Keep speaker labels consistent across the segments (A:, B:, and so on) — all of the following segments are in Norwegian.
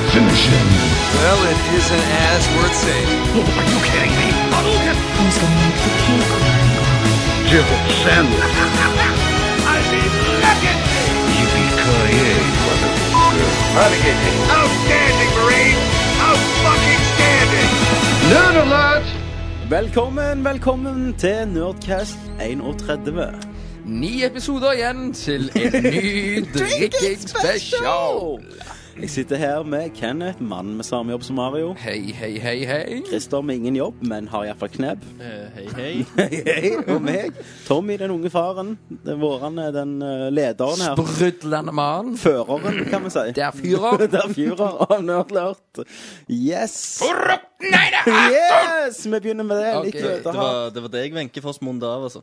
A: saving.
B: Well, it isn't as worth saving.
C: Are you kidding me?
D: Who's gonna make the cake
C: Jibble sandwich. I mean, look at me!
A: Yippee-ki-yay, motherfucker.
C: Outstanding, Marine! Out fucking standing! Nerd alert!
E: Velkommen, velkommen til Nerdcast 31.
B: Ni episoder igjen til en ny drikking special.
E: Jeg sitter her med Kenneth, mannen med samme jobb som Mario.
B: Hei, hei, hei, hei.
E: Christer med ingen jobb, men har iallfall knebb.
F: Eh, Hei, hei.
E: Hei, hei, og meg. Tommy, den unge faren. Den vårende, den eh, lederen her.
B: Brudlende mann.
E: Føreren, kan vi si.
B: Det er fyrer.
E: Det er fyrer av Nerdlert. Yes!
B: Nei, det er
E: Yes! Vi begynner med det. Litt
B: Ok,
E: okay,
F: Det var, det var deg Wenche Foss Monde av, altså.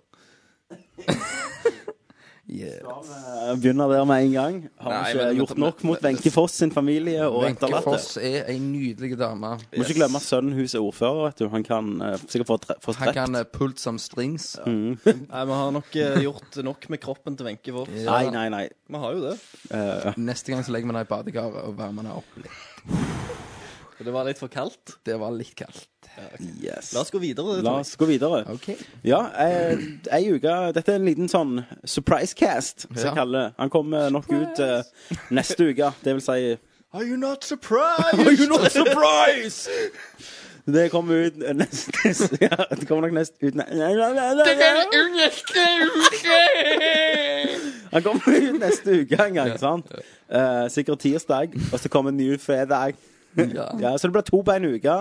E: Eh, Begynner der med en gang. Har
F: Nei,
E: ikke
F: men-
E: gjort nok mot Wenche Foss sin familie og
B: Wenche
E: etterlatte.
B: Foss er ei nydelig dame.
E: Må ikke glemme at sønnen hennes er ordfører. vet du Han kan eh, sikkert få dre- få
B: Han
E: drept.
B: kan eh, pult som strings.
F: Nei, Vi har nok eh, gjort nok med kroppen til Wenche Foss.
E: Nei, nei, nei.
F: Vi har jo det.
B: Neste gang så legger vi henne i badekaret og varmer henne opp. litt.
F: Og Det var litt for kaldt.
B: Det var litt kaldt.
E: Yes.
F: La oss gå videre.
E: La
F: Tommy.
E: oss gå videre.
B: OK.
E: Ja, eh, ei uke Dette er en liten sånn surprise cast, som jeg
B: Ja.
E: kaller det. Han kommer nok ut eh, neste uke. Det vil si
F: Are you not surprised?
E: Are you not surprised? Det kommer ut neste ja, Det kommer nok nest ut ne nei, nei, nei, nei, nei. Han kommer ut neste uke en gang, sant? Eh, sikkert tirsdag, og så kommer en ny fredag.
B: Ja.
E: Ja, så det blir to på en uke.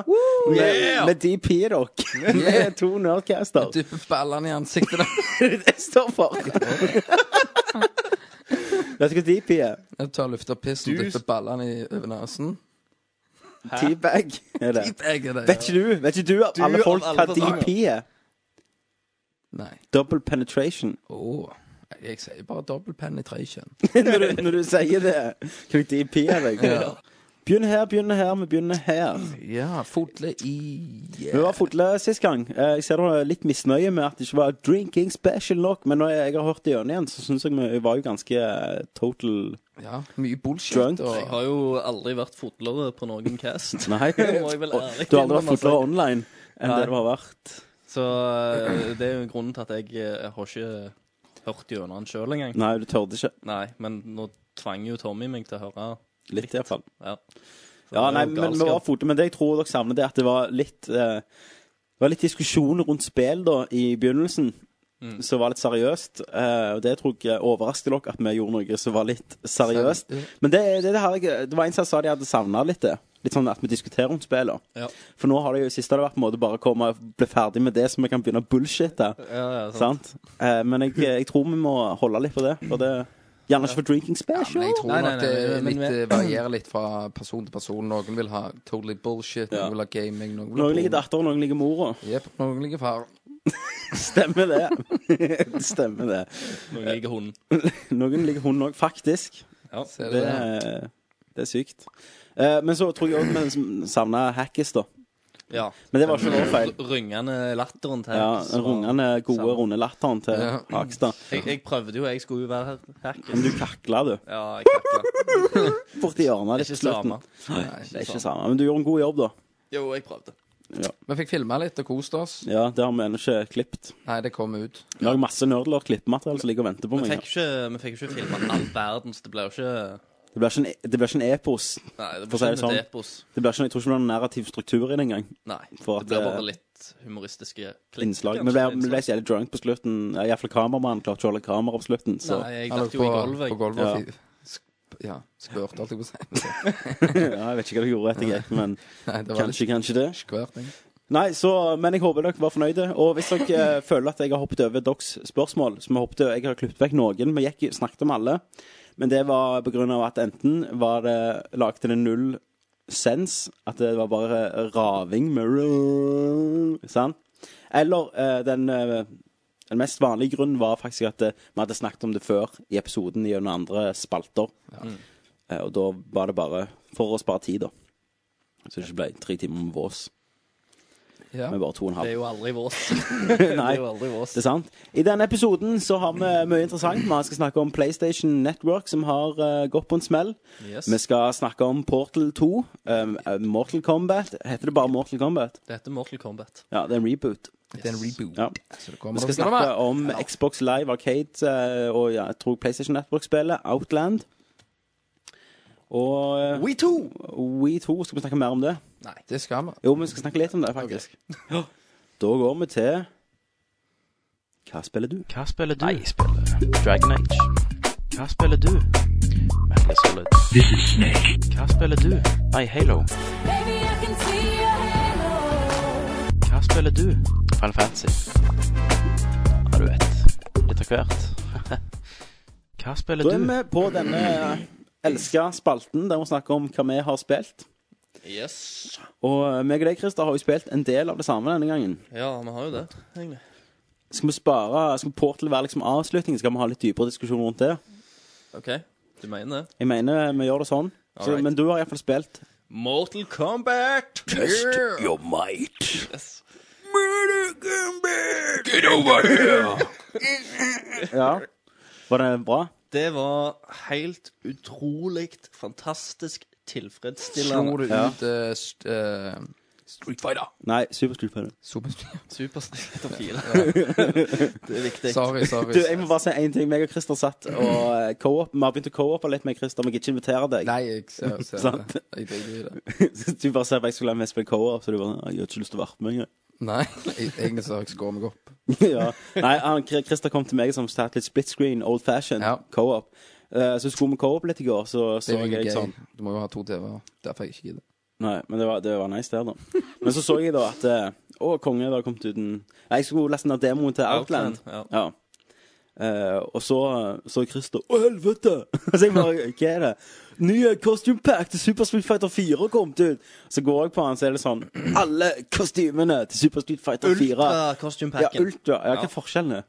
E: Med, med DP, dere. Med to nerdcaster.
B: Dypper ballene i ansiktet.
E: Det står for. Vet du hva DP er?
B: Jeg tar luft og piss og dypper ballene i over nesen.
E: Teabag er det.
B: Jeg er det.
E: Vet ikke du vet ikke du av alle
F: av
E: folk
F: alle
E: hva
F: personer.
E: DP er?
B: Nei.
E: Double penetration.
B: Åh, jeg, jeg sier bare double penetration.
E: når, du, når du sier det. Kan du DP er deg? Begynn her, begynn her, vi begynner her.
B: Ja, fotle i
E: Vi var fotle sist gang. Eh, Jeg ser du er litt misnøye med at det ikke var drinking special nok, men når jeg har hørt det gjennom igjen, så syns jeg vi var jo ganske eh, total
B: Ja, mye bullshit.
E: Drunk.
F: Jeg
B: Og,
F: har jo aldri vært fotlere på noen cast.
E: Nei. Du
F: Det må jeg vel ærlig
E: har aldri vært
F: innrømme,
E: fotlere
F: altså.
E: online enn det du har vært.
F: Så eh, det er jo grunnen til at jeg eh, har ikke hørt gjennom den sjøl engang.
E: Nei, du tørde ikke.
F: Nei, men nå tvang jo Tommy meg til å høre.
E: Litt, i hvert fall.
F: Ja.
E: Ja,
F: det er
E: nei,
F: jo
E: men vi
F: galskap.
E: var fote, men det jeg tror dere savner, det er at det var litt eh, Det var litt diskusjon rundt spill da i begynnelsen.
F: Mm.
E: Som var litt seriøst. eh, og Det tror jeg overrasker dere at vi gjorde noe som var litt seriøst.
B: Seri- ja.
E: Men det, det, det, har jeg, det var en som sa de hadde savna litt det. Litt sånn at vi diskuterer om spillene.
F: Ja.
E: For nå har det jo siste har det vært på en måte bare å komme og bli ferdig med det, så vi kan begynne å bullshitte.
F: Ja, ja, sånn sant.
E: Sant? Eh, men jeg, jeg tror vi må holde litt på det. For det Gjerne ikke for drinking
B: men
E: special.
B: jeg tror
F: Nei, nei,
B: nok det
F: nei,
B: er
F: men-
B: litt, eh, varierer litt fra person til person. Noen vil ha totally bullshit,
E: Ja.
B: noen vil ha gaming, noen vil ha
E: Noen ligger
B: porno.
E: datteren, noen ligger mora.
B: Jep, noen ligger far.
E: Stemmer det. Stemmer det.
F: Noen liker hunden.
E: Noen liker hund òg, faktisk.
F: Ja.
B: Ser du
E: Det
B: det?
E: er, det er sykt. Eh, men så tror jeg òg vi savna Hackis, da.
F: ja.
E: Men det var ikke vår feil.
F: Ryngende latteren til
E: Ja,
F: Hacks
E: Den
F: var-
E: rungende, gode,
F: Savner.
E: runde latteren til
B: Ja.
E: Hakstad.
F: Jeg, jeg prøvde jo, jeg skulle jo være her. Hackers.
E: Men du kakla, du.
F: Ja, jeg kakla.
E: Borti hjørnet litt
F: Ikke
E: på slutten.
F: samme.
E: Det er ikke samme. Men du gjorde en god jobb, da.
F: Jo, jeg prøvde.
B: Vi fikk filma litt og kost oss.
E: Ja, Det har vi ennå ikke klippet.
B: Nei, det kom ut.
E: Vi har jo masse nerdlort klippemateriale som ligger og venter på
F: Vi
E: meg.
F: fikk
E: her.
F: ikke, vi fikk jo ikke filma all verden, så det ble jo ikke
E: Det blir ikke en, det blir ikke en epos.
F: Nei, det
E: For å si
F: ble
E: det
F: ikke en
E: sånn.
F: epos.
E: Det blir ikke, jeg tror ikke det blir noen narrativ struktur i det engang.
F: Nei.
E: For at eh,
F: det ble
E: det-
F: bare litt humoristiske altså. klipp.
E: Innslag.
F: kanskje,
E: Vi ble, vi
F: innslag.
E: ble så jævlig drunk på slutten. Iallfall kameramannen klarte ikke å holde kamera på slutten. Så.
F: Nei, jeg
B: Han
F: datt
B: lå
F: jo i
B: på,
F: gulvet.
B: på
F: jeg.
B: gulvet og fi- sp- ja, skvørte, holdt jeg på å si.
E: Ja, jeg vet ikke hva dere gjorde etter jeg gikk, men
B: Nei, det var litt
E: kanskje, kanskje det.
B: skvørting.
E: Nei, så, Men jeg håper dere var fornøyde. Og hvis dere eh, føler at jeg har hoppet over deres spørsmål så vi hoppet, Jeg har klippet vekk noen. Vi gikk, snakket om alle. Men det var pga. at enten var det lagde det null sens, at det var bare raving med rrrr, Sant? Eller eh, den, eh, den mest vanlige grunnen var faktisk at eh, vi hadde snakket om det før i episoden gjennom andre spalter. Eh, og da var det bare for å spare tid, da. Så det ikke ble tre timer med vås.
B: Ja.
E: med bare to og en
F: Det
E: halv.
F: er jo aldri vås. det
E: Nei.
F: er jo aldri vås.
E: Det er sant. I denne episoden så har vi mye interessant. Vi skal snakke om PlayStation Network, som har eh, gått på en smell.
F: Yes.
E: Vi skal snakke om Portal 2. Um, eh, Mortal Kombat. Heter det bare Mortal Kombat?
F: Det heter Mortal Kombat.
E: Ja, det er en reboot.
B: Det er en reboot.
E: Ja.
B: Så det kommer
E: Vi skal
B: noe
E: snakke
B: med.
E: om Xbox Live Arcade eh, og ja, jeg tror PlayStation Network-spillet Outland. Og eh,
B: We Two.
E: We 2. Skal vi snakke mer om det?
B: Nei, det skal vi.
E: Jo, vi skal snakke litt om det, faktisk. Da går vi til Hva spiller du?
G: Hva spiller du? Jeg spiller Dragon Age. Hva spiller du? Metal Solid. This is Snake. Hva spiller du? Nei, Halo.
D: Baby, I can see your halo.
G: Hva spiller du? Final Fantasy. Ja, du vet. Litt av hvert. Hva
E: Da
G: spiller
E: er
G: du?
E: vi på denne elska spalten der vi snakker om hva vi har spilt.
F: Yes.
E: Og eh, meg og deg, Christer, har jo spilt en del av det samme denne gangen.
F: Ja, vi har jo det, egentlig.
E: Skal vi spare, skal Portal være liksom avslutningen? Skal vi ha litt dypere diskusjon rundt det?
F: OK, du mener det?
E: Jeg mener vi gjør det sånn. Så,
F: Alright.
E: men du har iallfall spilt
F: Mortal Kombat! Yeah!
E: your might.
F: Yes.
E: Ja. Var det bra?
F: Det var helt utrolig fantastisk
B: Slo
F: tilfredsstillende.
B: du
E: Ja.
B: ut eh, st- eh, Street Fighter?
E: Nei, superstupid.
B: Super
F: Supersnitt av fire. Det er viktig.
B: Sorry, sorry.
E: Du, jeg må bare si én ting. Meg og Christer satt og eh, co-op. Vi har begynt å co-ope litt med Christer, men jeg gidder ikke invitere deg.
B: Nei, jeg ser, ser
E: Sant.
B: det. Jeg driter i det.
E: Så du bare sa at jeg skulle være med og spille co-op, så du bare «Nei, Jeg har ikke lyst til å være med engang.
B: Nei, jeg- egentlig så har jeg skåret meg opp.
E: ja. Nei, han, Christer kom til meg som satt litt split screen, old fashion,
B: Ja.
E: co-op. Eh, så skulle vi co-op litt i går, så
B: Det
E: så
B: er jo
E: jeg
B: gøy.
E: sånn
B: Du må jo ha to TV-er. Derfor jeg ikke gidder.
E: Nei, men det var, det var nice der, da. Men så så jeg da at eh, Å, konge, det har kommet ut en Nei, Jeg skulle laste ned demoen til Outland.
F: Outland,
E: Ja. Eh, og så så Christer Å, helvete! så jeg bare Hva er det? Nye costume pack til Super Street Fighter 4 har kommet ut! Så går jeg på han, så er det sånn Alle kostymene til Super Street Fighter 4. ja,
F: Ultra-costumepacken.
E: Ultra. Ja,
F: Ja.
E: hva er forskjellen?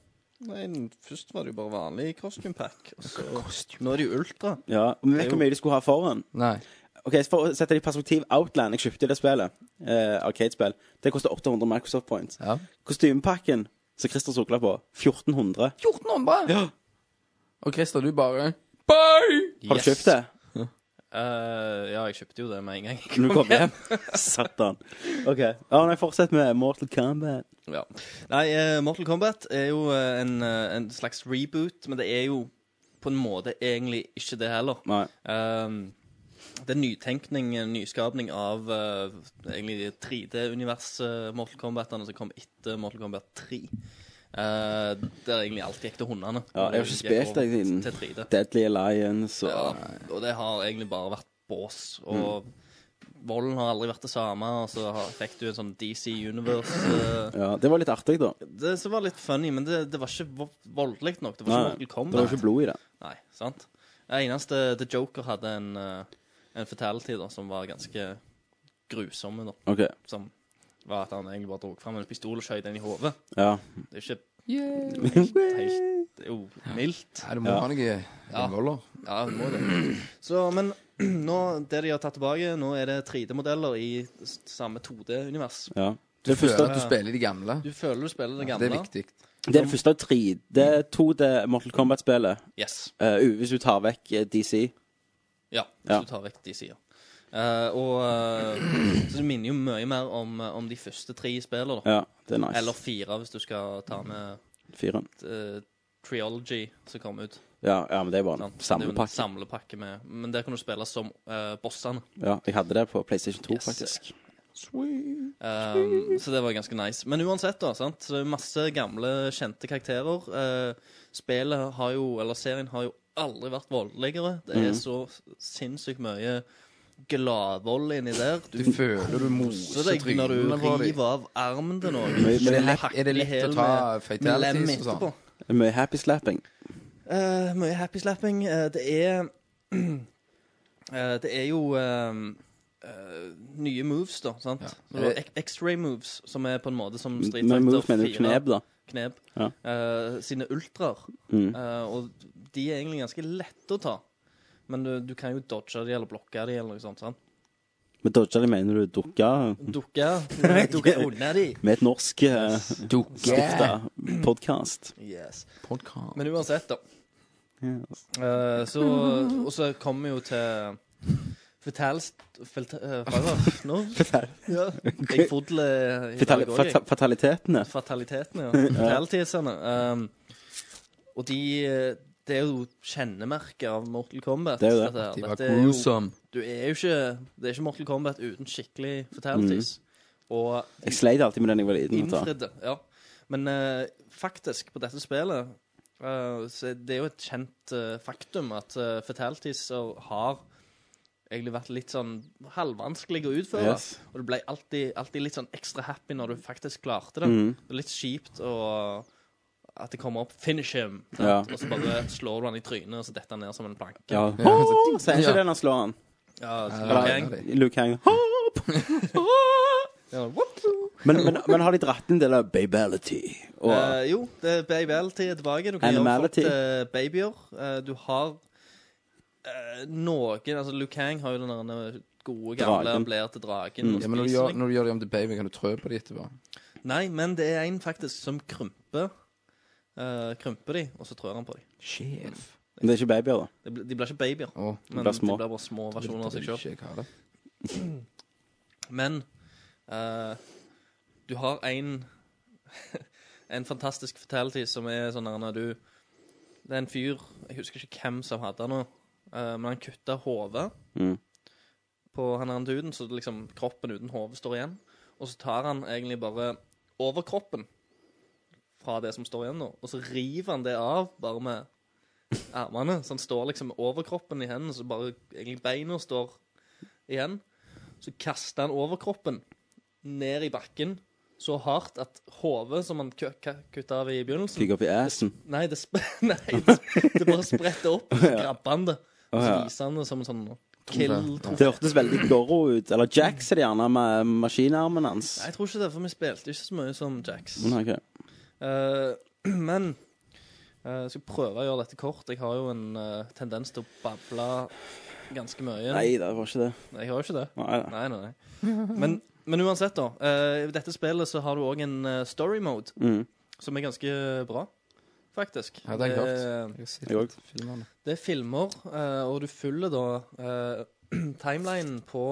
F: Nei, den- først var det jo bare vanlig costume pack. Og så, nå er det jo ultra.
E: Ja, men Vet du hvor mye de skulle ha foran?
B: Nei.
E: Ok, så For å sette det i perspektiv, Outland Jeg kjøpte det spillet. Eh, Arcade-spill. Det koster 800 Microsoft points.
B: Ja.
E: Kostymepakken som Christer sukla på, 1400.
B: 1400! Og Christer, du bare Bye!
E: Har du kjøpt det?
F: Eh, ja, jeg kjøpte jo det med en gang. jeg
E: Når du
F: kom
E: kom hjem? Satan. OK. Ja, nei, fortsett med Mortal Kombat.
F: Ja. Nei, eh, Mortal Kombat er jo eh, en, eh, en slags reboot, men det er jo på en måte egentlig ikke det heller.
E: Nei.
F: Ehm, det er nytenkning, en nyskapning av eh, egentlig 3D-universet Mortal Kombatene som kom etter Mortal Kombat 3. Eh, der egentlig alt gikk til hundene.
E: Ja, jeg har ikke spilt det siden.
F: Til 3D.
E: Deadly Alliance og
F: Ja, og det har egentlig bare vært bås. Og
E: Mm.
F: volden har aldri vært det samme, og så har- fikk du en sånn DC Universe eh,
E: ja, Det var litt artig, da.
F: Det som var litt funny, men det, det var ikke vo- voldelig nok. Det var
E: Nei,
F: ikke Mortal
E: Det var
F: Kombat.
E: jo ikke blod i det.
F: Nei, sant? Det eneste The Joker hadde en, eh, en fatality da, som var ganske grusomme, da.
E: OK.
F: Som var at han egentlig bare dro fram en pistol og skjøt en i hodet.
E: Ja.
F: Det er ikke
B: Yeah.
F: helt Det er jo mildt.
B: Nei, du må ha noe innvoller.
F: Ja, det må det. Så, men nå, det de har tatt tilbake, nå er det 3D-modeller i s- samme 2D-univers.
E: ja.
B: Du
E: første-
B: føler at du spiller de gamle.
F: Du føler du spiller det
B: Det
F: gamle.
B: er viktig.
E: Det er det første av tre. Det er to det Mortal Kombat-spillet.
F: Yes.
E: eh, hvis du tar vekk eh, DC.
F: Ja, hvis
E: Ja.
F: du tar vekk de sider. Eh, og eh, Så det minner jo mye mer om, eh, om de første tre spillene, da.
E: Ja, det er nice.
F: Eller fire, hvis du skal ta med
E: Fireren.
F: eh, Triology som kom ut.
E: Ja, ja, men det er bare en
F: sant? Det er jo en
E: samlepakke.
F: samlepakke med, men der kan du spille som eh, bossene.
E: Ja, jeg hadde det på PlayStation 2,
F: Yes.
E: faktisk.
F: Um, så det var ganske nice. Men uansett, da. sant? Så det er Masse gamle, kjente karakterer. Eh, spillet har jo, eller serien har jo aldri vært voldeligere. Det er
B: Mhm.
F: så sinnssykt mye gladvold inni der.
B: Du
F: Du
B: føler du
F: koser
B: moser
F: deg når du
B: trynene på dem.
F: river av armen til noen.
E: Men- men er det
F: Eller
B: lett-
F: hakker
B: er det
F: i
B: lett å
F: hælen
B: ta
F: med- med
B: fatalities
F: lem
B: og sånn?
F: etterpå.
E: Mye happy slapping.
F: Eh, mye happy slapping. Eh, det er eh, Det er jo eh, eh, nye moves, da. sant? Så du har X- X-ray moves, som er på en måte som Street
E: Men
F: Fighter
E: move Eh, mener
F: 4,
E: du kneb, da.
F: kneb,
E: Ja.
F: eh, sine ultraer.
E: Mm.
F: Eh, og de er egentlig ganske lette å ta. Men du, du kan jo dodge de eller blokke de eller noe sånt. sant?
E: Men dodger de mener du dukka
F: Dukke. Nei, dukke unna de.
E: med et norsk eh, yes.
B: Dukke.
E: podkast.
F: Yes.
B: Podcast.
F: Men uansett, da. Eh, så, og så kommer vi jo til Fatals... Felt, eh, hva var det? Nå? Ja. Jeg fodler i dag også, jeg.
E: Fatalitetene.
F: Fatalitetene, ja. Fatalitiesene. Um, og de eh, Det er jo kjennemerket av Mortal Kombat.
E: Det er jo det.
F: dette her.
B: De var
F: Dette er jo-
B: gruesome.
F: du er jo ikke Det er ikke Mortal Kombat uten skikkelig fatalities.
E: Mm.
F: Og
E: Jeg sleit alltid med den jeg var liten. vet du.
F: innfridde. Ja. Men eh, faktisk, på dette spillet eh, så Det er jo et kjent eh, faktum at uh, fatalities har egentlig vært litt sånn halvvanskelig å utføre.
E: Yes.
F: Og du ble alltid, alltid litt sånn ekstra happy når du faktisk klarte det.
E: Mm.
F: Det er litt kjipt å at det kommer opp 'finish him', sant?
E: Ja.
F: og så bare slår du han i trynet, og så detter han ned som en planke.
E: Ja.
B: Ja.
E: Ho! Sier ikke
B: Ja.
E: det når han slår han.
F: Ja, så
B: Ja,
F: Liu
B: ja,
F: Kang.
B: det-
E: Luke Hang. Ho!
F: Ja, whoop.
E: Men, men, men har de dratt en del av babality? Og
F: Eh, jo, det er babyality er tilbake. Du kan
E: Animality.
F: gjøre folk til babyer. Eh, du har eh, noen Altså, Liu Kang har jo den der eh, gode, gamle
E: Dragen. Mm.
F: Han blir til dragen. og
B: Ja, men når du,
F: spiser
B: gjør,
F: deg.
B: når du gjør det om til baby, kan du trø på de etterpå.
F: Nei, men det er en faktisk som krymper. eh, krymper de, og så trør han på dem.
B: Sjef.
E: Men det er ikke babyer, da.
F: De, blir- de blir ikke babyer,
B: Å,
F: men
E: blir
F: de
E: små.
F: blir bare små versjoner av seg sjøl.
B: ikke jeg ha det.
F: Men eh, du har en En fantastisk fatality som er sånn der når du Det er en fyr, jeg husker ikke hvem som hadde han nå, eh, men han kutta hodet
E: Mm.
F: på han andre duden, så liksom kroppen uten hodet står igjen. Og så tar han egentlig bare overkroppen fra det som står igjen nå, og så river han det av bare med armene. Så han står liksom med overkroppen i hendene, så bare egentlig beina står igjen. Så kaster han overkroppen ned i bakken så hardt at hodet som han kø- ka- kutta av i begynnelsen
E: Fikk opp i assen.
F: Nei, det, sp nei, det, det bare spretter opp, og så grabber han det. Og så
E: ja.
F: viser han det som en sånn kill-trofé.
E: Det hørtes veldig Gorro ut. Eller Jacks er det gjerne, med maskinarmen hans.
F: Nei, Jeg tror ikke det, for vi spilte ikke så mye som Jax.
E: Nei, ok.
F: Eh, men eh, jeg skal prøve å gjøre dette kort. Jeg har jo en eh, tendens til å bable ganske mye.
E: Nei da, det var ikke det.
F: Jeg har jo ikke det.
E: Nei, da.
F: Nei, nei, nei. Men, men uansett, da. eh, I dette spillet så har du òg en eh, story mode
E: Mm.
F: som er ganske bra, faktisk.
B: Ja, det har jeg
F: Det-
B: hørt. Jeg har sett
E: Jeg òg.
B: filmerne.
F: Det er filmer, eh, og du følger da eh, timelinen på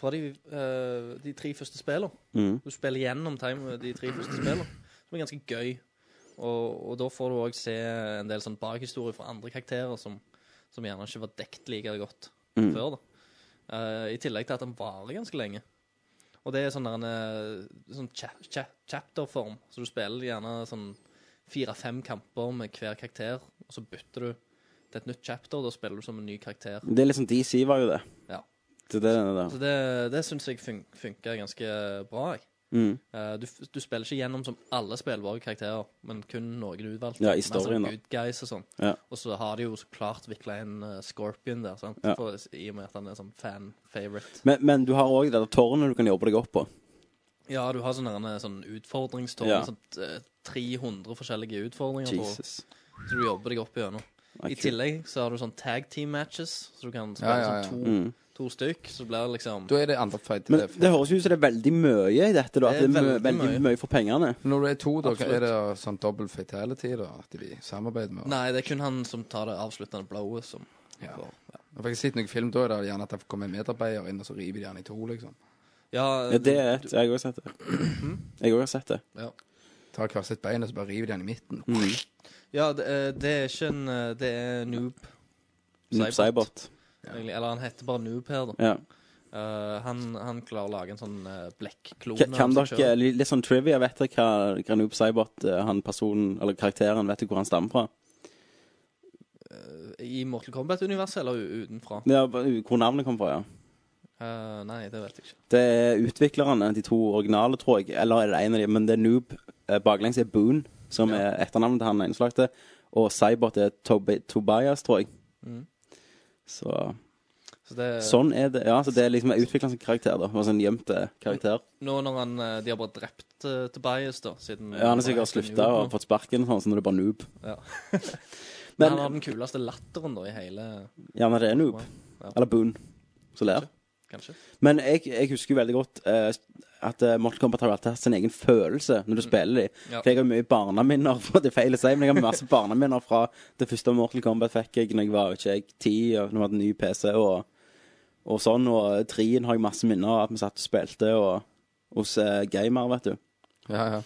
F: fra de, eh, de tre første spillene.
E: Mm.
F: Du spiller gjennom time, de tre første spillene, som er ganske gøy. Og, og da får du òg se en del sånn bakhistorie fra andre karakterer som, som gjerne ikke var dekt like godt
E: Mm.
F: før. da. Eh, I tillegg til at den varer ganske lenge. Og det er sånn, der en, eh, sånn cha cha chapter-form, så du spiller gjerne sånn fire-fem kamper med hver karakter, og så bytter du til et nytt chapter, og da spiller du som en ny karakter.
E: Det er liksom DC var jo det.
F: Ja.
E: Det er det det der.
F: Så det, det syns jeg fun funker ganske bra. Jeg.
E: Mm.
F: Eh, du, f- du spiller ikke gjennom som alle spillbare karakterer, men kun noen utvalgte.
E: Ja, i storyen, da.
F: Mer sånn good guys og sånn.
E: Ja.
F: Og så har de jo så klart vikla en eh, Scorpion der, sant?
E: Ja.
F: For, i og med at han er sånn fan-favorite.
E: Men, men du har òg det der tårnet du kan jobbe deg opp på.
F: Ja, du har sånn, der, eh, sånn utfordringstårn.
E: Ja.
F: Sånn, eh, 300 forskjellige utfordringer på,
E: Jesus.
F: så du jobber deg opp gjennom.
E: Nei,
F: I
E: kult.
F: tillegg så har du sånn tag team matches, så du kan spille
B: Ja, ja,
F: sånn to,
E: Mm.
F: to stykk. Så blir det liksom
B: Da er det andre fight.
E: Men
B: Det er-
E: det høres ut som det er veldig mye i dette. Da. At det er veldig, veldig mye for pengene.
B: Når du er to, da, hva
F: Absolutt.
B: er det sånn double fatality da, at de samarbeider med?
F: Nei, det er kun han som tar det avsluttende blowet som
B: Ja.
F: får-
B: For jeg har sett noen film, da er det gjerne at det kommer en medarbeider inn, og så river de han i to, liksom.
F: Ja,
E: Ja, det er et. Jeg har også sett det. Jeg har også sett det. Mm.
F: ja.
B: Tar hvert sitt bein, og så bare river de han i midten.
F: Ja, det, er- det er ikke en eh, Det er Noob.
E: Noob Cybot.
F: Egentlig. Eller han heter bare Noob her, da.
E: Ja.
F: Eh, han, han klarer å lage en sånn uh, blekklone.
E: Kan- Kan
F: av seg
E: dere
F: selv.
E: litt sånn trivia? Vet dere hva hva Noob Cybot, eh, han personen, eller karakteren, vet dere hvor han stammer fra?
F: I Mortal Kombat-universet eller u- utenfra?
E: Ja, hvor navnet kommer fra, ja.
F: Eh, nei, det vet jeg ikke.
E: Det er utviklerne, de to originale, tror jeg. Eller er det en av dem, men det er Noob. eh, Baklengs er Boon, som
F: Ja.
E: er etternavnet til han innslagte. Og Cybot er Tobi Tobias, tror jeg.
F: Mhm.
E: Så
F: Så det,
E: sånn er det. Ja, så det er liksom utvikla sin karakter, da. Og sånn gjemt eh, karakter.
F: Nå når han, eh, de har bare drept uh, Tobias, da siden
E: Ja, han har sikkert
F: heter
E: slutta
F: Mm. Noob
E: og fått sparken, sånn, så nå er det bare Noob.
F: Ja. nå. Men
E: Men
F: han har den kuleste latteren da i hele
E: gjerne det er Noob.
F: Ja.
E: Eller Boon, som ler.
F: kanskje.
E: Men jeg, jeg husker jo veldig godt eh, at uh, Mortal Kombat har alltid hatt sin egen følelse når du spiller dem.
F: Ja.
E: For jeg har mye barneminner fra det er feil å si, men jeg har masse barneminner fra det første Mortal Kombat fikk jeg når jeg var ikke jeg, ti, og når jeg hadde ny PC og, og sånn. Og trien har jeg masse minner av at vi satt og spilte og, hos eh, gamer, vet du.
B: Ja, ja.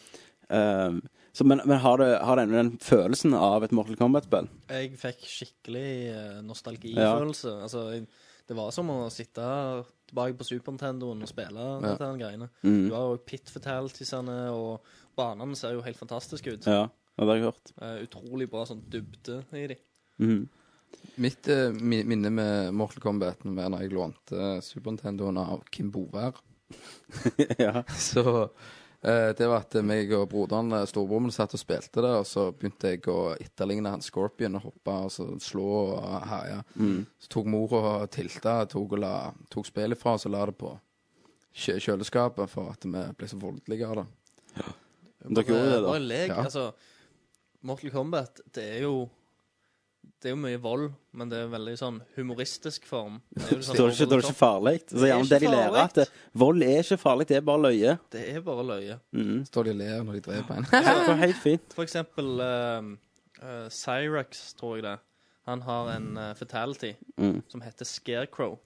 E: Eh, så, men men har, det, har det ennå den følelsen av et Mortal Kombat-spill?
F: Jeg fikk skikkelig eh, nostalgifølelse. Altså, jeg, det var som å sitte tilbake på Super Nintendoen og spille dette her greiene.
E: Mm.
F: Du har jo pit fatalities-ene, og banene ser jo helt fantastiske ut.
E: Ja, det har jeg hørt. Mm.
F: Eh, utrolig bra sånn dybde i de.
B: Mitt eh, mi- minne med Mortal Kombat var når jeg lånte Super Nintendoen av Kim Bovær.
E: ja.
B: Så eh, det var at meg og broderen, eh, storebroren, min, satt og spilte det, og så begynte jeg å etterligne han Scorpion og hoppe og så slå og herje.
E: Mm.
B: Så tok mor og tilta, tok, og la- tok spillet fra oss og la det på kjø kjøleskapet for at vi ble så voldelige av det.
E: Dere gjorde det, da?
F: Bare lek.
B: Ja.
F: Altså, Mortal Kombat, det er jo det er jo mye vold, men det er veldig sånn humoristisk form. Det er, jo sånn
E: Da er det ikke, da er det ikke farlig. Så
F: er
E: gjerne
F: ikke
E: det de lærer,
F: farlig.
E: at eh, vold er ikke farlig, det er bare løye. Mm.
F: Det er bare løye.
B: Står de og ler når de dreper en.
E: Det var helt fint.
F: For eksempel ehm, eh, Cyrax, tror jeg det. Han har en eh, fatality
E: Mm,
F: som heter Scarecrow.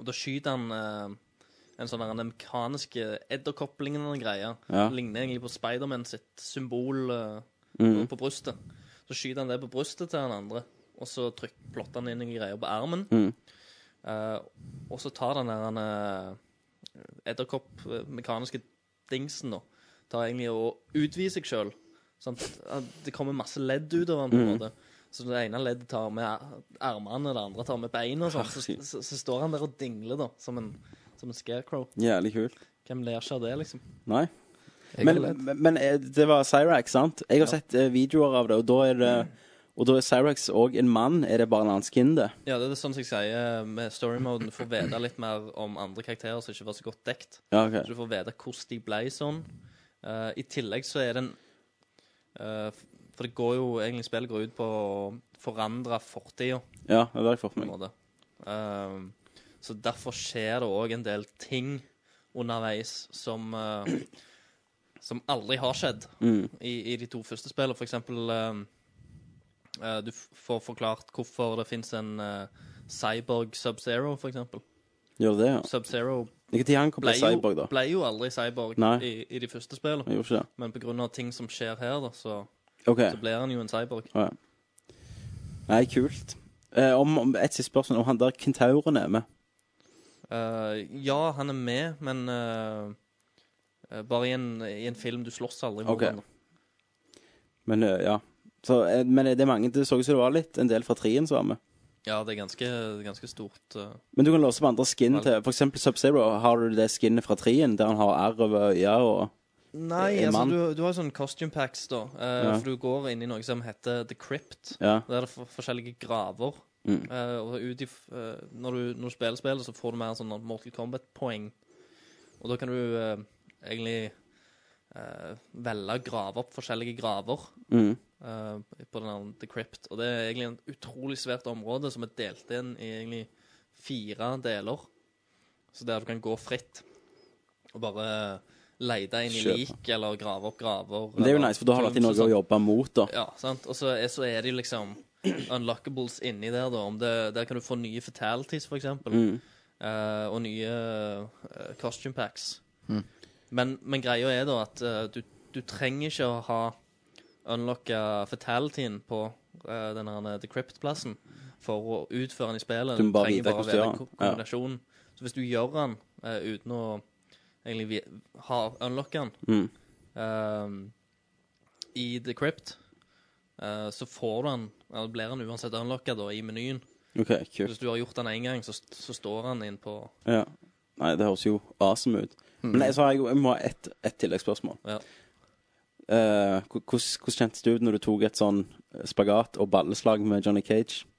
F: Og da skyter han eh, en sånn der, den mekaniske edderkopplingen og greier.
E: Ja.
F: Ligner egentlig på Spiderman sitt symbol eh,
E: Mm,
F: på brystet. Så skyter han det på brystet til han andre, og så trykk, plotter han inn noen greier på armen.
E: mm.
F: Eh, og så tar den der eh, edderkopp-mekaniske dingsen da, tar egentlig og utvider seg sjøl. Det kommer masse ledd ut av den. på en måte. Så det ene leddet tar med ar- armene, det andre tar med beina. og sånn. Så, så, så står han der og dingler, da, som en, som en scarecrow.
E: Jævlig kult.
F: Hvem ler ikke av det, liksom?
E: Nei.
B: Jeg
E: Men,
B: har ledd.
E: men- men eh, det var Cyrax, sant? Jeg har sett eh, videoer av det, og da er det
F: Mm.
E: Og da er Cyrax òg en mann. Er det bare en annen skin, det?
F: Ja, det er sånn som jeg sier med storymoden. Får vite litt mer om andre karakterer som ikke var så godt dekt.
E: Ja,
F: Så
E: ok.
F: du får vite hvordan de ble sånn. Eh, I tillegg så er det en eh, f- For det går jo egentlig spillet går ut på å forandre fortida,
E: Ja, det har jeg fått
F: på en
E: med meg.
F: måte. Ehm, så derfor skjer det òg en del ting underveis som eh, Som aldri har skjedd
E: Mm.
F: i, i de to første spillene. For eksempel ehm, eh, Du f- får forklart hvorfor det fins en eh, Cyborg Sub-Zero, for eksempel.
E: Gjør det, ja.
F: Sub-Zero
E: Når han kom
F: ble
E: på
F: jo,
E: Cyborg, da?
F: ble jo aldri cyborg
E: Nei.
F: i, i de første spillene.
E: Han gjorde ikke det.
F: Men pga. ting som skjer her, da, så,
E: OK.
F: så blir han jo en cyborg.
E: Å, ja. Nei, kult. Eh, om, om et siste spørsmål om han der kentauren er med.
F: Eh, ja, han er med, men eh, eh, bare i en, i en film. Du slåss aldri mot
E: Ok.
F: han, da.
E: Men eh, ja. Så, eh, men det er mange Det så ut som det var litt en del fra trien som var med.
F: Ja, det er ganske, ganske stort. eh.
E: Men du kan låse opp andre skin
F: Vel.
E: til f.eks. Sub-Zero. Har du det skinnet fra trien der han har arr over øya og
F: Nei, altså,
E: En mann.
F: du, du har jo sånne costume packs, da. eh,
E: Ja.
F: For du går inn i noe som heter The Crypt.
E: Ja.
F: Der er det for, forskjellige graver.
E: Mm.
F: Eh, og ut i, f- eh, når, du, når du spiller spillet, så får du mer sånn Mortal Kombat-poeng. Og da kan du eh, egentlig eh, velge å grave opp forskjellige graver
E: Mm.
F: eh, på den her The Crypt. Og det er egentlig en utrolig svært område som er delt inn i egentlig fire deler. Så der du kan gå fritt og bare lete inn i
E: Kjøpe.
F: lik eller grave opp graver.
E: Men det er jo
F: eller
E: nice, for da har du alltid
F: tombs og
E: noe å
F: sånt.
E: jobbe mot, da.
F: Ja, sant. Og så er, så er de liksom unlockables inni der, da. Om det, der kan du få nye fatalities, for
E: Mm.
F: eksempel. eh, og nye eh, costume packs.
E: Mm.
F: Men, men greia er da at eh, du, du trenger ikke å ha unlocka fatalityen på eh, den her The Crypt-plassen for å utføre den i spillet.
E: Du må bare
F: trenger
E: vite hvordan du
F: være
E: gjør den.
F: ko- kombinasjonen. Så hvis du gjør den eh, uten å egentlig vi- ha unlocka den
E: Mm.
F: eh, i The Crypt, eh, så får du den, eller blir den uansett unlocka da, i menyen.
E: OK, kult.
F: Hvis du har gjort den én gang, så, så står den inn på
E: Ja. Nei, det høres jo awesome ut. Men jeg, så har jeg, jeg må ha ett et tilleggsspørsmål.
F: Ja.
E: Eh, hvor- Hvordan hvordan kjentes det ut når du tok et sånn spagat og balleslag med Johnny Cage?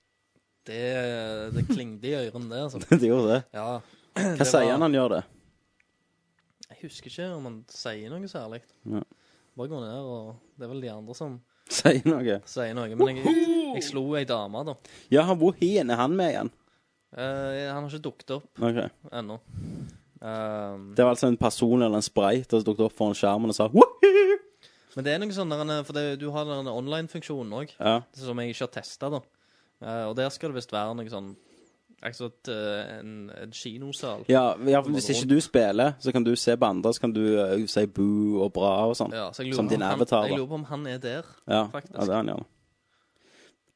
F: Det, det klingde i ørene, det, altså.
E: det gjorde det.
F: Ja.
E: Hva sier han han gjør det?
F: Jeg husker ikke om han sier noe særlig.
E: Ja.
F: Bare gå ned, og det er vel de andre som
E: Sier noe?
F: sier noe. Men jeg, jeg slo ei dame, da.
E: Ja, han Wohin, er han med igjen?
F: Eh, han har ikke dukket opp
E: Ok.
F: ennå. Ehm,
E: Det var altså en person eller en sprite som dukket opp foran skjermen og sa «Woohoo!»
F: men det er noe sånn der, en- For det, du har den online-funksjonen òg,
E: ja.
F: som jeg ikke har testa, da. Eh, og der skal det visst være noe sånn Akkurat uh, en, en kinosal.
E: ja, i hvert fall hvis ikke du spiller, så kan du se på andre, så kan du eh, si boo og bra og sånn. Ja,
F: Ja, så jeg lurer
E: Som
F: på om
E: din
F: han-
E: avatar, da.
F: Jeg lurer på om han er der.
E: ja.
F: faktisk.
E: det er han gjerne.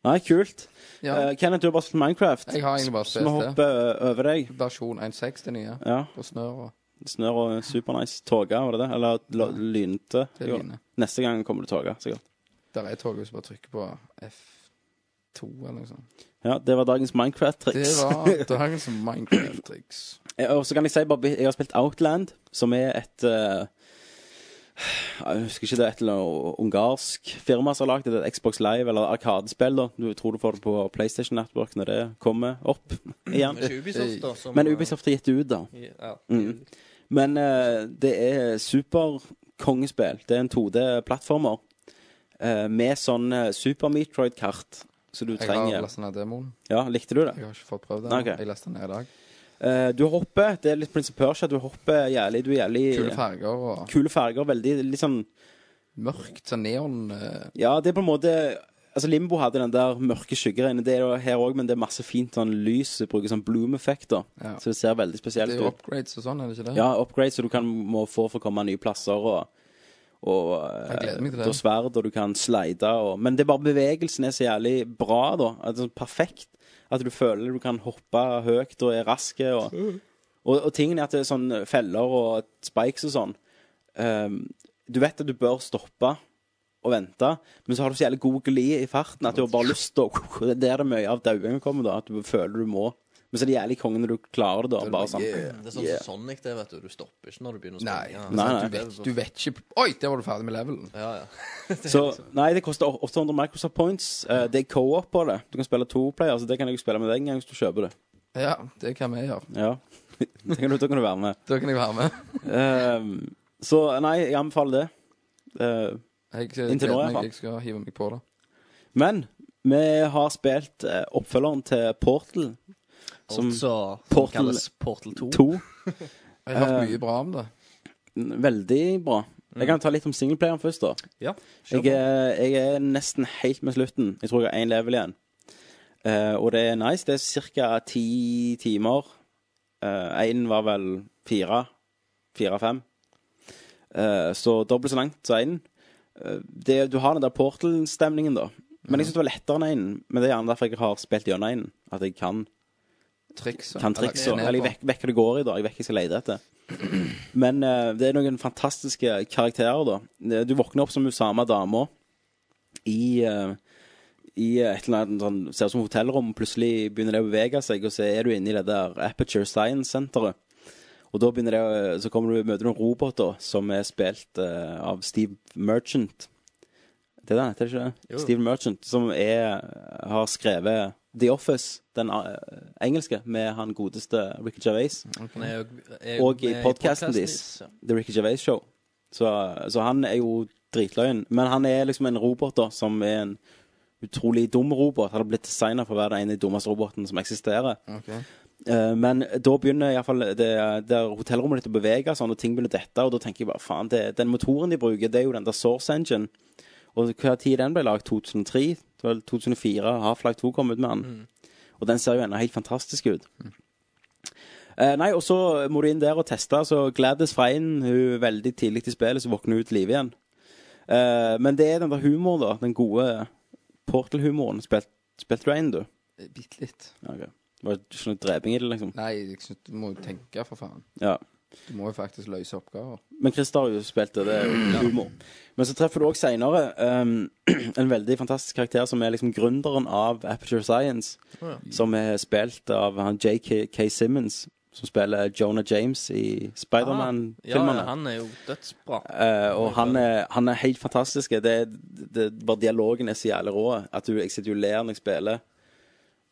E: Nei, kult.
B: Ja.
E: Eh, Kenneth, du har bare spilt Minecraft.
B: Jeg har egentlig bare
E: Så vi
B: spilt det.
E: hopper eh, over deg.
B: Versjon 1.6, det nye.
E: Ja,
B: På snør og
E: snør og supernice. Toga, var det det? Eller lo- lynte?
B: det
E: Jo.
B: line.
E: Neste gang kommer det toga, sikkert.
B: Der er toget som bare trykker på F2 eller noe sånt.
E: Ja, det var dagens
B: Det
E: Minecraft-triks.
B: var dagens Minecraft-triks.
E: Eh, Og så kan jeg si bare, jeg har spilt Outland, som er et eh, Jeg husker ikke det er et eller annet ungarsk firma som har lagd det. Det er et Xbox Live eller Arkadespill. da. Du tror du får det på PlayStation Network når det kommer opp igjen.
F: Men ikke Ubisoft, da. Som,
E: Eh, Men Ubisoft har gitt det ut, da.
F: Ja.
E: Mm. Men eh, det er superkongespill. Det er en 2D-plattformer eh, med sånn eh, Super Metroid-kart som du
B: Jeg har
E: trenger.
B: lest ned demoen.
E: Ja, likte du det?
B: Jeg har ikke fått prøvd den.
E: Ok.
B: Jeg leste den ned i dag.
E: Eh, du hopper. Det er litt Prince of Persia. Du hopper jævlig. Du er jævlig
B: Kule farger og
E: kule farger. Veldig litt sånn
B: mørkt, sånn neon eh,
E: Ja, det er på en måte Altså Limbo hadde den der mørke skyggeregnet. Det er det her òg, men det er masse fint sånn lys. Du bruker sånn bloom-effekter.
B: Ja.
E: Så det ser veldig
B: Det
E: spesielt
B: er jo
E: ut.
B: upgrades og sånn, er det ikke det?
E: Ja, upgrade, så du kan må få for å komme nye plasser og og
B: Jeg gleder meg til
E: eh,
B: det.
E: da sverd, og du kan slide og Men det er bare bevegelsen er så jævlig bra, da. At det er sånn perfekt. At du føler du kan hoppe høyt og er rask. Og, og, og tingen er at det er sånn feller og spikes og sånn. Ehm, du vet at du bør stoppe og vente, men så har du så jævlig god glid i farten at du har bare lyst til å Det er der det mye av dauingen kommer, da. At du føler du må. Men så er det jævlig konge når du klarer det, da. Bare sånn.
F: Det er sånn
E: Yeah.
F: som Sonic, det, vet du. Du stopper ikke når du begynner å
B: Nei. Altså,
F: springe.
E: Nei, nei.
B: Du, vet, du vet ikke Oi, der var du ferdig med levelen.
F: Ja, ja.
E: Så, nei, det koster 800 Microsoft points. Eh, det er co-op på det. Du kan spille to player, så det kan jeg jo spille med deg en gang hvis du kjøper det.
B: Ja, det kan vi gjøre.
E: Ja. det kan du, da kan du være med.
B: Da kan jeg være med.
E: Eh, så nei, jeg anbefaler det. Eh,
B: Jeg,
E: Inntil nå, i
B: gleder
E: hvert fall.
B: meg, jeg skal hive meg på det.
E: men vi har spilt eh, oppfølgeren til Portal Som
F: altså
E: Portal-
F: Portal, kalles Portal 2.
E: 2.
B: Jeg har hørt
E: Eh,
B: mye bra om det.
E: Veldig bra. Jeg kan ta litt om singleplayeren først, da.
F: Ja, kjør
E: Jeg er, jeg er nesten helt med slutten. Jeg tror jeg har én level igjen. Eh, og det er nice. Det er ca. ti timer. Én var vel fire. Fire-fem. Eh, så dobbelt så langt som én. det, du har den der Portal-stemningen, da. Men jeg syns det var lettere enn én. Men det er gjerne derfor jeg har spilt gjennom én. At jeg kan
B: Trikset.
E: kan triksa. Eller jeg vet- vet hva det går i, da. Jeg vet hva jeg skal lete etter. Men eh, det er noen fantastiske karakterer, da. Du våkner opp som hun samme dama i eh, i et eller annet sånn, ser ut som hotellrom, plutselig begynner det å bevege seg, og så er du inne i det der Aperture Science Senteret. Og da begynner det å, så kommer du møter noen roboter som er spilt eh, av Steve Merchant. Det er det, heter det ikke det?
F: Jo.
E: Steve Merchant, som er, har skrevet The Office, den eh, engelske, med han godeste Ricky Gervais.
F: Han er jo- er jo
E: Og i
F: med
E: podcasten
F: deres. Ja.
E: The Ricky Gervais Show. Så, så han er jo dritløyen. Men han er liksom en robot da, som er en utrolig dum robot. Han har blitt designet for å være den ene dummeste roboten som eksisterer. Eh, men da begynner iallfall det, det hotellrommet ditt å bevege sånn, og ting begynner å dette. Og da tenker jeg bare faen, det, den motoren de bruker, det er jo den der Source Engine. Og hva tid den ble lagd? 2003? Det var vel 2004? Half-Life 2 kom ut med den. Og den ser jo ennå helt fantastisk ut. Eh, nei, og så må du inn der og teste. Så Gladys Freien, hun er veldig tidlig i spillet, så våkner hun ut til live igjen. Eh, men det er den der humoren, da. Den gode Portal-humoraen. Spilt, spilt du en, du?
B: Eh, Bitte litt.
E: Ja, ok. Det var ikke noe dreping i det, liksom?
B: Nei, jeg synes, du må jo tenke, for faen.
E: Ja.
B: Du må jo faktisk løse oppgaver.
E: Men Christer har jo spilt det. Det er
F: Mm,
E: jo humor. Men så treffer du òg seinere en veldig fantastisk karakter som er liksom gründeren av Aperture Science. Som er spilt av han JK K. Simmons, som spiller Jonah James
F: Ah, Ja,
E: i Spiderman-filmene.
F: ja, han er jo dødsbra.
E: Eh, og han er, han er helt fantastisk. Det, det, bare dialogen er så jævlig rå. At du, jeg sitter jo og ler når jeg spiller.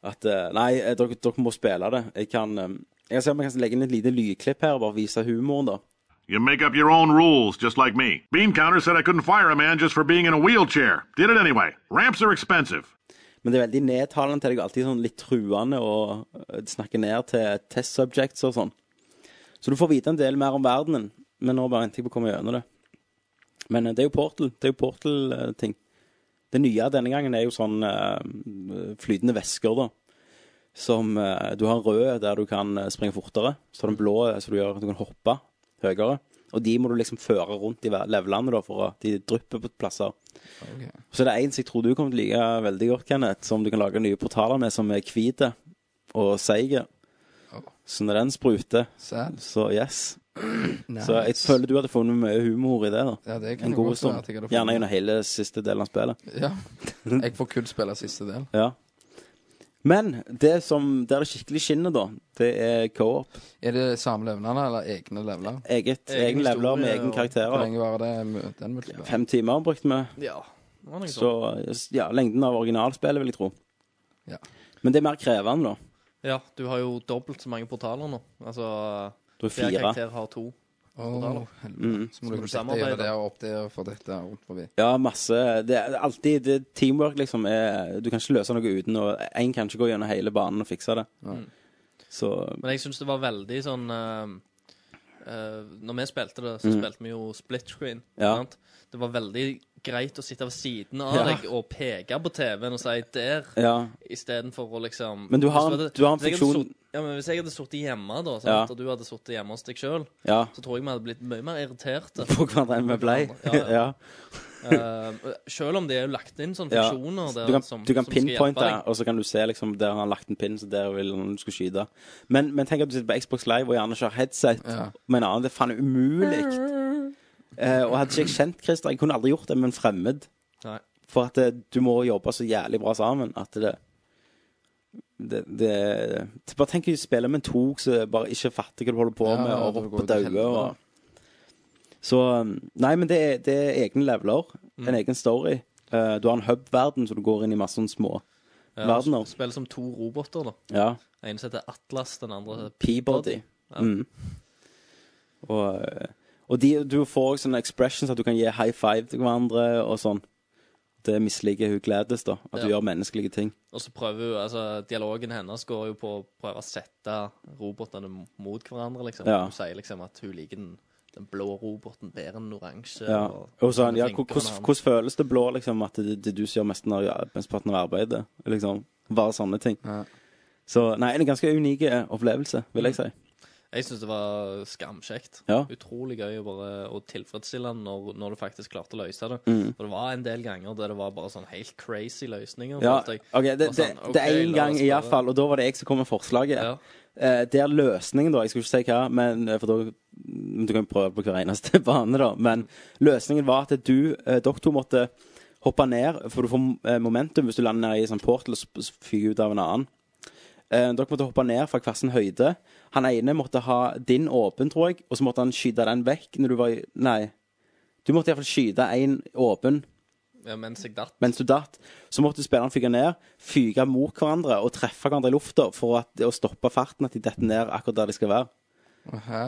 E: At eh, Nei, eh, dere, dere må spille det. Jeg kan eh, Jeg kan se om jeg kan legge inn et lite lydklipp her og bare vise humoren, da.
H: You make up your own rules, just like me. Bean counter said I couldn't fire a man just for being in a wheelchair. Did it anyway. Ramps are expensive.
E: Men det er veldig nedtalende til deg, og alltid sånn litt truende, og eh, snakker ned til test subjects og sånn. Så du får vite en del mer om verdenen, men nå bare venter jeg på å komme gjennom det. Men eh, det er jo Portal. Det er jo Portal-ting. Det nye denne gangen er jo sånn eh, flytende væsker, da. Som eh, Du har en rød der du kan eh, springe fortere. Så har du en blå eh, så du gjør at du kan hoppe høyere. Og de må du liksom føre rundt i hver- levelene, da, for at de drypper på plasser.
B: Ok.
E: Så det er en som jeg tror du kommer til å like veldig godt, Kenneth, som du kan lage nye portaler med, som er hvit og seig. Så når den spruter,
B: Sad.
E: så yes.
B: Nice.
E: Så jeg føler du hadde funnet mye humor i det. da
B: Ja, det kan
E: En
B: jeg
E: god
B: godt være
E: stund.
B: at jeg hadde funnet.
E: Gjerne gjennom hele siste delen av spillet.
B: Ja. Jeg får kun spille siste del.
E: Ja. Men det som der det skikkelig skinner, da, det er co-op.
B: Er det samme levelene eller egne leveler?
E: Eget, egen
F: historie
E: leveler med egen
F: og-
B: Hvor
E: karakterer.
B: lenge var det mu- den multiplayer?
E: Fem timer brukte vi.
F: Ja. det var noe
E: Så
F: sånt.
E: ja, lengden av originalspillet, vil jeg tro.
B: Ja.
E: Men det er mer krevende, da.
F: ja, du har jo dobbelt så mange portaler nå. Altså
E: Du er
F: hver
E: fire.
F: karakter har to.
B: Åh, helvete.
E: Mm.
B: Så må du
F: du
B: sitte
F: samarbeide.
B: gjøre det og opp det og få dette rundt forbi.
E: Ja, masse. Det er alltid det, er teamwork, liksom. Er, du kan ikke løse noe uten å En kan ikke gå gjennom hele banen og fikse det.
B: Mm.
E: Så
F: Men jeg syns det var veldig sånn eh, eh, Når vi spilte det, så
E: Mm.
F: spilte vi jo split screen.
E: Ja.
F: Sant? Det var veldig greit å sitte ved siden av
E: Ja.
F: deg og peke på TV-en og si 'der',
E: ja.
F: istedenfor å liksom
E: Men du har
F: Hvis
E: en-
F: hadde-
E: du har en
F: hvis jeg hadde
E: funksjon-
F: sutt- Ja, men Hvis jeg hadde sittet hjemme, da, sant?
E: Ja.
F: og du hadde sittet hjemme hos deg sjøl,
E: ja.
F: så tror jeg vi hadde blitt mye mer irriterte.
E: På hverandre med blei.
F: Ja, ja.
E: ja.
F: Eh, selv om det er jo lagt inn sånne
E: Ja.
F: funksjoner der,
E: Du kan,
F: som,
E: du kan
F: som skal hjelpe
E: pinpointe,
F: deg.
E: og så kan du se liksom, der han har lagt en pin, så der vil han du skal skyte. Men, men tenk at du sitter på Xbox Live og gjerne ikke har headset
B: Ja.
E: med en annen. Det er faen umulig. Eh, og hadde ikke jeg kjent Christer, jeg kunne aldri gjort det med en fremmed.
F: Nei.
E: For at eh, du må jobbe så jævlig bra sammen at det det, det, det Bare tenk å spille med en tok som bare ikke fatter hva du holder på
B: Ja,
E: med,
B: ja,
E: og
B: det
E: roper
B: går
E: og
B: til helvete.
E: dauer og Så um, Nei, men det er, det er egne leveler.
B: Mm.
E: En egen story. Eh, du har en hub-verden, så du går inn i masse sånne små
F: Ja,
E: verdener.
F: Spiller som to roboter, da.
E: Ja.
F: En som heter Atlas, den andre heter
E: Peabody.
F: Ja.
E: Mm. Og, eh, og de, du får også sånne expressions at du kan gi high five til hverandre og sånn. Det misliker hun Gladys, da. At du
F: Ja.
E: gjør menneskelige ting.
F: Og så prøver hun, altså Dialogen hennes går jo på å prøve å sette robotene mot hverandre. liksom.
E: Ja.
F: Hun sier liksom at hun liker den, den blå roboten bedre enn den oransje.
E: Ja.
F: og-
E: Og sånn, ja,
F: flinkere
E: hvor-
F: enn
E: hvordan
F: han.
E: hvordan føles det blå, liksom, at det det er du som gjør mest av- mesteparten av arbeidet? Liksom, bare sånne ting.
B: Ja.
E: Så nei, en ganske unik eh, opplevelse, vil jeg si.
F: Mm, Jeg syns det var skamkjekt.
E: Ja.
F: Utrolig gøy å bare å tilfredsstille den når, når du faktisk klarte å løse det.
E: Mm.
F: For det var en del ganger der det var bare sånn helt crazy løsninger.
E: Ja,
F: følte jeg.
E: ok, det,
F: Og
E: det,
F: sånn,
E: det er
F: ok,
E: én
F: la
E: gang
F: oss
E: i
F: bare-
E: hvert fall, og da var det jeg som kom med forslaget.
F: Ja.
E: Eh, det er løsningen, da. Jeg skulle ikke si hva, men, eh, for da, men du kan jo prøve på hver eneste bane, da. Men løsningen var at du, eh, dere to måtte hoppe ned, for du får eh, momentum hvis du lander ned i en sånn portal og sp- s- fyker ut av en annen. Eh, dere måtte hoppe ned fra hver sin høyde. Han ene måtte ha din åpen, tror jeg, og så måtte han skyte den vekk når du var i Nei. Du måtte iallfall skyte én åpen
F: ja, mens jeg datt.
E: mens du datt, så måtte spilleren fyke ned, fyke mot hverandre og treffe hverandre i lufta for at, å stoppe farten, at de detter ned akkurat der de skal være.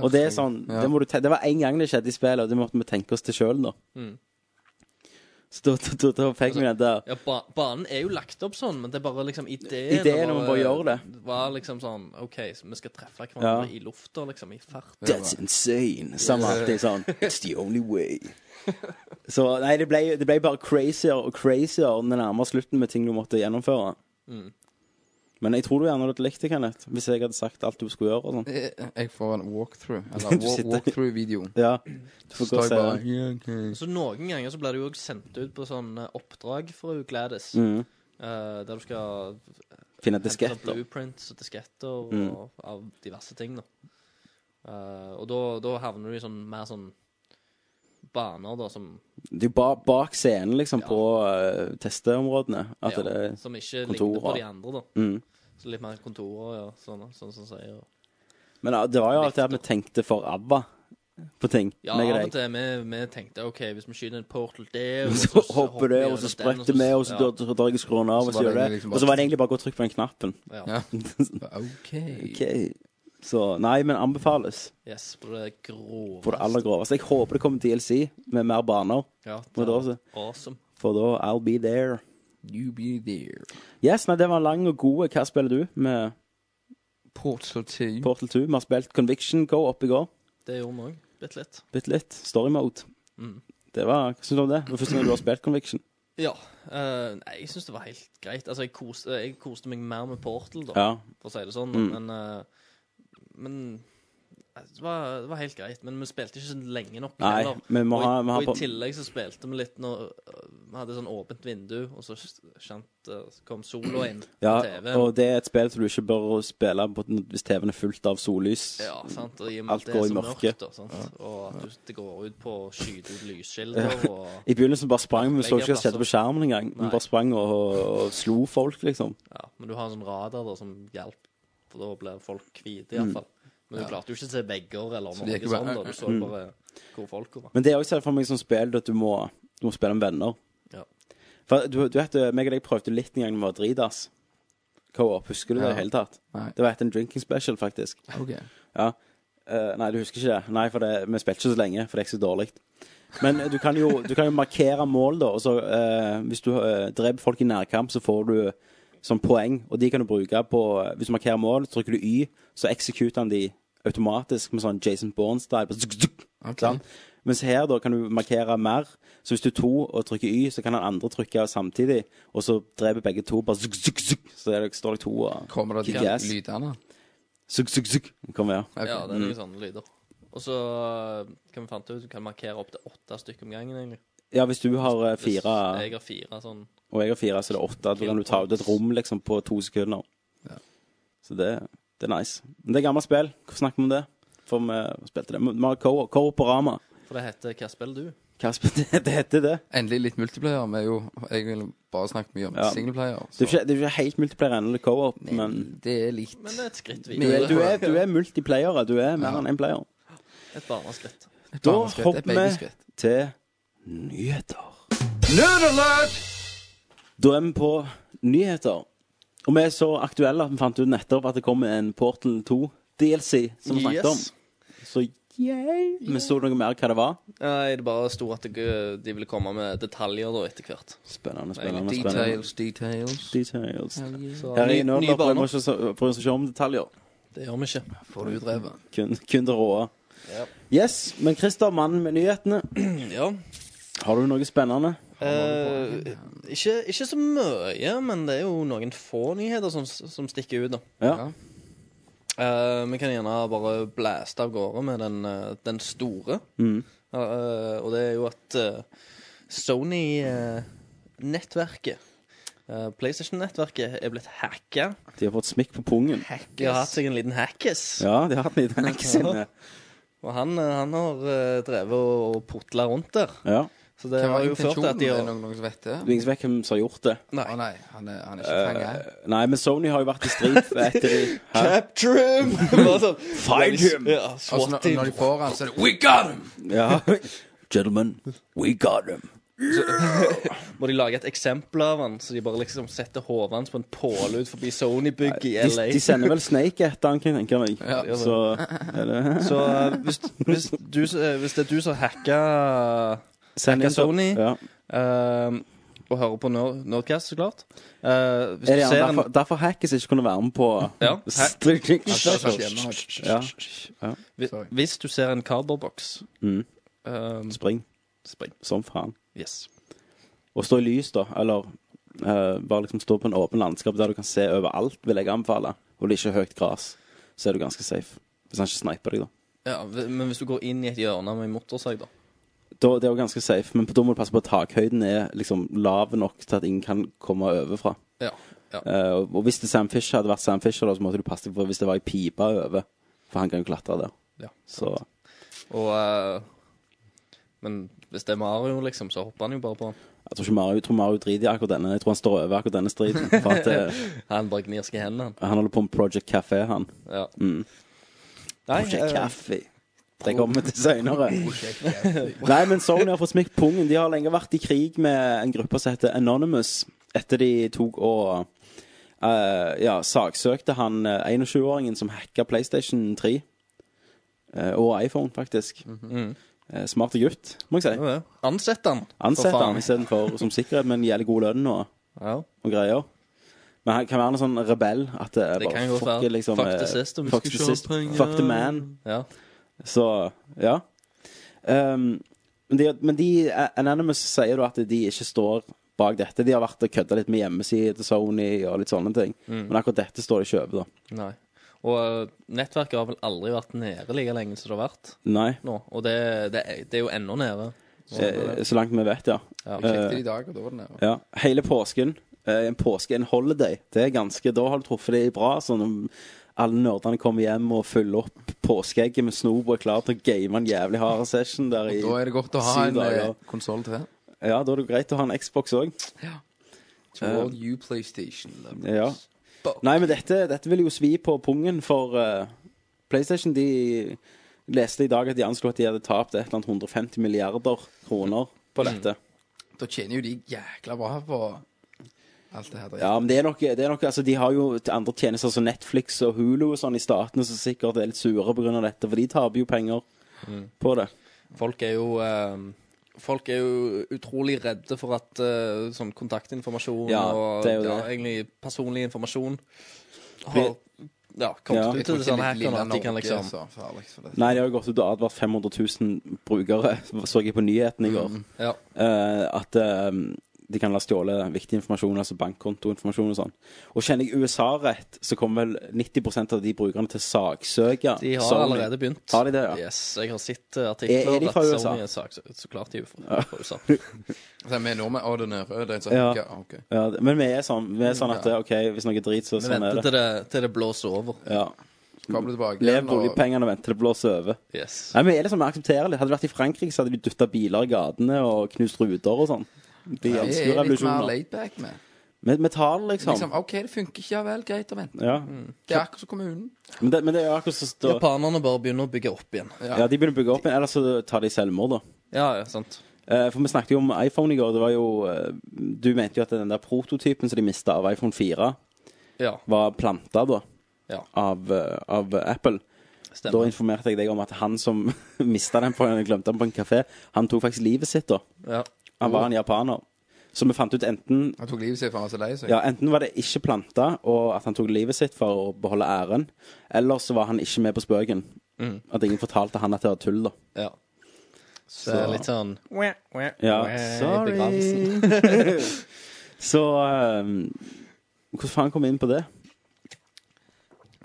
E: Og det er sånn,
B: Ja.
E: det, må du te det var én gang det skjedde i spillet, og det måtte vi tenke oss til sjøl, da.
F: Mm.
E: Så da, da, da, da fikk vi den der.
F: Ja, ba Banen er jo lagt opp sånn, men det er bare liksom ideen
E: Ideen om å bare gjøre det.
F: Var liksom sånn OK, så vi skal treffe hverandre
E: Ja.
F: i lufta, liksom. I fart.
E: That's insane. Som alltid sånn. It's the only way. Så nei, det ble, det ble bare crazier og crazier når det nærmer slutten med ting du måtte gjennomføre. Men jeg tror du gjerne hadde likt det, Kenneth, hvis jeg hadde sagt alt du skulle gjøre og sånn.
B: Jeg jeg får en walkthrough, eller
E: Du
B: walk
E: sitter-
B: walkthrough-video.
E: Ja. Du får gå
B: Står
E: og
B: jeg
E: se
B: bare
E: den.
B: ja, ok.
F: Så noen ganger så blir du jo også sendt ut på sånn eh, oppdrag for å Gladys.
E: Mm.
F: eh, der du skal
E: Finne
F: hente
E: disketter.
F: blueprints og disketter
E: Mm.
F: og av diverse ting, da. Eh, og da, da havner du i sånn mer sånn baner, da, som,
E: Det er ba bak scenen, liksom,
F: Ja.
E: på eh, testeområdene. At
F: ja,
E: det er
F: som ikke
E: kontorer.
F: ligner på de andre, da.
E: mm.
F: Så litt mer kontorer, ja, sånn, sånn som sier. og-
E: Men ja, det var jo alltid at vi tenkte for ABBA på ting.
F: Ja,
E: meg og
F: av og
E: deg.
F: til vi, vi tenkte OK, hvis vi skyter en portal der og
E: Så hopper det,
F: vi
E: og så
F: gjennom den,
E: spretter vi, og så
F: ja,
E: drar drar jeg skruen av,
B: Så
E: og
B: var
E: så gjør
B: det
E: det.
F: liksom
B: egentlig
E: Og så
B: bare-
E: var det egentlig bare å gå og trykke på den knappen.
F: ja.
B: Ja. OK.
E: OK. Så nei, men anbefales
F: Yes, på det grove.
E: på det aller groveste. Jeg håper det kommer DLC med mer baner.
F: Ja, det
E: Må
F: er
E: det også.
F: Awesome.
E: For da I'll be there.
B: You be there.
E: Yes, nei, det var lang og god. eh, Hva spiller du med
B: Portal 2.
E: Portal 2? Vi har spilt Conviction Go opp i går.
F: Det gjorde vi òg. Bitte litt.
E: Bitte litt. Story mode.
F: Mm.
E: Det var, Hva syns du om det? Det var første gang du har spilt Conviction.
F: Ja. eh, nei, jeg syns det var helt greit. Altså, jeg koste, jeg koste meg mer med Portal, da,
E: Ja.
F: for å si det sånn.
E: Mm.
F: Men, eh, men eh, det, var, det var helt greit. Men vi spilte ikke så lenge nok
E: Nei,
F: heller.
E: vi må
F: og, i-
E: ha, vi har
F: og
E: på,
F: i tillegg så spilte vi litt når øh, vi hadde sånn åpent vindu, og så kjent, øh, kom sola inn på
E: ja,
F: TV.
E: Og det er et spill som du ikke bør spille på, hvis TV-en er fullt av sollys.
F: ja, sant? Og i og med
E: alt
F: at det
E: går
F: er
E: i
F: så
E: mørket.
F: mørkt, og, sant? og at du, det går ut på å skyte ut lysskilder og
E: I begynnelsen bare sprang vi, vi så ikke hva som skjedde på skjermen engang. Vi
F: Nei.
E: bare sprang og, og slo folk, liksom.
F: ja, Men du har en sånn radar da, som hjelper, for da blir folk hvite,
E: Mm.
F: iallfall. Men du klarte jo ikke å se vegger eller
B: de
F: noe
B: er ikke
F: sånt.
B: bare-
F: da Du
E: Mm.
F: så bare hvor folka var.
E: Men det er også for meg som spill at du må, du må spille med venner.
F: Ja.
E: For du, du vet, meg og deg prøvde litt en gang vi var dritas. Co-op, husker du det i
B: Ja.
E: det hele tatt?
B: Nei.
E: Det var etter en drinking special, faktisk.
B: Ok.
E: Ja. Eh, nei, du husker ikke det? Nei, for det, vi spilte ikke så lenge, for det er ikke så dårlig. Men eh, du kan jo, du kan jo markere mål, da. Og så, eh, hvis du eh, dreper folk i nærkamp, så får du sånn poeng, og de kan du bruke på eh, Hvis du markerer mål, så trykker du Y, så executer han de automatisk med sånn Jason Bourne-style. Zuk, zuk, zuk.
B: Ok.
E: Sant? Mens her da kan du markere mer. Så hvis du er to og trykker Y, så kan den andre trykke samtidig. Og så dreper begge to. Bare zuk, zuk, zuk. Så er det, står det to og
B: Kommer det
E: Kick ass.
B: de lydene?
E: zuk, zuk, zuk. Kommer, ja.
B: Ok.
F: Ja, det er
E: Mm.
F: noen sånne lyder. Og så øh, kan vi fant ut, du kan markere opptil åtte stykker om gangen, egentlig.
E: ja, hvis du har eh,
F: Hvis
E: fire
F: Jeg har fire sånn
E: og jeg har fire, så er det åtte. Da kan du ta ut et rom liksom på to sekunder.
B: Ja.
E: Så det, det er nice. Men det er gammelt spill. Hvorfor snakker vi om det? For vi spilte det. Vi har Co- Corporama.
F: For det heter 'Hva spiller du?'
E: Kasper, det, det heter det.
B: Endelig litt multiplayer. Vi er jo, jeg vil bare snakke mye om
E: Ja.
B: singleplayer.
E: Det er jo ikke, det er jo ikke helt multiplayer ennå, det er co-op,
B: så-
E: men
B: det er litt
F: Men det er et skritt
E: du er,
F: videre.
E: du er, du er multiplayer. Du er mer
B: Ja.
E: enn én player.
F: Et barneskritt.
B: et
E: Da
B: barneskritt,
E: hopper
B: et babyskritt.
E: til nyheter. Da er vi på nyheter. Og vi er så aktuelle at vi fant ut nettopp at det kommer en Portal 2-DLC som vi snakket
F: Yes.
E: om. Så yay! Vi så noe mer hva det var.
F: Nei, det bare sto at det- de ville komme med detaljer da etter hvert.
E: Spennende,
F: Nei,
E: spennende. spennende.
B: Details, details.
E: Details.
F: Så
E: Her
F: ny,
E: i Nerd
F: nye
E: prøver
F: baner.
E: ikke å så- bryr oss ikke om detaljer.
F: Det gjør vi ikke.
B: Får du utrevet.
E: Kun, kun det råe.
F: Ja.
E: Yes, men Christer, mannen med nyhetene,
F: Ja.
E: har du noe spennende?
F: Eh, ikke, ikke så mye, men det er jo noen få nyheter som, som stikker ut, da.
E: Ja.
F: Eh, vi kan gjerne bare blaste av gårde med den, eh, den store.
E: Mm.
F: Eh, og det er jo at Sony-nettverket, eh, PlayStation-nettverket, er blitt hacka.
E: De har fått smikk på pungen.
F: De har hatt seg en liten hackes.
E: Ja, de har hatt en liten hack sinne.
F: Og han, eh, han har eh, drevet og putla rundt der.
E: Ja.
F: Så det
B: Hva
F: har
B: var
F: jo ført til
B: intensjonen?
F: at de
B: Er det
F: har
B: noen, noen som vet det?
E: Wings Weckham som har gjort det.
B: Å nei, han er, han er ikke fanga. her.
E: Nei, men Sony har jo vært i strid etter de Hæ?
F: Capture him! Bare sånn,
E: Find him!
F: Ja,
B: Altså, når,
F: SWAT him.
B: når de får han, så er det We got him!
E: Ja. Gentlemen, we got them.
F: Må de lage et eksempel av han, så de bare liksom setter hodet hans på en påle ut forbi Sony-bygget i
E: De,
F: LA.
E: de sender vel Snake etter han, kan jeg tenke meg.
B: Ja.
E: Så er det-
F: Så eh, hvis, hvis, du, eh, hvis det er du som hacka
E: Send inn-
F: Sony.
E: Ja.
F: eh, og hører på Nerd- Nerdcast, så klart eh, Hvis du
E: Er det
F: ser
E: gjerne
F: en
E: derfor, derfor Hackes ikke kunne være med på
F: Ja.
E: Strykning.
B: Altså, det er sånn hjemme, og-
E: Ja.
F: Hvis,
B: Sorry.
F: hvis du ser en cardboardboks
E: Mm.
F: ehm,
E: Spring
F: Spring.
E: som faen.
F: Yes.
E: Og stå i lys, da. Eller eh, bare liksom stå på en åpen landskap der du kan se overalt, vil jeg anbefale. Og det er ikke høyt gras, så er du ganske safe. Hvis han ikke sniper deg, da.
F: Ja, v- men hvis du går inn i et hjørne med en motorsag, da.
E: da, det er jo ganske safe, men da må du passe på at takhøyden er liksom lav nok til at ingen kan komme overfra.
F: Ja. ja.
E: Eh, og- og hvis det Sam Fisher hadde vært Sam Fisher, da, så måtte du passe deg for hvis det var ei pipe over, for han kan jo klatre der.
F: Ja,
E: så
F: Og eh, Men hvis det er Mario, liksom, så hopper han jo bare på han.
E: jeg tror ikke Mario, jeg tror Mario driter i akkurat denne. Jeg tror han står over akkurat denne striden. For at eh,
F: Han bare gnir seg i hendene, han.
E: han holder på med Project Café, han.
F: Ja.
E: Mm.
F: Nei,
E: Project
F: eh,
E: Café. Det kommer vi til seinere.
B: Prosjekt, ja.
E: Nei, men Sony har fått smekt pungen. De har lenge vært i krig med en gruppe som heter Anonymous. Etter de tok og eh, ja, saksøkte han eh, 21-åringen som hacka PlayStation 3. eh, og iPhone, faktisk. Eh, smarte gutt, må jeg si.
F: ja, ja. Ansett han. Mhm. for
E: Ansett
F: faen.
E: han istedenfor som sikkerhet, men gjelder god lønn og
F: Ja.
E: og greier. Men han kan være en sånn rebell. At det, er
F: Det
E: bare
F: kan jo
E: fuck
F: være.
E: it, liksom,
F: Fuck the
E: eh,
F: system, vi
E: Fuck
F: skal
E: the
F: ikke ha
E: system.
F: penger.
E: Fuck the man.
F: ja.
E: Så ja. Um, men de, men de eh, Anonymous sier da at de ikke står bak dette. De har vært og kødda litt med hjemmesiden til Sony og litt sånne ting.
F: Mm.
E: Men akkurat dette står de ikke over, da.
F: Nei. Og eh, nettverket har vel aldri vært nede like lenge som det har vært
E: Nei.
F: nå. Og det, det, er- det er jo ennå nede.
E: Eh, Så langt vi vet, ja.
F: Sånn Ja.
B: Jeg sjekket det i dag, og da var det nede.
E: ja. Hele påsken. eh, En påske, en holiday. Det er ganske, Da har du truffet de bra. Sånn om alle nerdene kommer hjem og fyller opp påskeegget med snop og er klar til å game en jævlig hard session der i
B: Da er det godt å ha
E: syv
B: en
E: dager.
B: konsoll til.
E: Ja, da er det greit å ha en Xbox òg.
B: To all you PlayStation lovers.
E: Ja.
B: Fuck.
E: Nei, men dette, dette vil jo svi på pungen for eh, PlayStation. De leste i dag at de anslo at de hadde tapt et eller annet 150 milliarder kroner på
B: Mm.
E: dette.
B: Da tjener jo de jækla bra på alt det her. dritt.
E: Ja, men det er nok, det er nok altså, De har jo andre tjenester som Netflix og Hulu og sånn i statene som sikkert er litt sure pga. dette, for de taper jo penger
F: Mm.
E: på det.
F: Folk er jo eh, Folk er jo utrolig redde for at eh, sånn kontaktinformasjon
E: Ja,
F: og
E: det er jo
F: ja,
E: det.
F: egentlig personlig informasjon har ja, kommet
E: Ja.
F: ut
B: Jeg tror
F: til
B: ikke
F: disse
B: lille
F: hackerne sånn at
B: altså.
F: de kan
B: Norge er
F: liksom
B: så farlig for det.
E: Nei, de har jo gått ut og advart 500 000 brukere, så jeg på nyheten i går,
F: Ja.
E: eh, at eh, de kan la stjåle viktig informasjon, altså bankkontoinformasjon og sånn. Og kjenner jeg USA rett, så kommer vel 90 av de brukerne til å saksøke.
F: De har
E: Sony.
F: allerede begynt.
E: Har de det, ja?
F: Yes, jeg har sett eh, artikler.
E: Er- er de fra
F: at
E: USA?
F: Sony er saks- Så klart de er fra, fra USA.
B: Så vi er nordmenn, og den er rød, den som
E: Ja.
B: hacker. Ah, ok.
E: Ja, det- men vi er sånn, vi er sånn at OK, hvis noe er drit, så
F: Vi
E: sånn er
F: venter til
E: det.
F: det, til det blåser over.
E: Ja.
B: Så kommer du tilbake
E: Lev
B: igjen,
E: på
B: og
E: oljepengene og vent til det blåser over.
F: Yes.
E: Nei, men vi er liksom, vi aksepterer litt. Hadde det vært i Frankrike, så hadde de dytta biler i gatene og knust ruter og sånn. De
B: vi
E: elsker jo
B: er litt mer
E: revolusjoner.
B: laidback med.
E: Men Metall, liksom.
B: Liksom, Mm. OK, det funker ikke, ja vel, greit å vente.
E: Ja.
B: Det er akkurat som kommunen.
E: Men, det, men det er jo akkurat som står
F: Japanerne bare begynner å bygge opp igjen. Ja,
E: Ja, de begynner å bygge opp igjen, ellers så tar de selvmord, da.
F: ja, sant.
E: Eh, For vi snakket jo om iPhone i går. Det var jo eh, Du mente jo at den der prototypen som de mista av iPhone 4,
F: Ja,
E: var planta, da,
F: ja,
E: av, eh, av Apple. Da
F: stemmer.
E: informerte jeg deg om at han som mista den, på, en- glemte den på en kafé, han tok faktisk livet sitt, da.
F: Ja.
E: Han var en japaner. Så vi fant ut enten
B: Han tok livet sitt for han var så lei seg.
E: ja, Enten var det ikke planta, og at han tok livet sitt for å beholde æren, eller så var han ikke med på spøken. At ingen fortalte han at det var tull, da.
F: ja. Så, det er litt sånn
E: Ja,
F: i
E: sorry. så um, Hvordan faen kom vi inn på det?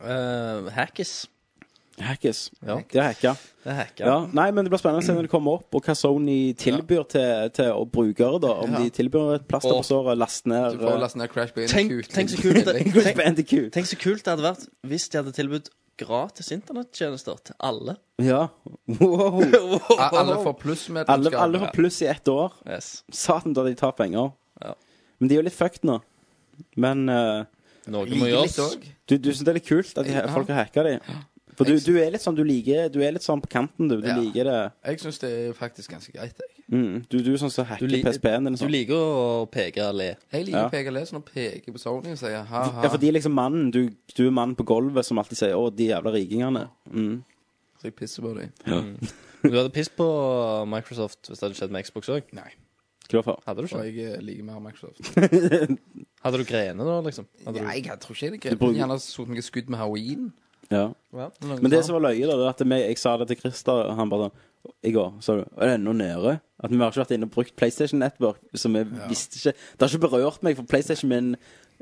F: eh, Hackis.
E: Hackes.
F: Ja.
E: De har hacka.
F: Det er hacka.
E: Ja. Nei, men det blir spennende å se når det kommer opp, og hva Sony tilbyr til, til å brukere. da Om de tilbyr et plaster
F: Og-
E: på såret, last ned eh,
B: Du får laste ned Crash
F: Tenk,
B: Bandicoot.
F: tenk, så kult det,
E: Gå
F: tenk,
E: på NTQ.
F: tenk så kult det hadde vært hvis de hadde tilbudt gratis internettjenester til alle.
E: Ja. Wow.
B: A- Alle får plussmedlemskap.
E: Alle, alle får pluss i ett år.
F: Yes.
E: Satan, da de tar penger.
F: Ja.
E: Men de er jo litt fucked nå. Men eh,
F: Noe må
B: Like litt
F: gjøres.
B: òg.
E: du, du syns det er litt kult at de,
B: Ja.
E: folk har hacka de? For du, du er litt sånn du liker Du er litt sånn på kanten, du. Du
B: Ja.
E: liker det
B: Jeg syns det er faktisk ganske greit. Jeg,
E: mm, Du, du er sånn som
F: Du,
E: hacker
F: li
E: PSP-en din. og
F: du
E: Sånn.
F: liker å peke og le.
B: jeg liker
E: Ja.
B: PGL som peker på Sony og sier ha-ha.
E: Ja, for de er liksom mannen. Du, du er mannen på gulvet som alltid sier 'Å, de jævla rikingene'. Mm.
B: Så jeg pisser på dem.
F: Du hadde piss på Microsoft hvis det hadde skjedd med Xbox òg.
B: Nei.
E: Hvorfor?
F: Hadde du
B: Og
F: ikke?
B: jeg eh, liker mer Microsoft.
F: Hadde du grene da, liksom? Hadde
B: Nei,
F: du...
B: jeg tror ikke det er greit.
E: Du bruker-
B: Jeg Gjerne satt meg et skudd med heroin.
E: Ja. Men det som var løye, da, det var at vi- jeg sa det til Christer, og han bare sånn i går sa du Er det ennå nede? At vi har ikke vært inne og brukt PlayStation Network. Som jeg visste ikke Det har ikke berørt meg, for PlayStation min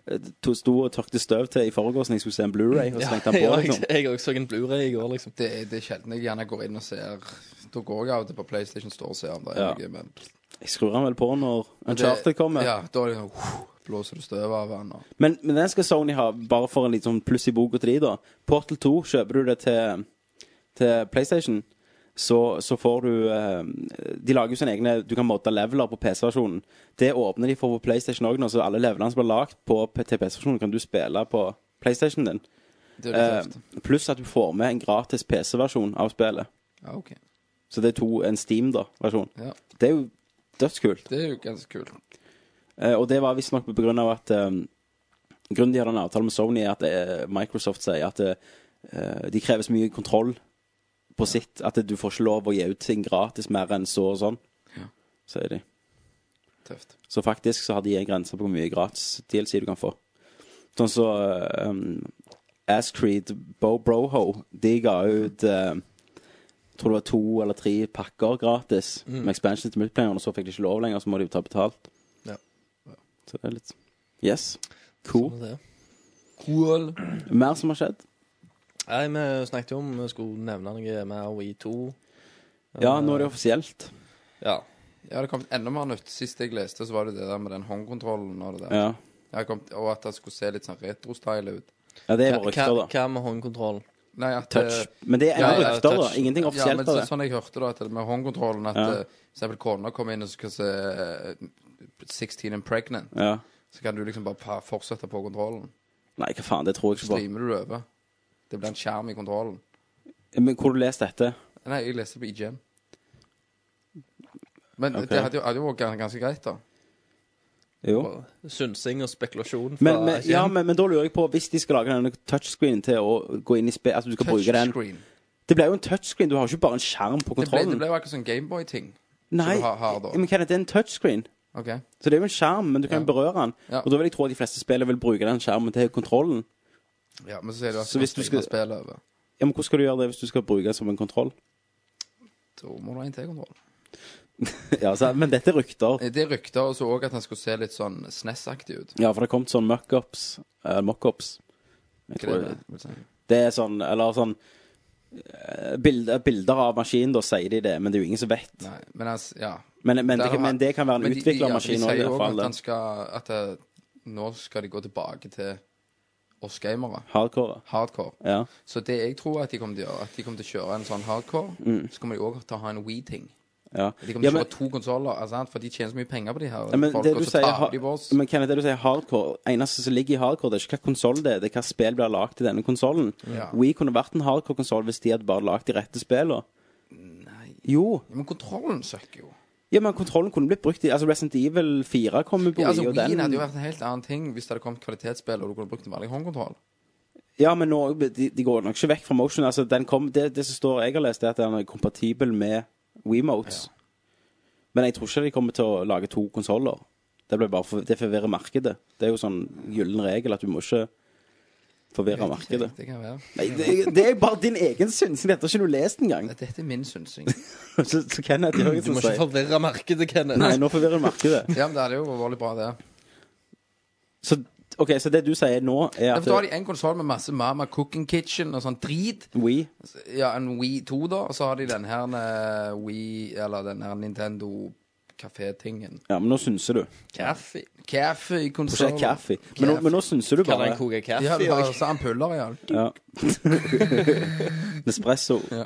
E: eh, to- sto og tørkte støv til i forgårs når jeg skulle se en Blu-ray og så tenkte han
F: Ja,
E: på,
F: jeg
E: liksom.
F: jeg også så en Blu-ray i går, liksom.
B: det, er- det er sjelden jeg gjerne går inn og ser Da går jeg av og til på PlayStation Store og ser om det er
E: Ja.
B: noe. Men
E: Jeg skrur han vel på når Uncharted kommer.
B: Ja, da er det sånn uh, Blåser du støv av den og
E: Men, men den skal Sony ha, bare for en liten sånn pluss i boka til de, da. Portal 2, kjøper du det til, til PlayStation, så, så får du eh, De lager jo sine egne Du kan modde leveler på PC-versjonen. Det åpner de for på PlayStation òg nå, så alle levelene som blir lagd på P- til PC-versjonen, kan du spille på PlayStation din.
B: Det er jo
E: Eh,
B: litt tøft.
E: pluss at du får med en gratis PC-versjon av spillet.
B: Ja, OK.
E: Så det er to, en Steam, da, versjon.
B: Ja.
E: Det er jo dødskult.
B: Det er jo ganske kult.
E: Eh, og det var visstnok på grunn av at eh, Grunnen de hadde en avtale med Sony, er at eh, Microsoft sier at eh, de krever så mye kontroll på sitt at du får ikke lov å gi ut ting gratis mer enn så og sånn, sier de.
B: Tøft.
E: Så faktisk så har de en grense på hvor mye gratis DLC du kan få. Sånn så eh, um, Ascreed Bo Broho, de ga ut eh, tror det var to eller tre pakker gratis
B: Mm.
E: med expansion til multiplayeren, og så fikk de ikke lov lenger, så må de jo ta betalt.
B: Ja.
E: Så det er litt Yes. Cool.
F: Sånn er det.
B: Cool.
E: Mer som har skjedd?
F: Nei, vi snakket jo om vi skulle nevne noe mer E We2.
E: Ja, nå er det offisielt.
F: Ja.
B: Ja, det kom enda mer nytt. Sist jeg leste, så var det det der med den håndkontrollen og det der.
E: Ja.
B: Jeg kom, og at det skulle se litt sånn retro-style ut.
E: ja det er
F: Hva,
E: bare rykter, da.
F: hva med håndkontroll?
B: Nei, at
E: Touch.
B: eh,
E: Men det er
B: ja,
E: ennå
B: ja,
E: rykter, da.
B: touch.
E: Ingenting
B: ja, men
E: offisielt av
B: så,
E: det.
B: sånn jeg hørte da, at det med håndkontrollen At
E: Ja.
B: eh, for eksempel kona kommer inn og skal se eh, 16 and pregnant
E: Ja.
B: Så kan du liksom bare pa- fortsette på kontrollen
E: Nei, hva faen, det tror jeg
B: Så
E: ikke på.
B: streamer du det over Det blir en skjerm i kontrollen
E: Men hvor har du lest dette?
B: Nei, jeg leste på IGN Men
E: Ok.
B: det hadde jo, hadde jo vært gans- ganske greit da
E: Jo.
F: Synsing og spekulasjon fra
E: Men, men, ja, men, men da lurer jeg på, hvis de skal lage denne touchscreenen til å gå inn i spill Altså, du skal bruke den
B: Touchscreen
E: Det blir jo en touchscreen, du har jo ikke bare en skjerm på
B: Det ble,
E: kontrollen.
B: det ble jo akkurat sånn Gameboy-ting
E: Nei,
B: som du har- har da.
E: men hva er det? Det er en touchscreen.
B: Ok
E: Så det er jo en skjerm, men du kan
B: Ja.
E: jo berøre den.
B: Ja.
E: Og da vil jeg tro at de fleste spillere vil bruke den skjermen til kontrollen.
B: Ja, men så sier du at
E: Så
B: du
E: hvis du
B: skal
E: skal-
B: streame spillet over
E: Ja, men hvordan skal du gjøre det hvis du skal bruke den som en kontroll?
B: Da må du ha en T-kontroll
E: ja, så, Men dette er rykter.
B: Eh, Det er rykter også også at den skulle se litt sånn SNES-aktig ut
E: Ja, for det har kommet sånn mockups. Uh, mockups. Jeg
B: Hva er
E: tror
B: det
E: det,
B: med, vil si?
E: det er sånn Eller sånn eh, Bilder, bilder av maskinen, da sier de det, men det er jo ingen som vet.
B: Nei, men altså, ja.
E: Men, men,
B: Der
E: det,
B: har-
E: men det kan være
B: Men
E: en
B: de-
E: utviklermaskin
B: de,
E: òg,
B: ja,
E: i
B: de sier
E: hvert
B: jo
E: fall.
B: at, han skal, at eh, nå skal de gå tilbake til oss gamere.
E: Hardcore.
B: Hardcore.
E: Ja.
B: Så det jeg tror at de kommer til å gjøre, at de kommer til å kjøre en sånn hardcore, så kommer de òg til å ha en Wii-ting.
E: Ja.
B: De kommer
E: Mm. Ja,
B: til å
E: men,
B: kjøre to konsoller, altså, for de tjener så mye penger på de her
E: ja, men
B: folk,
E: det du
B: og så
E: sier,
B: tar de på oss.
E: ha- men Kenneth, det du sier hardcore, eneste som ligger i hardcore, det er ikke hva konsoll det er, det er hva spill blir lagd i denne konsollen.
B: Ja.
E: Wii kunne vært en hardcore-konsoll hvis de hadde bare lagd de rette spillene.
B: Nei.
E: Jo.
B: Men kontrollen søkker jo.
E: Ja, men kontrollen kunne blitt brukt i Altså, Resident Evil 4 kom jo på
B: Ja, altså,
E: Wii, og
B: Wien hadde jo
E: den
B: vært en helt annen ting hvis det hadde kommet kvalitetsspill og du kunne brukt en vanlig håndkontroll.
E: Ja, men nå, de, de går nok ikke vekk fra motion. Altså, den kom, det, det som står jeg har lest, er at den er kompatibel med WeMotes. Men jeg tror ikke de kommer til å lage to konsoller. Det, blir bare for, det forvirrer markedet. Det er jo sånn gyllen regel at du må ikke forvirre markedet.
B: Det kan være.
E: Nei, det, det er bare din egen synsing. Dette har ikke du lest engang.
B: Dette er min synsing.
E: Så, så Kenneth
F: Du
E: Jørgensen
F: må ikke
E: sier
F: forvirre markedet, Kenneth.
E: Nei, nå forvirrer markedet.
B: Ja, men det hadde jo vært veldig bra, det.
E: Så, ok, så det du sier nå, er
B: Ja,
E: at
B: for da har de en konsoll med masse Mama Cooking Kitchen og sånn drit.
E: We
B: Ja, en Wii 2, da. Og så har de den her eh, Wii Eller den her Nintendo Café-tingen.
E: Ja, men nå synser du.
F: Kaffe.
B: Kaffe i
E: Du sier
B: konsolen.
E: kaffe. Men nå, men nå synser du
F: Kan
E: bare.
F: han koke
B: Ja,
F: kaffe
B: vi har
F: òg?
B: også ampuller, ja.
E: Ja. Nespresso.
B: Ja.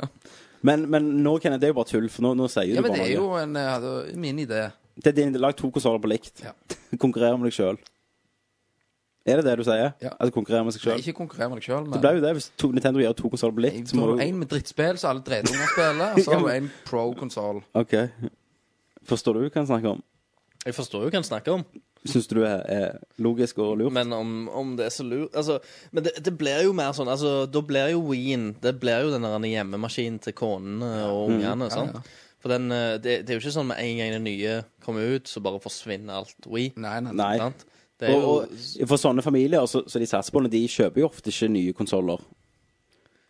E: Men, men nå Kenneth, det er jo bare tull, for nå, nå sier du
B: ja, men
E: bare
B: det er
E: noe.
B: jo en, eh, hadde- min idé.
E: Det er din, lag to konsoller på likt.
B: Ja.
E: Konkurrere med deg sjøl. Er det det du sier?
B: Ja.
E: At konkurrere med seg
B: Nei,
E: sjøl?
B: Ikke konkurrere med deg sjøl,
E: Det ble
B: men
E: jo det. Hvis to, Nintendo gjør to konsoller på likt, så må du
B: en med drittspill, så alle dretunger spiller. Og så har du en pro-konsoll.
E: OK. Forstår du hva han snakker om?
F: Jeg forstår jo hva han snakker om.
E: Syns du det er logisk og lurt?
F: Men om, om det er så lurt altså, Men det, det blir jo mer sånn altså, Da blir jo Ween Det blir jo den der hjemmemaskinen til konene
E: Mm.
F: og ungene. sant? For den, eh, det, det er jo ikke sånn med en gang det nye kommer ut, så bare forsvinner alt Wii.
B: Nei, nei.
E: Nei.
F: Sant? Det er
E: Og,
F: jo
E: og for sånne familier altså, så, så de satser på det, de kjøper jo ofte ikke nye konsoller.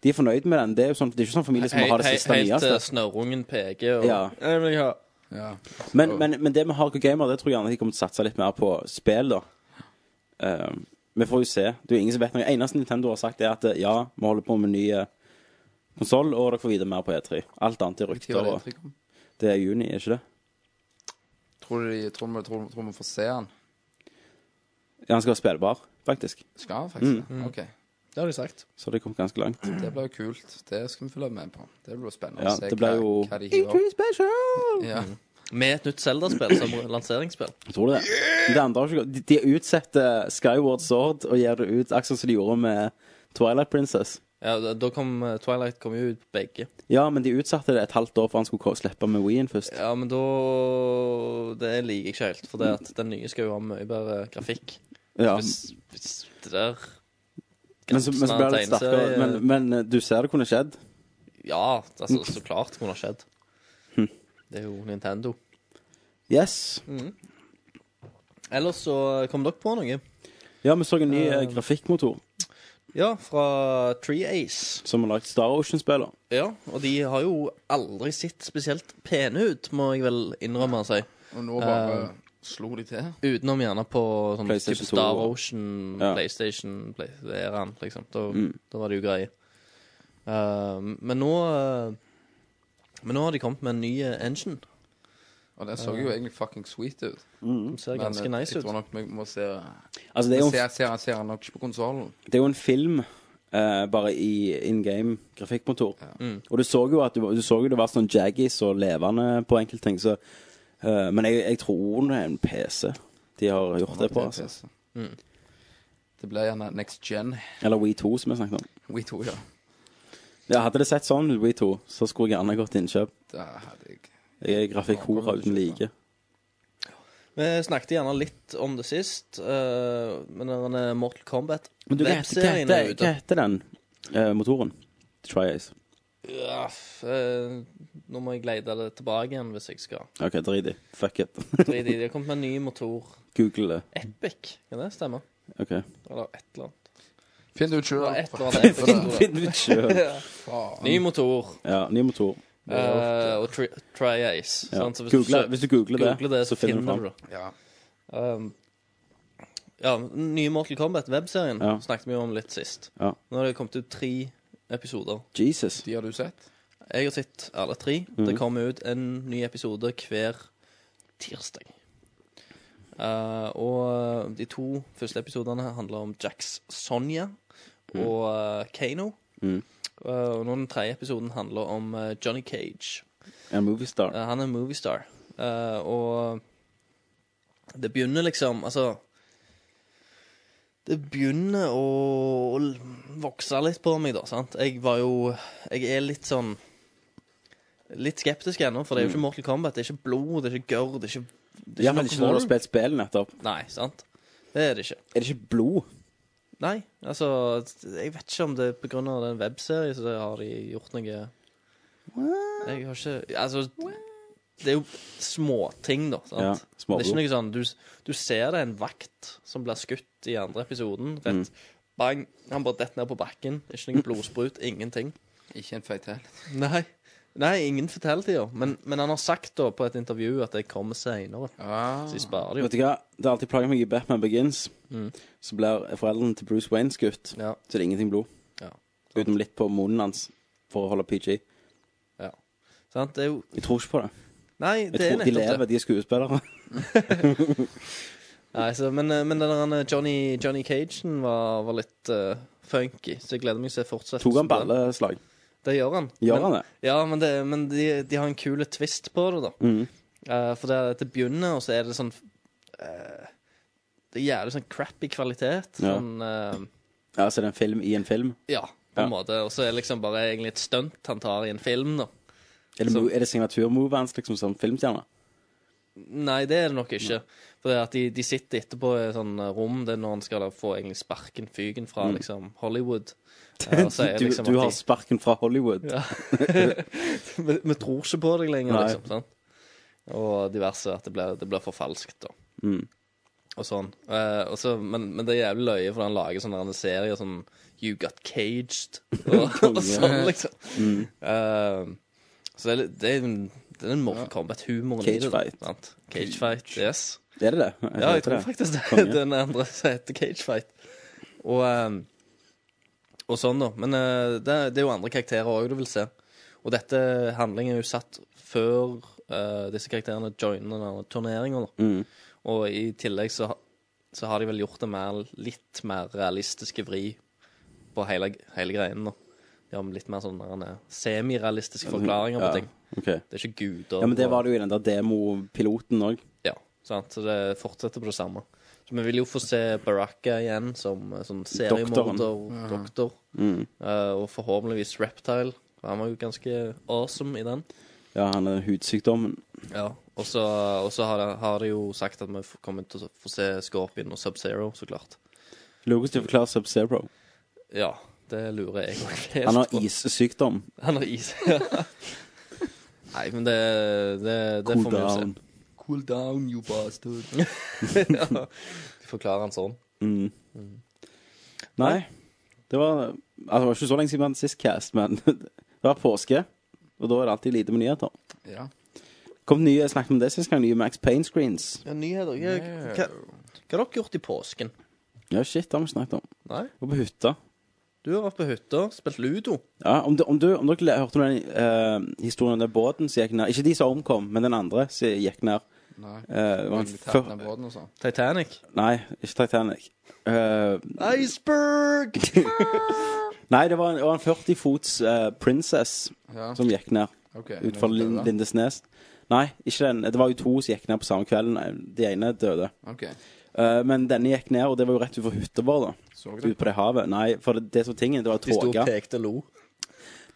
E: De er fornøyd med den. Det er jo sånn, det er ikke sånn familie som
F: hei-
E: har det
F: hei-
E: siste og
F: helt
B: eh,
E: nyeste.
F: til snørrungen peker og
E: Ja.
F: Jeg vil ha-
B: Ja.
E: Men, men, men det med hardcore gamer, det tror jeg gjerne de kommer til å satse litt mer på spill, da. Ehm, vi får jo se. Det er jo ingen som vet noe. Eneste Nintendo har sagt, er at eh, ja, vi holder på med ny konsoll, og dere får vite mer på E3. Alt annet er
B: Hva
E: rykter.
B: var det
E: og
B: inntrykk om?
E: Det er juni, er ikke det?
B: Tror du de- tror vi- tror- tror vi får se han?
E: Ja, han skal være spillbar, faktisk.
B: Skal han faktisk
E: Mm.
B: det? OK.
F: Mm. Det har de sagt.
E: Så det kom ganske langt.
B: Det blir jo kult. Det skal vi følge med på. Det blir jo spennende
E: Ja,
B: å se
E: det blir
B: hva,
E: jo
B: hva de hiver. opp. Ja.
F: Med et nytt Zelda-spill som lanseringsspill.
E: Tror du det? Det andre har ikke gått. De, de utsetter Skyward Sword og gir det ut akkurat som de gjorde med Twilight Princess.
F: Ja, da- da kom eh, Twilight kom jo ut på begge.
E: Ja, men de utsatte det et halvt år for han skulle ko- slippe med Wien først.
F: Ja, men da Det liker jeg ikke helt. For det at den nye skal jo ha mye bedre grafikk.
E: Ja.
F: Hvis, hvis det der
E: Men så, men så ble det litt sterkere. Men, men eh, du ser det kunne skjedd.
F: Ja, altså, så Hm.
E: Mm.
F: klart kunne det skjedd. Det er jo Nintendo.
E: Yes.
F: Ellers så eh, kom dere på noe.
E: Ja, vi så en ny eh, grafikkmotor
F: Ja, fra Tree Ace.
E: som har lagd Star Ocean-spiller.
F: Ja, og de har jo aldri sett spesielt pene ut, må jeg vel innrømme å si.
B: Og nå bare
F: Um,
B: slo de til.
F: Utenom gjerne på sånn
E: PlayStation
F: typ
E: 2
F: Star
E: og-
F: Ocean,
E: Ja. Mm.
F: PlayStation, Play, det er han, liksom. Da, da var det jo greie. Ehm, men nå eh, Men nå har de kommet med en ny eh, engine.
B: Og det så jo egentlig fucking sweet ut.
F: Som ser
B: Men
F: ganske
B: eh,
F: nice
B: jeg
F: ut.
B: tror nok vi må se
E: Altså, det er
B: Vi
E: jo en
B: ser, ser, ser han nok ikke på konsollen.
E: det er jo en film eh, bare i in game grafikkmotor. Og du så jo at du, du så jo det var sånn jaggies og levende på enkelte ting, så eh, Men jeg, jeg tror det er en PC de har gjort det på. Altså.
F: Mm.
B: Det ble gjerne next gen.
E: Eller We2, som jeg snakket om.
B: We 2, ja.
E: Ja, Hadde det sett sånn ut, We2, så skulle jeg gjerne gått til innkjøp.
B: Da hadde jeg
E: Jeg er grafikkhora uten like.
F: Vi snakket gjerne litt om det sist, eh, men den eh, Mortal Kombat
E: Men du, hva heter, hva
F: Webserien er
E: heter, hva
F: ute.
E: heter den eh, motoren? Tri-Ace.
F: Ja, f- eh, nå må jeg lete det tilbake igjen hvis jeg skal.
E: OK, drit i. Fuck it.
F: Drit i det. Det har kommet med en ny motor.
E: Google det.
F: Epic, kan det stemme?
E: OK.
F: Eller et eller annet.
B: Finn det ut
F: Det
B: sjøl.
F: var et eller annet Epic.
E: Finn
F: tror jeg.
E: finn ut sjøl.
F: Ny motor.
E: Ja, ny motor.
F: Eh, og tri Tri-Ace.
E: Ja.
F: sant? Så hvis
E: Google,
F: du
E: hvis du googler det,
F: Google det, så finner du det.
B: Ja.
F: Um, ja, nye Mortal Kombat-webserien
E: Ja.
F: snakket vi jo om litt sist.
E: Ja.
F: Nå har det kommet ut tre episoder.
E: Jesus.
B: De har du sett?
F: Jeg har sett alle tre.
E: Mhm.
F: Det kommer ut en ny episode hver tirsdag. Eh, og de to første episodene handler om Jacks Sonja og eh, Kano.
E: Mhm.
F: Eh, og nå den tredje episoden handler om eh, Johnny Cage.
E: En moviestar.
F: Eh, han er en moviestar. Eh, og det begynner liksom Altså Det begynner å, å l- vokse litt på meg, da. sant? Jeg var jo Jeg er litt sånn Litt skeptisk ennå, for det er jo ikke Mortal Kombat. Det er ikke blod, det er ikke gørr, det er ikke
E: I hvert fall Mm. ikke når du har spilt spillet nettopp.
F: Nei, sant? Det er det ikke.
E: Er det ikke blod?
F: Nei, altså Jeg vet ikke om det er på grunn av den webserien så har de gjort noe Jeg har ikke Altså Det er jo småting, da. Sant?
E: Ja, småblod.
F: Det er ikke noe sånn du, du ser det er en vakt som blir skutt i andre episoden.
E: Mm.
F: Rett bang, han bare detter ned på bakken. Ikke noe blodsprut, ingenting.
B: Ikke en feitell.
F: Nei. Nei, ingen fortellertider. Men, men han har sagt da på et intervju at det kommer seinere.
B: Ah.
F: Så de sparer det jo.
E: Vet du hva? Det har alltid plaget meg i Batman Begins. Så blir foreldrene til Bruce Wayne skutt.
F: Mm. Ja.
E: Så det er ingenting blod.
F: Ja.
E: Utenom litt på munnen hans for å holde PG.
F: Sant? Det er jo
E: Jeg tror ikke på det.
F: Nei,
E: Jeg
F: det er
E: tror de
F: nettopp det.
E: lever, de er skuespillere.
F: Nei, så, men, eh, men den der Johnny, Johnny Cagen var, var litt eh, funky, så jeg gleder meg til å se fortsettelsen.
E: Tok han
F: på den.
E: balleslag?
F: Det gjør han.
E: Gjør
F: men,
E: han det?
F: Ja, men, det, men de, de har en kul twist på det, da.
E: Mm.
F: Eh, for det, er at det begynner, og så er det sånn eh, Det er jævlig sånn crappy kvalitet.
E: Ja.
F: Sånn eh,
E: Ja, så det er en film i en film?
F: Ja, på
E: Ja.
F: en måte. Og så er det liksom bare egentlig et stunt han tar i en film, da.
E: Er det,
F: Så-
E: mo- er det signaturmovet hans liksom som filmstjerne?
F: Nei, det er det nok ikke. For det er at de, de sitter etterpå i et sånn eh, rom Det er når han skal da få egentlig sparken fyken fra liksom Hollywood. Eh, og så er det
E: Mm. Du,
F: liksom
E: du
F: at
E: har
F: de-
E: sparken fra Hollywood.
F: Ja. vi, vi tror ikke på deg lenger,
E: Nei.
F: liksom. Sant? Og diverse. At det blir, det blir for falskt, da.
E: Mm.
F: Og sånn. Eh, og så, men, men det er jævlig løye, for han lager sånne andre serier sånn You Got Caged og, og sånn, liksom.
E: Mm.
F: Eh, så det er, litt- det er, en- det er en Mortal Kombat-humoren i det. da,
E: Cagefight.
F: sant? Cagefight. Yes.
E: Er det det? Jeg
F: Ja, jeg
E: hørte
F: tror
E: det.
F: faktisk det.
E: Konge.
F: Den andre som heter Cagefight. Og, ehm, og sånn, da. Men eh, det, er- det er jo andre karakterer òg du vil se. Og dette handlingen er jo satt før eh, disse karakterene joiner turneringa.
E: Mm.
F: Og i tillegg så, ha- så har de vel gjort det mer, litt mer realistiske vri på hele, hele greien. da. De har litt mer sånn eh, semirealistiske forklaringer på
E: Ja,
F: ting.
E: ok.
F: Det er ikke guder.
E: Ja, men det
F: og-
E: var det jo i den der demopiloten òg.
F: ja, sant? så det fortsetter på det samme. Så vi vil jo få se Baraka igjen som eh, sånn seriemorder og doktor.
E: Mm.
F: Eh, og forhåpentligvis Reptile. Han var jo ganske awesome i den.
E: Ja, han er hudsykdommen.
F: Og så og så har, det- har de jo sagt at vi f- kommer til å få se Scorpion og Sub-Zero, så klart.
E: Lucas de forklarer Sub-Zero.
F: Ja, det lurer jeg òg
E: Han har issykdom.
F: Han har is, ja. Nei, men det, det, det får vi jo se.
E: Cooldown.
B: cool down, you bastard.
F: ja. De forklarer han sånn.
E: Mm. Nei. Det var, altså, det var ikke så lenge siden vi hadde sist cast, men det var påske. Og da er det alltid lite med nyheter.
B: ja.
E: Kom nye, jeg snakket om det sist gang, nye Max Payne-screens.
F: Ja, nyheter. Ja, hva, hva har dere gjort i påsken?
E: Ja, shit, det har vi snakket om.
F: Nei?
E: Og på hytta.
F: Du har vært på hytta, spilt ludo.
E: Ja, om, du, om, du, om dere hørte om den eh, historien om den båten som gikk ned Ikke de som omkom, men den andre som gikk ned.
B: Nei.
E: Eh, det var en
B: Militært
E: fyr-
B: ned båten og sånn.
F: Titanic.
E: Nei, ikke Titanic. Eh,
F: Iceberg!
E: nei, det var en, det var en 40 fots eh, princess
B: Ja.
E: som gikk ned
B: Ok,
E: utenfor
B: den
E: Lin
B: døde.
E: Lindesnes. Nei, ikke den. Det var jo to som gikk ned på samme kvelden. De ene døde.
B: Ok.
E: Eh, men denne gikk ned, og det var jo rett utenfor hytta vår. da
B: Så
E: Ut
B: du?
E: på det havet. Nei, for det, det som var tingen, det var
F: De sto og
E: tåke.
F: pekte og lo.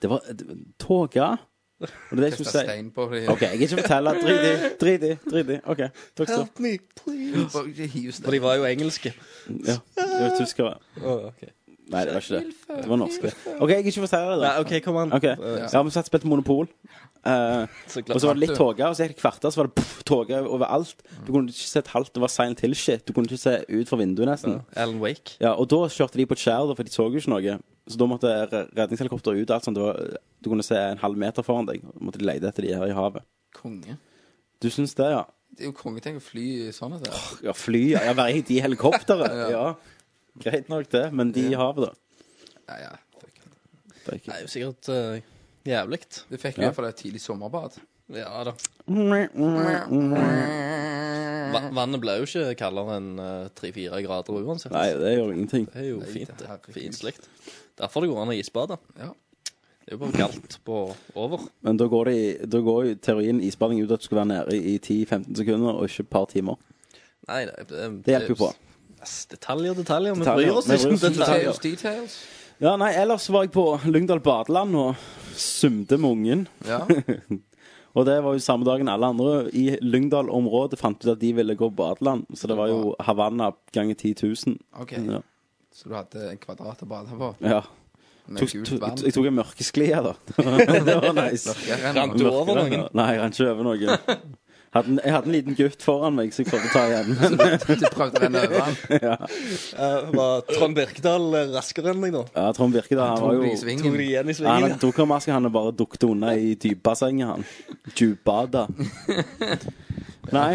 E: Det var det- tåke. Og det er det jeg
B: Kasta
E: skulle si.
B: stein på dem.
E: OK, jeg kan ikke fortelle. Drit i, drit i, drit i. OK. Takk skal du ha.
F: Help me, please! For
B: Okay.
F: de var jo engelske.
E: Ja, det var tyskere.
F: Oh, ok.
E: Nei, det var ikke det. Det var norske. OK, jeg kan ikke fortelle det.
F: Nei,
E: da.
F: OK, kom an.
E: OK. Ja, vi satt og spilte Monopol. Eh,
F: Så
E: og
F: klart.
E: så var det litt tåke, og så gikk det kvarter, så var det poff, tåke overalt. Du kunne ikke se et halvt, det var Silent Hill-shit. Du kunne ikke se ut fra vinduet, nesten.
F: Alan Wake.
E: Ja, og da kjørte de på et skjær, da, for de så jo ikke noe. Så da måtte re- redningshelikopter ut. alt sånt. Det var- Du kunne se en halv meter foran deg. Da måtte de lete etter de her i havet.
B: Konge.
E: Du syns det, ja?
B: Det er jo kongeting å fly sånn i sånne der.
E: Ja, fly, ja. ja Være i helikopteret. ja. Greit nok, det. Men de i havet, da.
B: Ja, ja. Fuck.
E: Det er ikke-
F: Det er jo sikkert uh, jævlig.
B: Vi fikk i hvert fall et tidlig sommerbad.
F: Ja da. Va vannet ble jo ikke kaldere enn eh, tre-fire grader uansett.
E: Nei, det gjør ingenting.
F: Det er jo
B: Nei,
F: fint. det.
B: herregud.
F: Fint slikt. Derfor det går an å isbade.
B: Ja.
F: Det er jo bare kaldt på over.
E: Men da går, det, i- da går jo teorien isbading ut at du skal være nede i 10-15 sekunder, og ikke et par timer.
F: Nei, det, det,
E: Det hjelper jo på.
F: Ass, Detaljer, detaljer. Vi
E: Detaljer.
F: bryr oss
E: Vi bryr
F: ikke om
E: oss ikke om
F: detaljer.
B: Details, details.
E: Ja, nei, ellers var jeg på Lyngdal badeland og sumte med ungen.
B: Ja.
E: Og det var jo samme dagen alle andre i Lyngdal-området fant ut at de ville gå badeland. Så det var jo Havanna ganger 10 000.
B: Ok.
E: Ja.
B: Så du hadde en kvadrat å bade på
E: ja.
B: med
E: Tok,
B: gult
E: to,
B: vann?
E: jeg tok en mørkesklie, da. det var nice.
B: Mørkere
F: Rant du over
E: Mørkere.
F: noen?
E: Nei, jeg rant ikke over noen. Hadde, en- jeg hadde en liten gutt foran meg, så jeg prøvde å ta igjen. Men,
B: enn du prøvde å renne over den.
F: Eh, var Trond Birkedal eh, raskere enn deg, da?
E: ja, Trond Birkedal, han var
B: Tok du i
E: jo
F: Tok
B: svingen?
F: de igjen i
E: Han
F: svingen?
E: hadde dukkermaske, han hadde bare dukket unna i dypbassenget, han. Djupbada. Nei.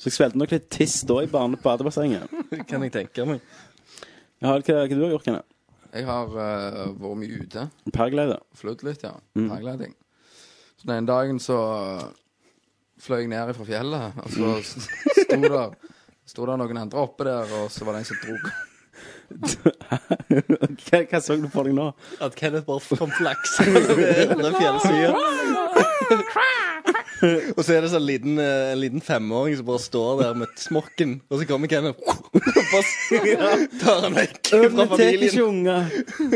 E: Så jeg svelgte nok litt tiss da i barne- badebassenget.
F: Kan jeg tenke meg.
E: Ja, hva, hva du har gjort, Kenneth?
B: Jeg har eh, vært mye ute.
E: Paraglider?
B: Flydd litt, ja.
F: Mm.
B: Paragliding. Så den ene dagen så eh, fløy jeg ned fra fjellet, og
F: Mm.
B: så s- sto der, sto der noen andre oppe der, og så var det en som dro
E: Hva, hva så du for deg nå?
F: At Kenneth bare kom flaksende ned den fjellsida. Og så er det sånn liten, eh, en liten femåring som bare står der med smokken, og så kommer Kenneth og bare s- tar han vekk fra familien.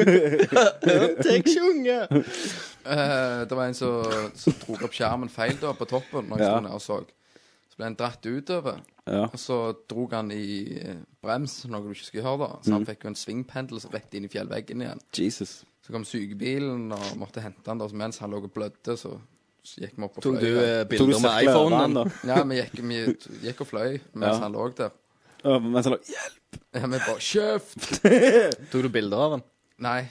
F: Tek ikke unge!
B: Eh, det var en som som dro opp skjermen feil da, på toppen, når jeg
E: Ja.
B: sto ned og så. Så ble han dratt utover,
E: Ja.
B: og så dro han i eh, brems, noe du ikke skulle gjøre da.
F: Mm.
B: Så han fikk jo en svingpendel som rett inn i fjellveggen igjen.
E: Jesus.
B: Så kom sykebilen og måtte hente han da, så mens han lå og blødde, så så gikk vi opp og fløy.
F: Tok du
B: da.
F: eh,
E: Tok du
F: bilder med
E: sirkler over
F: iPhonen?
E: han, da?
B: Ja, vi gikk, vi gikk og fløy mens
E: Ja.
B: han lå der.
E: Ja, Mens han lå
B: Ja, vi bare Kjeft!
F: Tok du bilder av han?
B: Nei.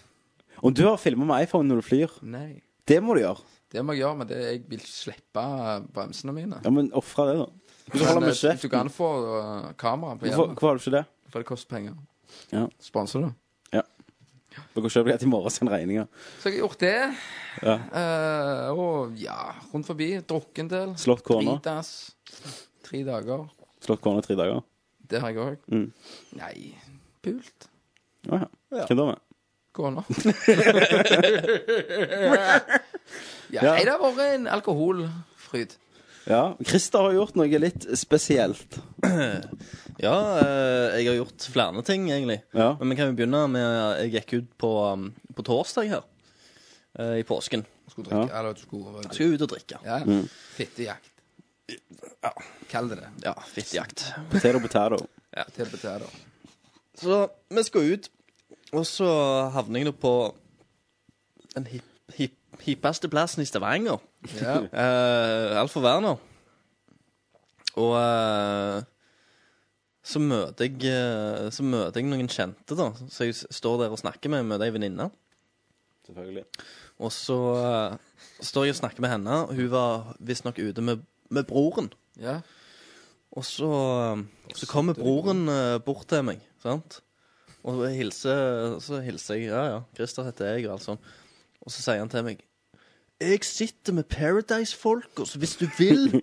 E: Om du har filma med iPhone når du flyr,
B: Nei.
E: det må du gjøre.
B: Det må jeg gjøre, men det, jeg vil slippe eh, bremsene mine.
E: Ja, Men ofre det, da. Hvis du holder
B: Men,
E: med
B: eh, du
E: kjeften.
B: kan få eh, kamera på
E: Hvorfor,
B: hjemmet,
E: hvorfor har du ikke det?
B: for det koster penger.
E: Ja.
B: Sponser du?
E: Du kan kjøpe det i morgen og sende regninga.
B: Så jeg har gjort det. Eh, og ja, rundt forbi. Drukket en del.
E: Slått kona.
B: Dritas. Tre dager.
E: Slått kona i tre dager.
B: Det har jeg òg.
E: Mm.
B: Nei, pult.
E: Å ja. Hvem da med?
B: Kona. ja, nei, det har vært en alkoholfryd.
E: Ja. Christer har gjort noe litt spesielt.
F: Ja, eh, jeg har gjort flere ting, egentlig.
E: Ja.
F: Men vi kan jo begynne med Jeg gikk ut på, um, på torsdag her eh, i påsken.
B: Skulle drikke, eller du skulle
F: Skulle ut og drikke.
B: Ja. Fittejakt. Kall det det.
F: Ja, fittejakt.
E: Potato, potato.
B: Til poteter.
F: Så vi skal ut, og så havner jeg nå på den hip- hip- hippeste plassen i Stavanger.
B: Ja.
F: Uh, Alfa Werner. Og eh, så møter jeg eh, Så møter jeg noen kjente, da. Så jeg s- står der og snakker med møter ei venninne.
E: Selvfølgelig.
F: Og så eh, står jeg og snakker med henne. og Hun var visstnok ute med, med broren.
B: Ja.
F: Og så, eh, så kommer broren eh, bort til meg, sant? Og jeg hilser, så hilser jeg, ja ja, Christer heter jeg, og alt sånn. Og så sier han til meg, jeg sitter med Paradise-folk, og så hvis du vil,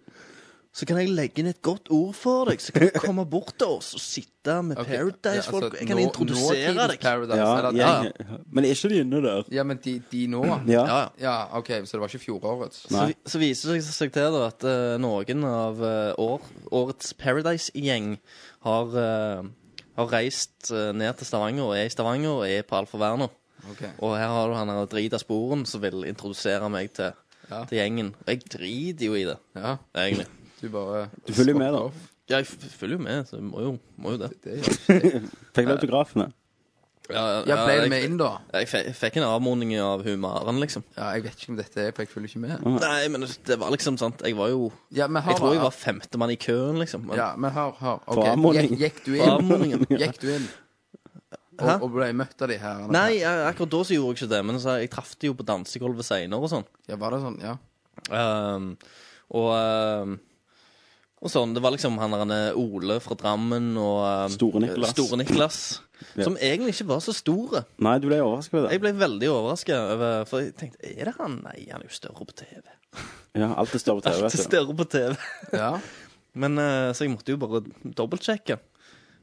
F: så kan jeg legge inn et godt ord for deg, så kan du komme bort til oss og sitte med
B: Ok,
F: Paradise-folk.
B: ja, altså,
F: jeg kan
B: nå-
F: introdusere
B: nåtidens
F: deg.
B: Paradise,
E: Ja,
B: eller, ja,
E: jeg, men er ikke de inne der?
B: ja, men de, de nå?
E: Ja.
F: Ja, ja.
B: ja, OK, så det var ikke fjorårets?
E: Nei.
F: Så, vi- så viser det seg til da, at eh, noen av eh, år, årets Paradise-gjeng har, eh, har reist eh, ned til Stavanger og er i Stavanger og er på Alfa Werner.
B: Ok.
F: Og her har du han her drita sporen som vil introdusere meg til,
B: Ja.
F: til gjengen. Og jeg driter jo i det,
B: Ja,
F: egentlig.
B: du bare
E: Du følger jo med, da.
F: Ja, jeg f- følger jo med, så jeg må jo, må jo det.
B: Det gjør
E: Fikk du autografene?
B: Ja, ble det
F: jeg,
B: med inn, da?
F: jeg, fe- jeg fikk en avmodning av hun Maren, liksom.
B: Ja, Jeg vet ikke om dette er, for jeg følger ikke med.
F: Nei, men det var liksom sant. Jeg var jo
B: Ja, men
F: Jeg
B: har,
F: tror jeg var femtemann i køen, liksom. Men,
B: Ja, men hør, hør. ok.
E: For anmodning.
B: Gikk, gikk du
F: For
B: inn?
F: anmodningen.
B: Gikk du inn? Og,
F: Hæ?
B: og ble møtt av de her?
F: Nei, jeg, akkurat da så gjorde jeg ikke det, men så, jeg traff det jo på dansegulvet seinere og sånn.
B: Ja, var det sånn? Ja.
F: Ehm, og ehm, og sånn, Det var liksom han der Ole fra Drammen og ehm,
E: Store Niklas.
F: Store Niklas
E: Ja.
F: Som egentlig ikke var så store.
E: Nei, du ble overrasket over
F: Jeg
E: det.
F: ble veldig overraska over For jeg tenkte Er det han? Nei, han er jo større på TV.
E: Ja, alt er større på TV.
F: Alt er
E: vet du.
F: større på TV.
B: ja.
F: Men eh, Så jeg måtte jo bare dobbeltsjekke.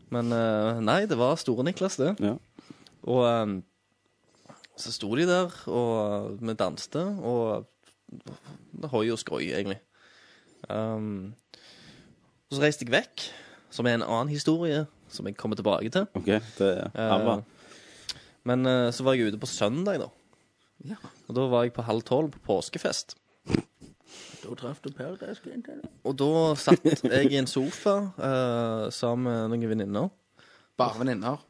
F: Men eh, nei, det var Store Niklas, det.
E: Ja.
F: Og ehm, så sto de der, og vi danste, og det høy og skrøy, egentlig. Ehm, og så reiste jeg vekk, som er en annen historie, som jeg kommer tilbake til.
E: OK, det er arva.
F: Men eh, så var jeg ute på søndag, da. Og da var jeg på halv tolv på påskefest. Og da satt jeg i en sofa eh, sammen med noen venninner.
B: Bare venninner.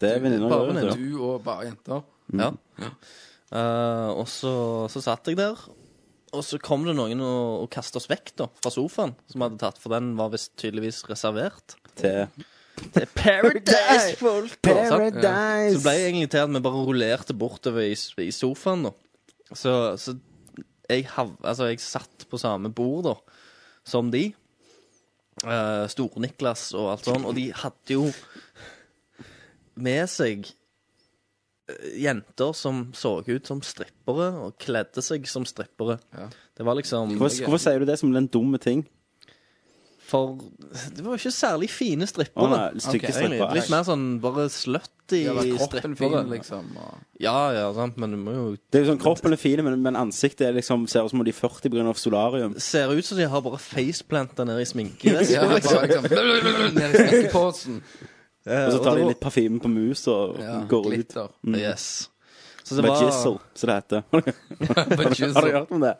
E: Det er venninner.
F: Bare
E: det, vet du.
B: Du og bare jenter.
F: Ja. Eh, og så, så satt jeg der, og så kom det noen og, og kastet oss vekk da, fra sofaen, som hadde tatt, for den var visst tydeligvis reservert.
E: Til
F: Det er Paradise, folk! da, sant? Så
E: Paradise!
F: ble jeg egentlig til at vi bare rullerte bortover i, s- i sofaen da. Så, så jeg, hav, altså, jeg satt på samme bord da, som de. Eh, Stor-Niklas og alt sånn, og de hadde jo med seg eh, jenter som så ut som strippere, og kledde seg som strippere.
B: Ja.
F: Det var liksom
E: Hvorfor, hvorfor sier du det som den dumme ting?
F: For Det var jo ikke særlig fine
E: Å
F: strippere.
E: nei, stygge
B: Ok,
F: egentlig.
E: stripper.
F: Litt mer sånn bare slutty
B: Ja, var kroppen fin,
F: strippere.
B: liksom. Og...
F: Ja, ja, sant, men du må jo
E: Det er jo sånn, Kroppen er fin, men, men ansiktet er liksom, ser ut som om de er 40 pga. solarium.
F: Ser ut som de har bare faceplanta nede i sminkeveska.
B: Ja, bare liksom Ned i snekkeposen.
E: Og så
F: og
E: tar
F: det
E: de
F: var-
E: litt parfyme på mus og
B: Ja,
E: går ut.
B: glitter.
F: Yes. Så det
E: Mm. Med
F: var
E: jizzle, som det heter. Har
B: På
E: du- Har du
B: juicer.
E: hørt om det?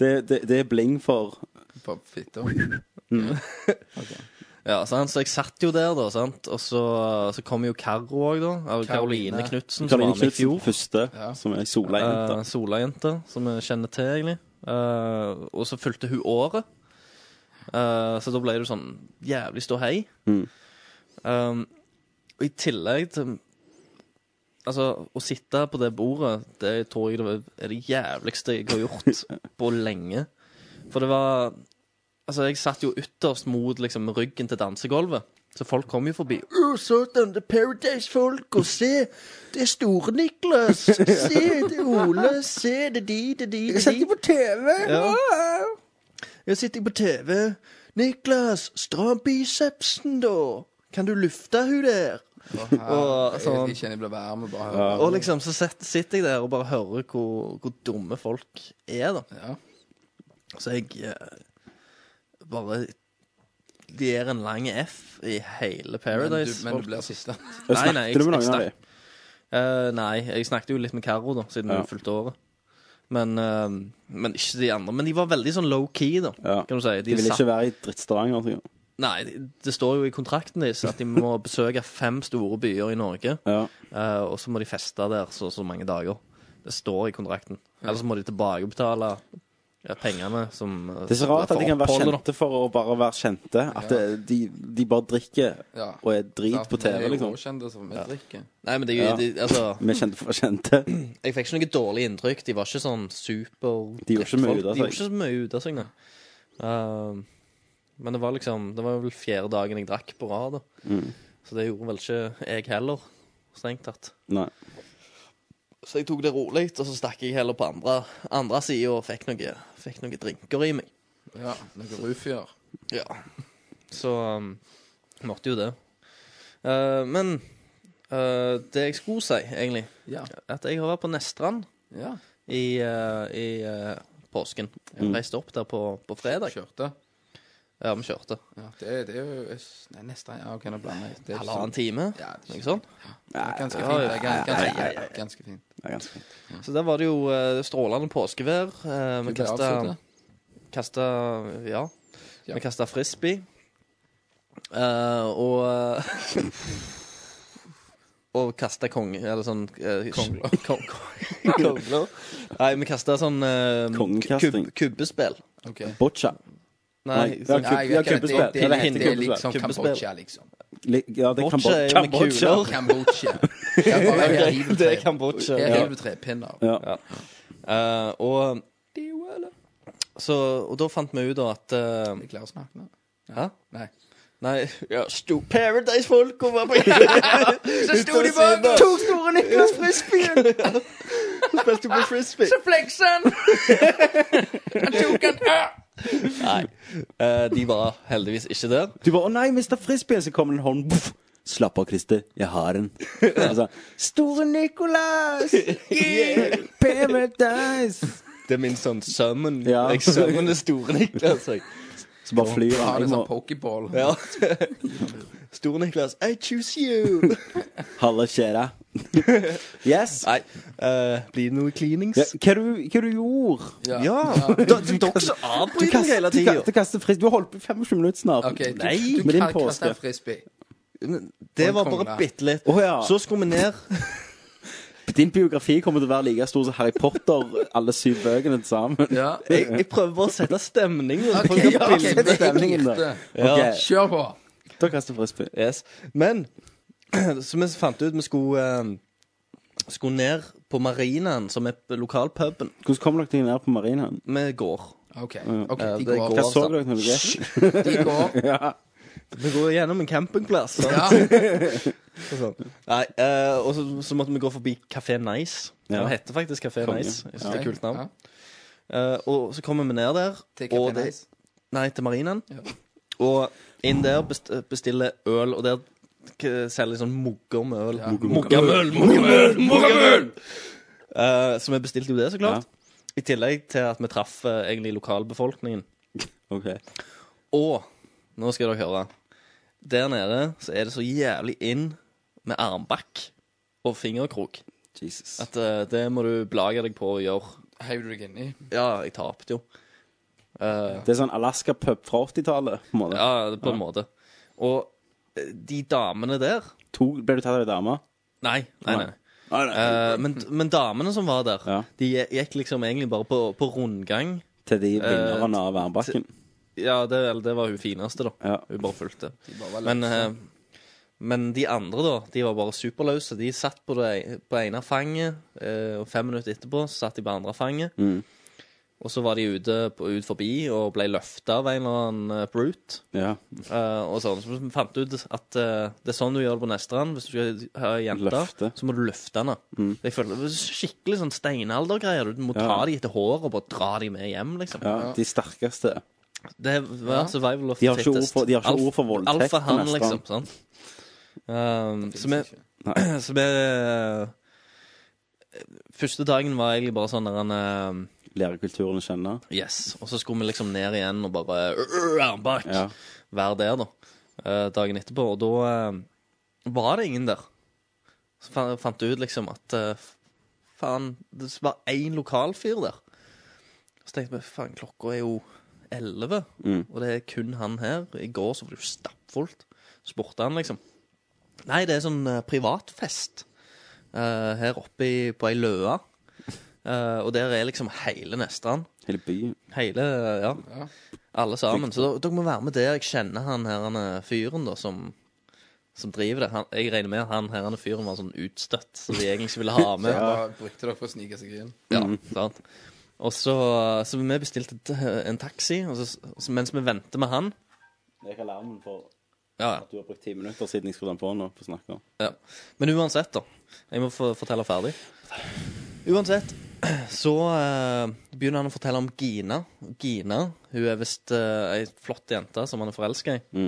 E: Det, det, det er bling for
B: På fitta.
F: Ja, sant? Så jeg satt jo der, da, sant? og så, så kom jo Karo òg, da. Av
B: Karoline.
F: Karoline Knutsen, som
E: Karoline
F: var med i
E: Knutsen,
F: fjor.
E: første,
B: Ja.
E: som er solejente.
F: Eh, Sola-jente, som jeg kjenner til, egentlig. Eh, og så fulgte hun året. Eh, så da ble det sånn jævlig stå hei.
E: Mm.
F: Um, og i tillegg til Altså, å sitte på det bordet, det tror jeg det var- er det jævligste jeg har gjort på lenge. For det var Altså, jeg satt jo ytterst mot liksom, ryggen til dansegulvet. Så folk kom jo forbi. Å, satan, det er Paradise-folk, og se! Det er Store-Niklas! Se, det er Ole! Se, det er de, det er de, det er de.
E: på TV!
F: Ja. Jeg sitter på TV. Niklas, stram bicepsen, da! Kan du lufte hun der? Og
B: Jeg,
F: sånn.
B: jeg kjenner jeg blir varm og bare hører.
F: Og liksom, så set- sitter jeg der og bare hører hvor, hvor dumme folk er, da.
B: Ja.
F: Så jeg eh, bare gir en lang F i hele
B: Men du,
F: Paradise.
B: men du
F: folk.
B: blir siste.
F: Nei, nei, jeg-
E: Snakket du med
F: jeg
E: noen av
F: snak-
E: dem?
F: Eh, nei, jeg snakket jo litt med Karo, da, siden
E: Ja.
F: hun fulgte året. Men, eh, men ikke de andre. Men de var veldig sånn low-key, da,
E: Ja.
F: kan du si.
E: De ville ikke være i drittstavanger. tenker jeg.
F: Nei, det- det står jo i kontrakten deres at de må besøke fem store byer i Norge.
E: Ja.
F: eh, og så må de feste der så og så mange dager. Det står i kontrakten. Ellers må de tilbakebetale Ja, pengene som eh,
E: Det er så rart at de kan være
F: oppholdet, da.
E: kjente for å bare være kjente. At det, de, de bare drikker
B: Ja.
E: og er drit på TV, liksom.
B: Kjente som vi drikker.
F: Nei, men det,
E: Ja.
F: de, altså,
E: Vi er kjente for kjente.
F: jeg fikk ikke noe dårlig inntrykk. De var ikke sånn super
E: De gjorde ikke mye
F: drittfolk.
E: ut av
F: De
E: seg.
F: gjorde ikke så mye ut av seg, nei. Ehm, men det var liksom Det var vel fjerde dagen jeg drakk på rad. da.
E: Mm.
F: Så det gjorde vel ikke jeg heller, strengt tatt.
E: Nei.
F: Så jeg tok det rolig, og så stakk jeg heller på andre, andre sida og fikk noe- fikk noen drinker i meg.
B: Ja, noen rufier.
F: Ja. Så um, måtte jo det. Eh, men eh, det jeg skulle si, egentlig,
B: Ja.
F: at jeg har vært på Nestrand
B: ja.
F: i, eh, i eh, påsken. Jeg reiste opp der på, på fredag.
B: Kjørte.
F: Ja, vi kjørte.
B: Ja, det, det er jo Nei, nesten Ja, OK, nå blander jeg. Det er ikke
F: Halvannen
B: sånn.
F: time,
B: Ja, det er
F: noe
B: ikke
F: sånt.
B: Det er Ganske fint. det er gans- Ganske, ganske fint.
E: Det er ganske fint.
F: Så der var det jo eh, strålende påskevær. Eh, vi
B: Du ble avslørt,
F: kasta
B: ja.
F: Kasta Ja.
B: Ja.
F: Vi kasta frisbee. Eh, og Og kasta konge... Eller sånn eh,
B: Kongler.
F: Kong, kong, kongler. Nei, vi kasta sånn eh,
E: Kongekasting.
F: kub- Kubbespill.
B: OK.
E: Boccia.
F: Nei,
E: Nei,
F: sånn,
E: ja,
B: Nei, jeg vet ikke,
E: kubbespill.
B: det, det,
E: Eller
B: det, det er
E: hindekubbespill.
B: liksom
F: Kubbespill.
B: Kambodsja, liksom.
E: Li- Ja, det er
F: Boccia er jo med
E: Kambodsja.
F: kuler.
B: Kambodsja. Det er bare her hiver du
F: det er
B: tre-
F: Kambodsja.
B: her
F: Ja.
B: hiver du trepinner.
E: Ja.
F: Eh, og så, og da fant vi ut da at eh,
B: Jeg klarer å snakke nå.
F: Hæ?
B: Nei.
F: Nei, ja, sto Paradise-folk og var på Så sto de bak to store Niklas Frisbee. Spilte på frisbee. Så fleksa han. Han tok han. Nei, eh, de var heldigvis ikke der.
E: Du bare 'Å nei, Mr. Frisbee', så kommer en hånd. Puff. Slapp av, Christer. Jeg har Altså. en. Og så, Store Nicolas! Yeah! Paradise!
F: Det er min sånn summon.
E: Ja.
F: Jeg summoner Store Niklas. Jeg.
E: Så bare flyr
B: Ta
E: han.
B: det
E: Jeg
B: som
E: må
B: pokeball.
F: Ja. Store Niklas, I choose you.
E: Halla, kjære. Yes.
F: Nei, eh, blir det noe
E: Ja,
F: cleanings?
E: hva, du, hva du gjorde
B: Ja.
F: Da- Du dere så
E: Du
F: avbryter
E: kaster,
F: hele
E: du
F: tida.
E: ka- du kaster frisbee. Du har holdt på i 25 minutter snart.
B: OK, du,
F: Nei,
B: du
E: med din
B: kan kaste
E: påske.
B: en frisbee.
F: Det
B: Og
F: var
B: en
F: bare
B: kongle.
F: bitte litt.
E: Å, ja.
F: Så skulle vi ned.
E: Din biografi kommer til å være like stor som Harry Potter, alle syv bøkene til sammen.
B: Ja.
F: Jeg, jeg prøver bare å sette stemningen.
B: OK,
F: på
B: ja, ok,
F: bildet.
B: det er
E: stemningen, da.
B: riktig.
E: Ok,
B: Kjør på.
E: Da kaster jeg frisbee.
F: Yes. Men så vi fant ut vi skulle, eh, skulle ned på Marinaen, som er lokalpuben.
E: Hvordan kom dere ned på marinaen?
F: Vi går.
B: OK, ok,
F: Ja,
B: de
F: det
B: går.
F: går.
E: Hva
B: altså.
E: så dere når dere gikk?
B: De går.
F: Vi går gjennom en campingplass. sant?
B: Ja.
F: Og sånn. Nei, eh, og så, så måtte vi gå forbi Kafé Nice.
E: Ja.
F: Den heter faktisk Kafé
E: Konge.
F: Nice. Jeg synes det er et kult
B: Ja.
F: navn. Eh, og så kommer vi ned der.
B: Til
F: og
B: Café
F: det-
B: Nice.
F: Nei, til Marinaen.
B: Ja.
F: Og inn der best, bestiller øl, og der k- selger de sånn mugger med øl.
B: Ja.
F: Muggermøl, muggermøl, muggermøl! Eh, så vi bestilte jo det, så klart. I tillegg til at vi traff eh, egentlig lokalbefolkningen.
E: Ok.
F: Og nå skal dere høre. Der nede så er det så jævlig inn med armbakk og fingerkrok
E: Jesus.
F: at eh, det må du belage deg på å gjøre.
B: Heiver du deg inni?
F: Ja, jeg tapte jo. Eh,
E: Det er sånn Alaska-pub fra 80-tallet. på en måte.
F: Ja, på en måte. Og eh, de damene der
E: To, ble du tatt av ei dame?
F: Nei, nei, nei.
E: Nei. Nei, nei.
F: Eh, men, men damene som var der,
E: Ja.
F: de gikk liksom egentlig bare på, på rundgang.
E: Til de
F: eh,
E: vinnerne av Værbakken.
F: Ja, det, eller det var hun fineste, da.
E: Ja.
F: Hun bare fulgte.
B: bare var
F: men, eh, men de andre, da, de var bare superløse. De satt på det e-, på ene fanget, eh, og fem minutter etterpå så satt de på andre fanget.
E: Mm.
F: Og så var de ute på, ut forbi og ble løfta av en eller annen eh, brute.
E: Ja.
F: Eh, og sånn. Så vi fant ut at eh, det er sånn du gjør det på Nestrand. Hvis du skal ha ei jente,
E: Løfte. Mm.
F: så må du løfte henne. Jeg føler, det er skikkelig sånn steinaldergreier. Du må ta
E: Ja.
F: dem etter håret og bare dra dem med hjem, liksom.
E: ja. De sterkeste.
F: Det var survival of
E: De har
F: the
E: ikke ord
F: fittest.
E: for- de har ikke
F: Alf-
E: ord for voldtekt på
F: Alfa han,
E: Nestrand.
F: liksom. Sånn. Um, så vi Så vi eh, Første dagen var egentlig bare sånn der han eh,
E: Lærer kulturen å kjenne.
F: Yes. Og så skulle vi liksom ned igjen og bare øh, Armbak!
E: Ja.
F: Være der, da. eh, dagen etterpå. Og da eh, var det ingen der. Så fa- fant jeg ut liksom at eh, f- faen, det var én lokalfyr der. Så tenkte vi faen, klokka er jo elleve, og det er kun han her. I går så var det jo stappfullt. Spurte han, liksom. Nei, det er sånn eh, privatfest eh, her oppe i, på ei løa. Eh, og der er liksom hele Nestrand.
E: Hele byen.
F: Hele, ja.
B: Ja.
F: Alle sammen. Så dere må være med der. Jeg kjenner han her han er fyren da, som, som driver det. Han, jeg regner med at han her han er fyren var sånn utstøtt, så de egentlig ikke ville ha med.
B: Ja. Da brukte dere for å snike seg inn.
F: Ja, sant. Og så, så vi bestilte t- en taxi, og så, så mens vi venter med han
E: Jeg har alarmen for
F: ja,
E: at du har brukt ti minutter siden jeg skulle den på nå. for å snakke
F: ja. Men uansett, da. Jeg må få fortelle ferdig. Uansett så eh, begynner han å fortelle om Gina. Gina hun er visst uh, ei flott jente som han er forelska i.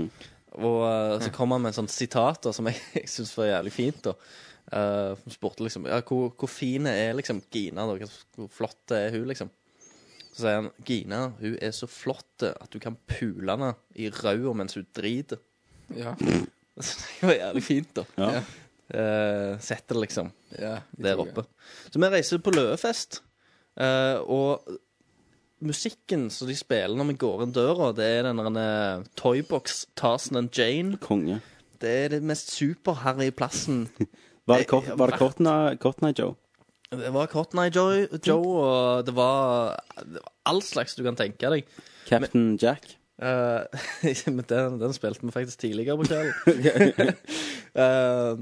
F: Og eh, så kom han med en sånn sitat da, som jeg, jeg syns var jævlig fint. da. Eh, Hun spurte liksom ja, hvor, hvor fin er liksom Gina? da? Hvor flott er hun, liksom? Så sier han Gina hun er så flott at du kan pule henne i ræva mens hun driter.
B: Ja.
F: Det var jævlig fint, da.
E: Ja.
F: Eh, Sette det liksom
B: ja i
F: der
B: toget.
F: oppe. Så vi reiser på Løvefest, eh, og musikken som de spiller når vi går inn døra, det er den der eh, Toybox Tarzan and Jane.
E: Konge.
F: Det er det mest superharry plassen.
E: Var det, kort, var det Cotton Cotton Eye Joe?
F: Det var Cotton Eye Joe, Joe og det var, det var all slags du kan tenke deg.
E: Captain Jack?
F: Eh, men den, den spilte vi faktisk tidligere på kvelden. Eh,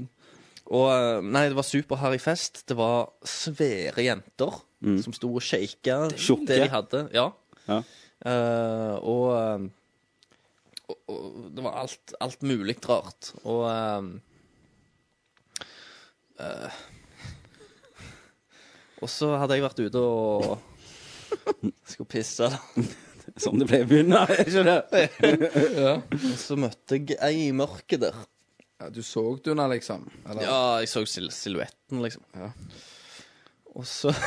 F: og eh, Nei, det var superharry fest. Det var svære jenter som sto og shaka
E: Tjukke.
F: det de hadde. Ja.
E: Ja.
F: Eh, og, eh, og, og det var alt, alt mulig rart. Og eh, eh, Og så hadde jeg vært ute og skulle pisse. da
E: Som det ble i begynnelsen, er ikke det?
F: Og så møtte jeg ei i mørket der.
B: Ja, du så du henne, liksom? Eller?
F: Ja, jeg så sil silhuetten, liksom. Og så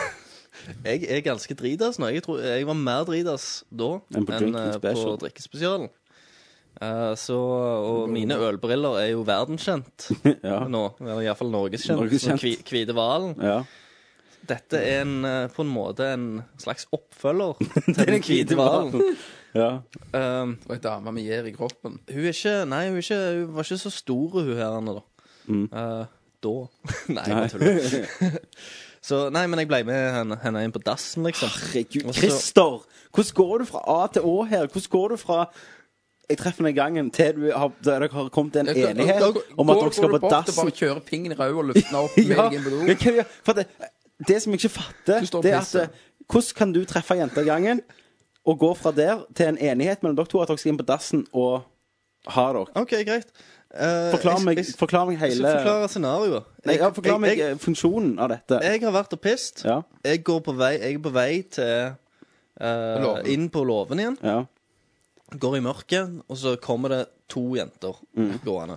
F: Jeg er ganske dritas nå. Jeg, tror, jeg var mer dritas da
E: Enn på
F: enn
E: drinking
F: eh, på
E: special.
F: drikkespesialen. Eh, så, og mine ølbriller er jo verdenskjent
E: Ja.
F: nå. Eller iallfall norgeskjent.
E: Norgeskjent.
F: Norges Hvite hvalen.
E: ja.
F: Dette er en, eh, på en måte en slags oppfølger til Den hvite hvalen.
E: ja.
F: Um,
B: Det var ei dame med gjær i kroppen.
F: Hun er ikke Nei, hun, er ikke, hun var ikke så stor, hun her nå, da.
E: Mm.
F: Eh, da. nei, jeg bare tuller. så nei, men jeg ble med henne, henne inn på dassen, liksom.
E: Herregud,
F: Og så-
E: Christer! Hvordan går du fra A til Å her? Hvordan går du fra jeg treffer deg i gangen til du har, der dere har kommet til en enighet om at dere skal på dassen?
B: Bare kjøre pingen i ræva og lufte den opp med
E: Ja,
B: deg inn på do.
E: men hva- for det, det som jeg ikke
B: Du
E: fatter,
B: står og
E: det er at
B: pisser.
E: eh, hvordan kan du treffe jenta i gangen og gå fra der til en enighet mellom dere to at dere skal inn på dassen og ha dere?
F: OK, greit. Eh,
E: Ah. Forklar
F: Altså, jeg-
E: meg,
F: jeg-
E: forklar meg
F: Jeg
E: hele
F: skal forklare scenarioet.
E: Nei, ja, Forklar meg
F: jeg,
E: eh, funksjonen av dette.
F: jeg, jeg har vært og pist.
E: Ja.
F: Jeg, går på vei, jeg er på vei til eh,
B: låven.
F: Inn på låven igjen.
E: Ja.
F: går i mørket, og så kommer det to jenter
E: Mm.
F: gående.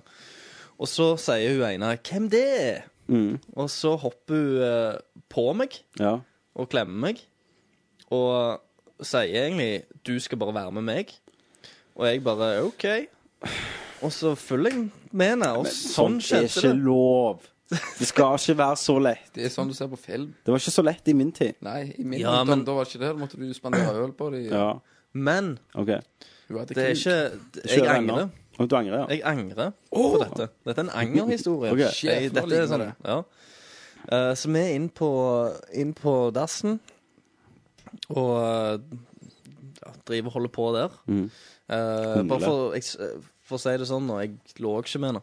F: Og så sier hun ene 'Hvem det er?'
E: Mm.
F: Og så hopper hun eh, på meg
E: ja.
F: og klemmer meg. Og sier egentlig 'Du skal bare være med meg'. Og jeg bare 'OK'. Og så følger jeg med henne. Og sånn
E: Det er
F: skjedde
E: ikke
F: det.
E: lov. Det skal ikke være så lett.
B: Det er sånn du ser på film.
E: Det var ikke så lett i min tid.
B: Nei, i min
F: Ja,
B: ungdom
F: men-
B: da var det ikke det. Da måtte du spandere øl på dem.
E: Ja,
F: Men
E: ok.
B: Hun hadde
F: det er
B: kuk.
F: ikke Jeg angrer.
E: Og du angrer, ja.
F: Jeg angrer på dette. Dette er en angerhistorie.
E: Ok.
F: Jeg-
B: Sjef, nå
F: dette er
B: ligner
F: sånn, ja. Eh, så vi er inn på, inn på dassen og eh, ja, driver og holder på der.
E: Mm.
F: Eh, bare for, jeg, s- eh, for å si det sånn, og jeg lå ikke med henne.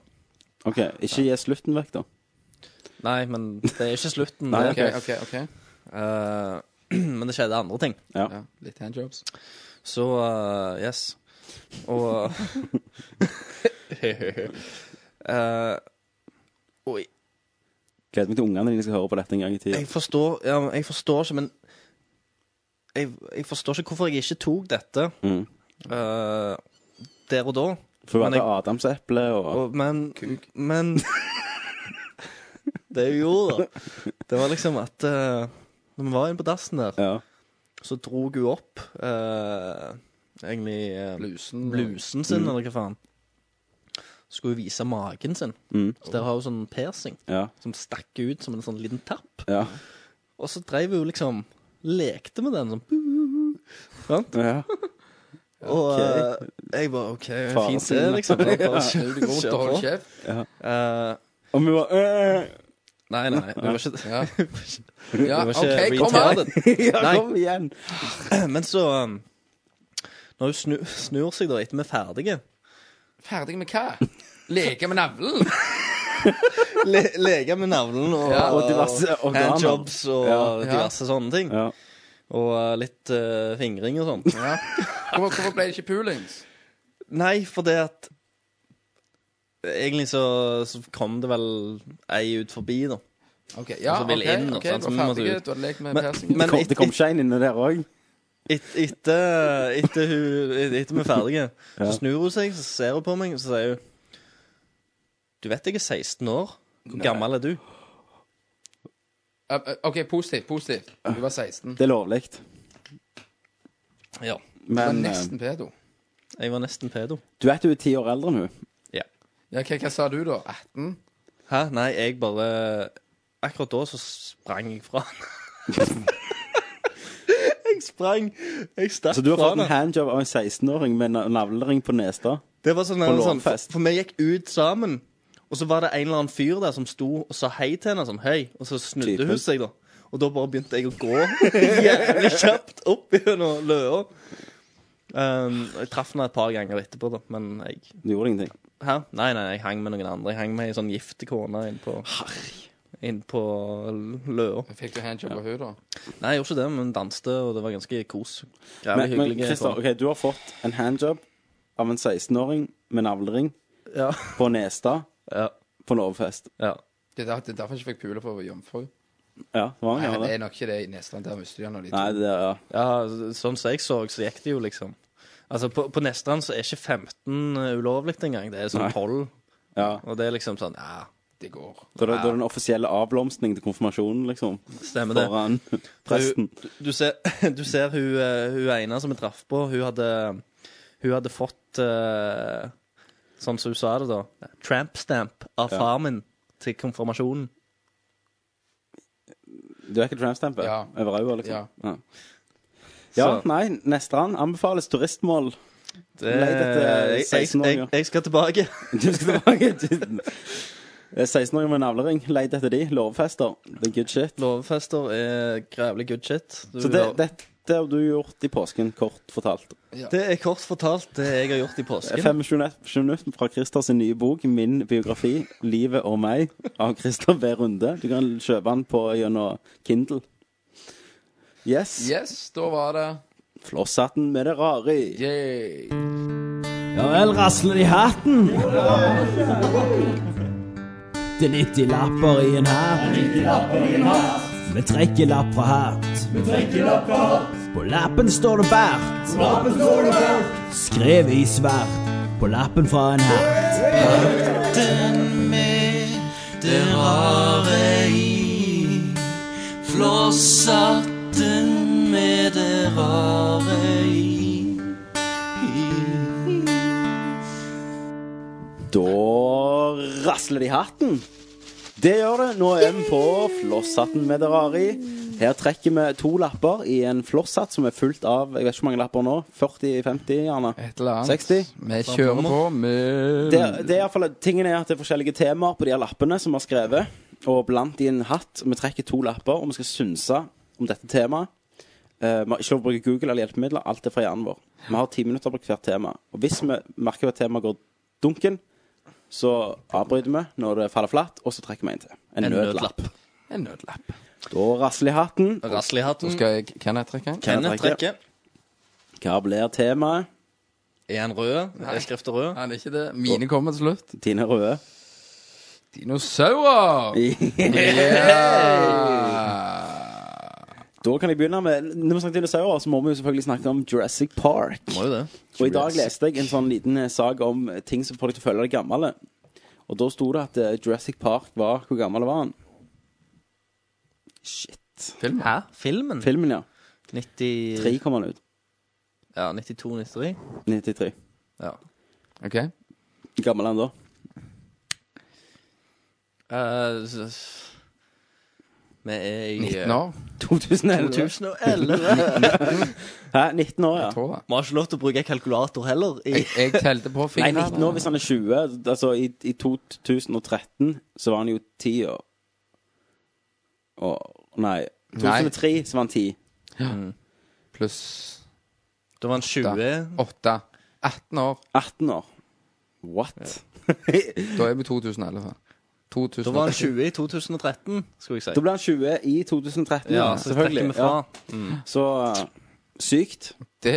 E: Ok, Ikke gi slutten vekk, da.
F: Nei, men det er ikke slutten.
E: Nei,
F: det.
B: OK, OK. ok
F: Eh, men det skjedde andre ting.
E: Ja.
B: Ja, Litt handjobs.
F: Så eh, yes. Og Eh, Og
E: Gleder meg til ungene dine skal høre på dette en gang i tida.
F: jeg forstår, ja, men jeg forstår ikke, men jeg, jeg forstår ikke hvorfor jeg ikke tok dette
E: Mm.
F: eh, der og da.
E: For hun
F: men
E: hadde adamseple og,
F: Og, men Men Det jeg gjorde, da, det var liksom at eh, Når vi var inne på dassen der,
E: Ja.
F: så dro hun opp eh, egentlig eh,
B: Blusen. Mm.
F: blusen sin, eller hva faen. Skulle hun vise magen sin. Så
B: Oh.
F: der har hun sånn persing
E: Mm, Ja.
F: som stakk ut som en sånn liten tapp.
E: Ja.
F: Og så dreiv hun liksom Lekte med den sånn Sant?
E: ja.
F: Og eh, jeg bare OK, fint det,
E: Fasen.
F: liksom. Bare, bare
B: Snu deg rundt og
F: kjør på.
B: hold kjeft.
F: Eh,
E: Og vi var øh,
F: Nei, nei, nei. Vi var ikke
B: Ja, ja
F: vi var
B: OK,
F: ikke
B: kom her!
F: retarded.
E: ja,
F: Nei.
E: kom igjen!
F: Men så um, Når hun snu, snur seg da etter vi er ferdige
B: Ferdig med hva? Leke med navlen?
F: le, Lege med navlen og,
B: Ja,
E: Og diverse organer.
F: handjobs og
E: Ja.
F: diverse sånne ting.
E: Ja.
F: Og uh, litt uh, fingring og sånn.
B: Ja. Hvorfor, hvorfor ble det ikke poolings?
F: Nei, for det at Egentlig så, så kom det vel ei ut forbi, da.
B: OK, ja,
F: Altså,
B: ok,
F: vil inn, og
B: ok,
F: sånn,
B: du
F: så
B: var
F: må du
B: ferdig,
F: ut.
B: du hadde lekt med
F: Men-
B: persingen.
F: men-
E: Kom,
F: et-
E: det kom ikke en inni der òg.
F: Et, etter, etter, hun, etter vi er ferdige, så snur hun seg, så ser hun på meg, og så sier hun Du vet jeg er 16 år. Hvor gammel er du?
B: Ja, Eh, OK, positivt, positivt. Du var 16.
E: Det er lovlig.
F: Ja.
B: Du var
E: Men eh,
B: nesten pedo.
F: Jeg var nesten pedo.
E: du vet hun er ti år eldre enn hun.
B: Ja, hva, hva sa du, da? 18?
F: Hæ? Nei, jeg bare Akkurat da så sprang jeg fra henne. jeg sprang. Jeg stakk
E: Så du har
F: fra
E: fått en
F: henne.
E: handjob av en 16-åring med na- navlering på nesa.
F: Det var sånn,
E: på
F: sånn for,
E: lånefest.
F: for vi gikk ut sammen, og så var det en eller annen fyr der som sto og sa hei til henne. sånn, hei, Og så snudde hun
E: Typen.
F: seg, da. Og da bare begynte jeg å gå jævlig kjapt opp gjennom løa. Um, jeg traff henne et par ganger etterpå, da, men jeg
E: Det gjorde ingenting.
F: Hæ? Nei, nei, jeg hang med noen andre. Jeg hang med ei sånn gifte kone inn på Inn på løa.
B: Fikk du handjob av henne, da?
F: Nei, jeg gjorde ikke det, men danste, og det var ganske kos. Jævlig
E: Men, men
F: hyggelig.
E: Christer,
F: sånn.
E: ok, du har fått en handjob av en 16-åring med navlering
F: Ja.
E: på nesa
F: Ja.
E: på lovfest.
F: ja.
B: Det er der- det er derfor jeg ikke fikk pule for å være jomfru.
E: Ja, det var
B: Nei,
E: en
B: men
E: gang,
B: det
E: det.
B: er nok ikke det i Nestland. Der mister de når de
E: Nei,
B: to.
E: det er, ja.
F: ja, sånn som jeg så, så gikk det jo liksom Altså, på, på Nestrand så er ikke 15 ulovlig engang. Det er sånn
E: Nei.
F: 12.
E: ja.
F: Og det er liksom sånn Ja,
B: Det går.
E: Da er det da er det den offisielle avblomstringen til konfirmasjonen, liksom.
F: stemmer det.
E: Foran presten.
F: Du, du ser, du ser hun, eh, hun ene som jeg traff på, hun hadde, hun hadde fått eh, Sånn som hun sa det, da. Tramp stamp av
E: Ja.
F: far min til konfirmasjonen.
E: Du er ikke tramp-stempet?
B: Ja.
E: Over øya, liksom?
B: Ja.
E: Ja. Ja,
F: Så-
E: nei, Nestrand anbefales turistmål.
F: Det,
E: Nei, dette er
F: jeg, jeg,
E: 16-åringer.
F: jeg, jeg skal tilbake.
E: Du skal tilbake til 16-åringer med navlering. Leit etter de. Lovfester. Det er good shit.
F: Lovfester er grævlig good shit. Du-
E: Så det, dette har du gjort i påsken, kort fortalt.
F: det er kort fortalt det jeg har gjort i
E: Det er
F: påsken.
E: 25 minutter fra Christers nye bok, 'Min biografi. Livet og meg', av Christer B. Runde. Du kan kjøpe den på gjennom Kindle. Yes.
B: Yes, da var det
E: Flosshatten med det rare i.
B: Yay.
I: Ja vel, rasler de hatten? Det er 90 lapper i en hatt. Vi trekker lapp fra hatt. På lappen står det bart. Skrevet i svart på lappen fra en hatt.
E: Da rasler de hatten. Det gjør det. Nå er vi på flosshatten med det rare i. Her trekker vi to lapper i en flosshatt som er fullt av jeg vet ikke hvor mange lapper nå. 40-50, gjerne.
B: Et eller annet.
E: 60.
B: Vi kjører på med
E: Det, det er i hvert fall, tingen er at det er forskjellige temaer på de her lappene som vi har skrevet. Og blant i en hatt. Vi trekker to lapper, og vi skal synse om dette temaet. Eh, vi har ikke lov å bruke Google eller hjelpemidler. Alt er fra hjernen vår. Vi har ti minutter på hvert tema. Og hvis vi merker at temaet går dunken, så avbryter vi når det faller flatt, og så trekker vi en til. En, nødlapp.
B: En nødlapp.
E: Da rasler jeg hatten.
F: Rasl i hatten.
B: Skal jeg Kenneth trekke en?
F: Kenneth trekker.
E: Hva blir temaet?
F: Er han rød? Er skriften rød?
B: Nei, det er ikke det. Mine kommer til slutt.
E: Tine Røde.
B: Dinosaurer! Yeah.
E: Da kan jeg begynne med Når vi snakker dinosaurer, så må vi jo selvfølgelig snakke om Jurassic Park.
F: Må jo det.
E: Og i dag leste jeg en sånn liten eh, sak om eh, ting som får deg til å føle deg gammel. Og da sto det at eh, Jurassic Park var Hvor gammel var han? Shit.
B: Film.
F: Hæ? Filmen?
E: Filmen, ja.
F: 93
E: Tre kom han ut.
F: Ja, 92-93.
E: 93.
F: Ja.
B: OK.
E: Hvor Gammel er han da?
F: Eh, s- s- Vi er i eh,
B: 19 år.
E: 2011.
F: 2011.
E: Hæ? 19 år, ja.
B: Tror det.
F: Vi har ikke lov til å bruke kalkulator heller. I
B: Jeg, jeg telte på
E: Nei,
B: fingrene.
E: 19 år hvis han er 20. Altså, i, i 2013 så var han jo 10 år. Og nei. 2003 så var han 10.
B: Pluss
F: Da var han 20.
B: 8. 18 år.
E: 18 år. What?
B: Da er vi 2011. 2000.
F: Da var han 20 i 2013, skulle jeg si.
E: Da ble han 20 i 2013, ja,
F: Ja, så trekker
E: selvfølgelig.
F: vi fra.
E: Ja. Så uh, sykt.
B: Det,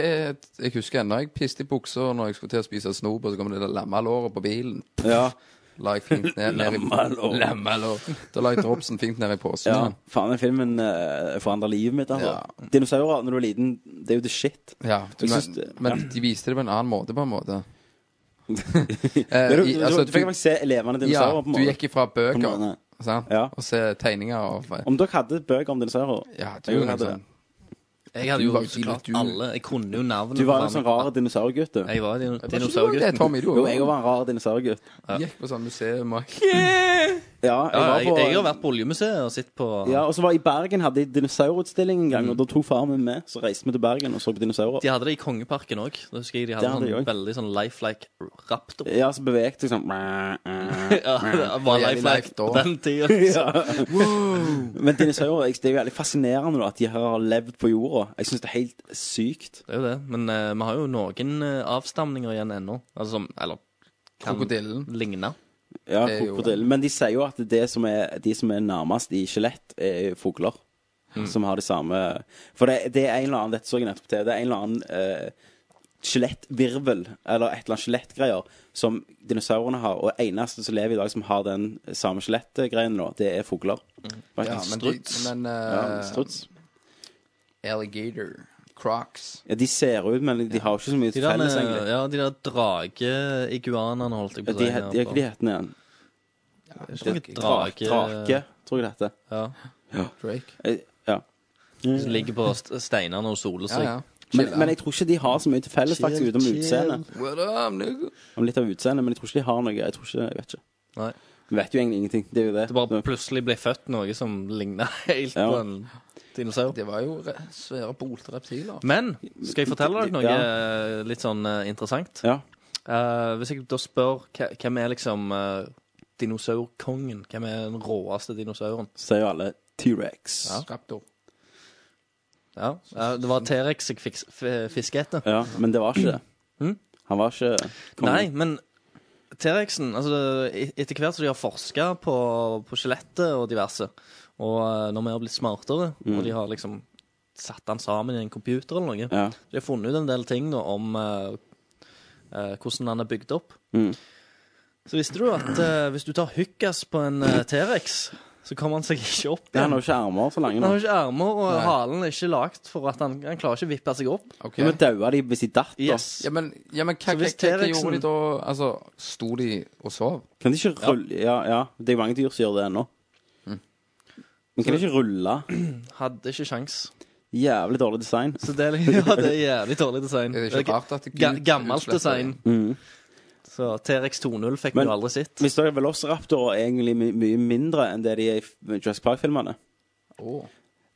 B: jeg husker ennå jeg piste i buksa når jeg skulle til å spise snop, og så kom det der lammelåret på bilen.
E: Ja.
B: La jeg fint ned, ned i
E: Lammelår.
B: Lammelår. Da la jeg dropsen fint ned i posen.
E: ja. Faen, den filmen uh, forandra livet mitt. Altså.
B: Ja.
E: Dinosaurer når du er liten, det er jo the shit.
B: Ja,
E: Jeg
B: men,
E: syns det-
B: men de viste det på en annen måte, på en måte.
E: Men du,
B: i-
E: du,
B: altså,
E: du fikk
B: du-
E: faktisk se levende
B: Ja,
E: dinosaurer på en
B: du
E: måte.
B: gikk ifra
E: På en
B: bøker
E: måte.
B: sant?
E: Ja.
B: og se tegninger og
E: Om dere hadde bøker om dinosaurer?
B: Ja, du
E: Jeg
B: gjorde noe
E: hadde
B: sånt.
F: Jeg hadde
B: Du var
F: jo
B: jo
F: så klart
B: tidlig, du.
F: alle. Jeg kunne jo navnet.
E: Du var
F: på
E: en sånn
F: alle.
E: rar dinosaurgutt, du.
F: Jeg var din-
B: Det er
F: dinosaurgutten.
B: Tommy, du
E: Jo,
B: også.
E: jeg var en rar dinosaurgutt.
B: Gikk på sånn museum og
E: Ja,
F: Ja,
E: jeg var
F: jeg,
E: på
F: jeg har vært på oljemuseet og sett på
E: Ja, og så var jeg i Bergen, hadde jeg dinosaurutstilling en gang,
B: Mm.
E: og da tok far min med. Så reiste vi til Bergen og så på dinosaurer.
F: De hadde det i Kongeparken òg. Da husker jeg de hadde,
E: Det hadde de
F: sånn,
E: også.
F: veldig sånn lifelike raptor.
E: Ja, så beveget jeg sånn
F: Ja, det var
B: Mm. Jævlig
F: lifelike
B: life
F: på
B: da.
F: den tida.
E: Men dinosaurer jeg- det er jo jævlig fascinerende da, at de har levd på jorda. Jeg syns det er helt sykt.
F: Det er jo det. Men eh, vi har jo noen eh, avstamninger igjen ennå. Altså som Eller kan
B: krokodillen.
F: ligne.
E: Ja,
B: Det er jo-
E: krokodille. Men de sier jo at det som er, de som er nærmest i skjelett, er fugler.
B: Mm.
E: Som har det samme For det, det er en eller annen Dette så jeg nettopp til. Det er en eller annen eh, skjelettvirvel, eller et eller annet skjelettgreier, som dinosaurene har. Og eneste som lever i dag som har den samme skjelettgreien nå, det er fugler.
B: Mm. ja, men, de, men
E: Ja,
B: eh,
E: struts.
B: Alligator. Crocs.
E: Ja, de ser ut, men de har jo ikke så mye
F: De
E: til
F: der,
E: felles,
F: eh,
E: egentlig.
F: ja, de der drage-iguanene, holdt jeg
E: Ja,
F: på å
E: de
F: si.
E: het- de er ikke de hetende igjen.
F: ikke noe
E: Drake,
F: drage
E: drake tror jeg det heter.
F: Ja,
B: Drake.
E: Eh, Ja.
F: Som ligger på st- steinene og soler
B: Ja,
F: seg.
B: ja.
E: Men, men jeg tror ikke de har så mye til felles, faktisk, utenom utseendet.
B: What up, nigga?
E: om litt av utseendet, men jeg tror ikke de har noe. Jeg tror ikke, jeg vet ikke.
F: Nei.
E: Vi vet jo egentlig ingenting. Det er jo det.
F: Det bare plutselig ble født noe som ligna helt
E: Ja.
F: på en dinosaur.
B: Det var jo re svære bolte reptiler.
F: Men skal jeg fortelle dere noe
E: Ja.
F: eh, litt sånn eh, interessant?
E: Ja.
F: Eh, hvis jeg da spør hva- hvem er liksom eh, dinosaurkongen? Hvem er den råeste dinosauren?
E: Så er jo alle T-rex. Ja.
B: Raptor.
F: Ja, eh, Det var T-rex jeg fiks- f- fisket etter.
E: Men det var ikke det.
F: Mm.
E: Han var ikke kongen.
F: Nei, men T-rexen altså, det- et- Etter hvert som de har forska på, på skjelettet og diverse, og eh, når vi har blitt smartere, og de har liksom satt den sammen i en computer eller noe
E: Ja.
F: De har funnet ut en del ting da, om eh, eh, hvordan han er bygd opp.
E: Mm.
F: Så visste du at eh, hvis du tar hykkas på en eh, T-rex, så kommer han seg ikke opp
E: Han har
F: igjen.
E: jo ikke armer så lange
F: Han
E: nå.
F: har ikke armer, og
B: Nei.
F: halen er ikke lagd for at han, han klarer ikke å vippe seg opp.
B: Ok.
E: Ja, men daua de hvis de datt, da?
F: Yes.
B: Ja, men, ja, men hva,
F: Så
B: hva,
F: hvis
B: hva, hva
F: T-rexen-
B: gjorde de da? Altså, sto de og sov?
E: Kan de ikke rulle Ja, ja. Det er jo mange dyr som gjør det ennå.
F: Hm.
E: Men kan de ikke rulle?
F: Hadde ikke sjans.
E: Jævlig dårlig design.
F: Så det er, ja, det er jævlig dårlig design.
B: Er det ikke rart at Gud
F: ga, gammelt
B: utsletter
F: design.
E: Mm.
F: Så T-rex 2.0 fikk vi
E: Men-
F: jo aldri sett.
E: Hvis dere velociraptorer er egentlig my mye mindre enn det de er i f- Jurassic Park-filmene
B: Åh.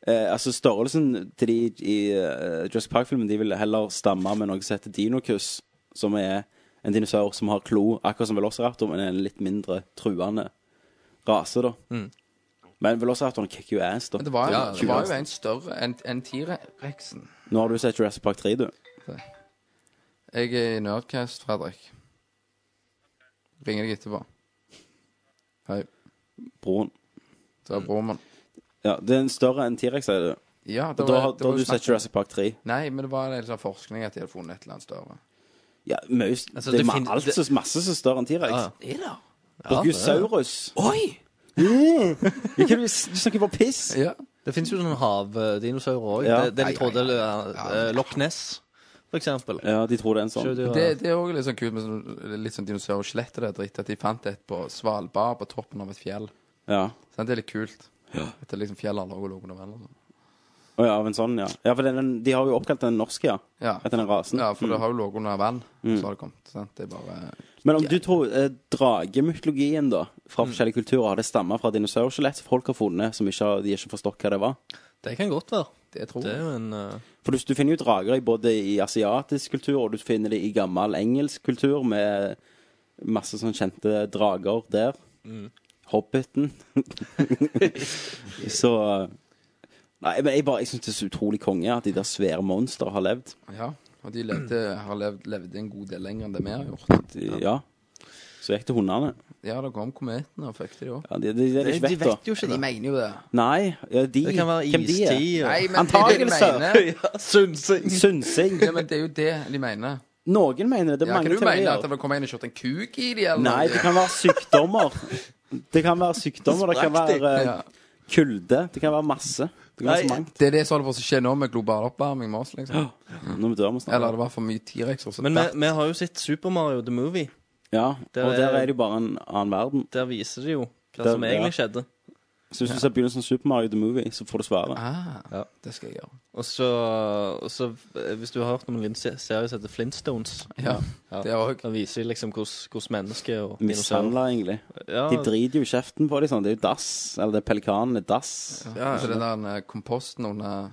E: Eh, altså Størrelsen til de i eh, Jurassic Park-filmen De vil heller stamme med noe som heter Dinokus, som er en dinosaur som har klo, akkurat som Velociraptor, men er en litt mindre truende rase, da.
F: Mm.
E: Men Velociraptoren kicker jo ass, da.
B: Men det var, jo-
E: Ja,
B: det var jo en større enn enn T-rexen.
E: Nå har du sett Jurassic Park 3, du.
B: Jeg er i Nerdcast, Fredrik. Ringer deg etterpå. Hei.
E: Broren.
B: Det er broren min.
E: Ja, det er en større enn T-rex, sier du.
B: Ja, det
E: Da,
B: var-
E: har- da
B: det var
E: har
B: jo
E: du
B: snakk
E: sett Jurassic Park 3.
B: Nei, men det var en del sånn forskning at de hadde funnet et eller annet større.
E: Ja, mye,
F: Altså,
E: det er
F: det
E: ma
F: fin-
E: alt,
F: det-
E: så- masse som er større enn T-rex.
F: Ja,
B: Er det?
E: Brachiosaurus.
B: Oi!
E: Hva er det Mm. Du du snakker bare piss.
B: Ja.
F: Det fins jo noen havdinosaurer òg.
E: Ja.
F: Det, det de trodde eh, Loch Ness, for eksempel.
E: Ja, de tror det er en sånn.
F: Sjødyr-
B: Det, det er òg litt sånn kult med sånn, litt sånn dinosaurskjelett og det dritt, at de fant et på Svalbard, på toppen av et fjell.
E: Ja.
B: Sant, det er litt kult. At det er liksom fjellet lå og lå under vann. og sånn.
E: Å ja, av en sånn, ja. Ja, for den, de har jo oppkalt den norske, ja.
B: Ja.
E: Etter den rasen. Mm.
B: Ja, for det har jo ligget under vann, så har det kommet. Sant? Det er bare
E: Men om du tror eh, dragemytologien, da, fra
B: Mm.
E: forskjellige kulturer, har det stamma fra dinosaurskjelett som folk har funnet, som ikke har, de ikke forstått hva det var?
F: Det kan godt være.
B: Det tror
F: Det er
B: jeg.
F: jo en eh,
E: For du, du finner jo drager i både i asiatisk kultur, og du finner det i gammel engelsk kultur, med masse sånn kjente drager der. Hobbiten. så Nei, men jeg, bare, jeg syns det er så utrolig konge at de der svære monstre har levd.
B: Ja, og de levde, har levd, levd en god del lenger enn det vi har gjort.
E: Mm. De, ja. Så gikk det hundene.
B: Ja, det kom kometene og fucket de òg.
E: Ja, de, de, de, de, de vet da.
B: jo ikke det. De mener jo det.
E: Nei, ja, de
F: Det kan være
E: Hvem de er?
F: istid. og-
B: Nei, men det er jo det de
E: Antagelser.
B: mener.
J: Synsing.
E: Synsing.
B: Ja, men det er jo det de mener.
E: Noen mener det. Det er
B: Ja, hva
E: mange
B: du mener? At
E: teorier.
B: det kom en og kjørte en kuk i de, eller
E: Nei, det kan være sykdommer. Det kan være sykdommer. Det kan
J: Sprakk de.
E: være eh,
B: Ja.
E: kulde. Det kan være masse. Det kan være så
J: Nei.
E: mangt.
B: Det er det som holder på å skje nå med global oppvarming med oss, liksom.
E: Nå dør vi snart.
B: Eller det var for mye T-rex og så
F: Men vi,
B: datt.
F: vi har jo sett Super Mario The Movie.
E: Ja,
F: Der
E: og der
F: er-
E: er det jo bare en annen verden.
F: Der viser de jo hva
E: Der-
F: som egentlig skjedde.
E: Så hvis du ser begynnelsen av Super Mario The Movie, så får du svaret.
B: Ah, Det skal jeg gjøre.
F: Og så, og så eh, Hvis du har hørt om en liten se- serie som heter Flintstones
B: Ja, det òg.
F: Da viser de liksom hvordan hvordan mennesker og dinosaurer
E: Mishandla, egentlig.
F: ja,
E: De driter jo i kjeften på dem. Sånn. Det er jo dass. Eller det er pelikanen er dass.
F: Ah,
B: Ja, så den der eh, komposten under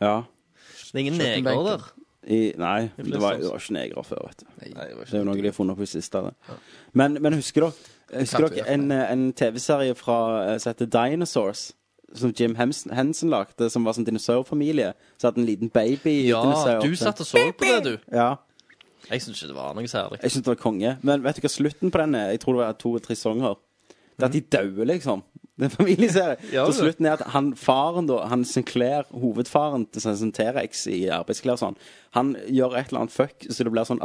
E: Ja.
F: Det er ingen
B: kjøttenbenken.
F: negere der.
E: I, nei, det var, det var ikke negre før, vet du. Det er jo noe de har funnet på i siste. Det. Men, men husker dere, husker
B: Kan vi
E: dere en, eh, en TV-serie fra eh, som heter Dinosaurs? Som Jim Henson, Henson lagde, som var sånn dinosaurfamilie. Så hadde en liten baby
F: Ja,
E: dinosaur.
F: du satt og så på det, du.
E: Ja.
F: Jeg syns ikke det var noe særlig.
E: Jeg syns det var konge. Men vet du hva slutten på den er? Jeg tror det var to-tre sanger. Det er at de dauer, liksom. Det er en familieserie.
F: Ja,
E: så
F: det.
E: slutten er at han faren, da, han Sinclair, hovedfaren til sånn som T-rex i arbeidsklær og sånn, han gjør et eller annet fuck, så det blir sånn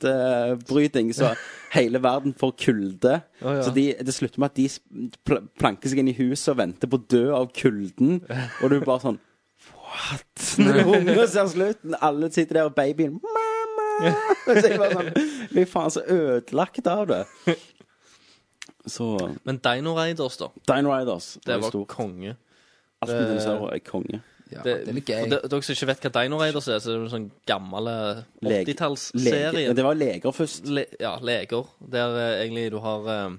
E: atomnedbryting, så hele verden får kulde.
F: ja.
E: Så de, det slutter med at de sp- pl planker seg inn i huset og venter på å dø av kulden, og du er bare sånn What? Når du unger ser slutten, alle sitter der og babyen Mamma! Så jeg bare sånn Vi er faen så ødelagt av det. Så
F: Men Dino Raiders, da.
E: Dine Riders
F: Det var
E: stor.
F: konge.
E: Alt med dinosaurer er konge.
B: Ja,
F: Det,
B: den er
F: for
B: gøy.
F: de- dere som ikke vet hva Dino Raiders er, så er det en sånn gammel eh,
E: Lege-
F: 80-tallsserie.
E: Lege- Det var leger først.
F: le, ja, leger, der eh, egentlig du har eh,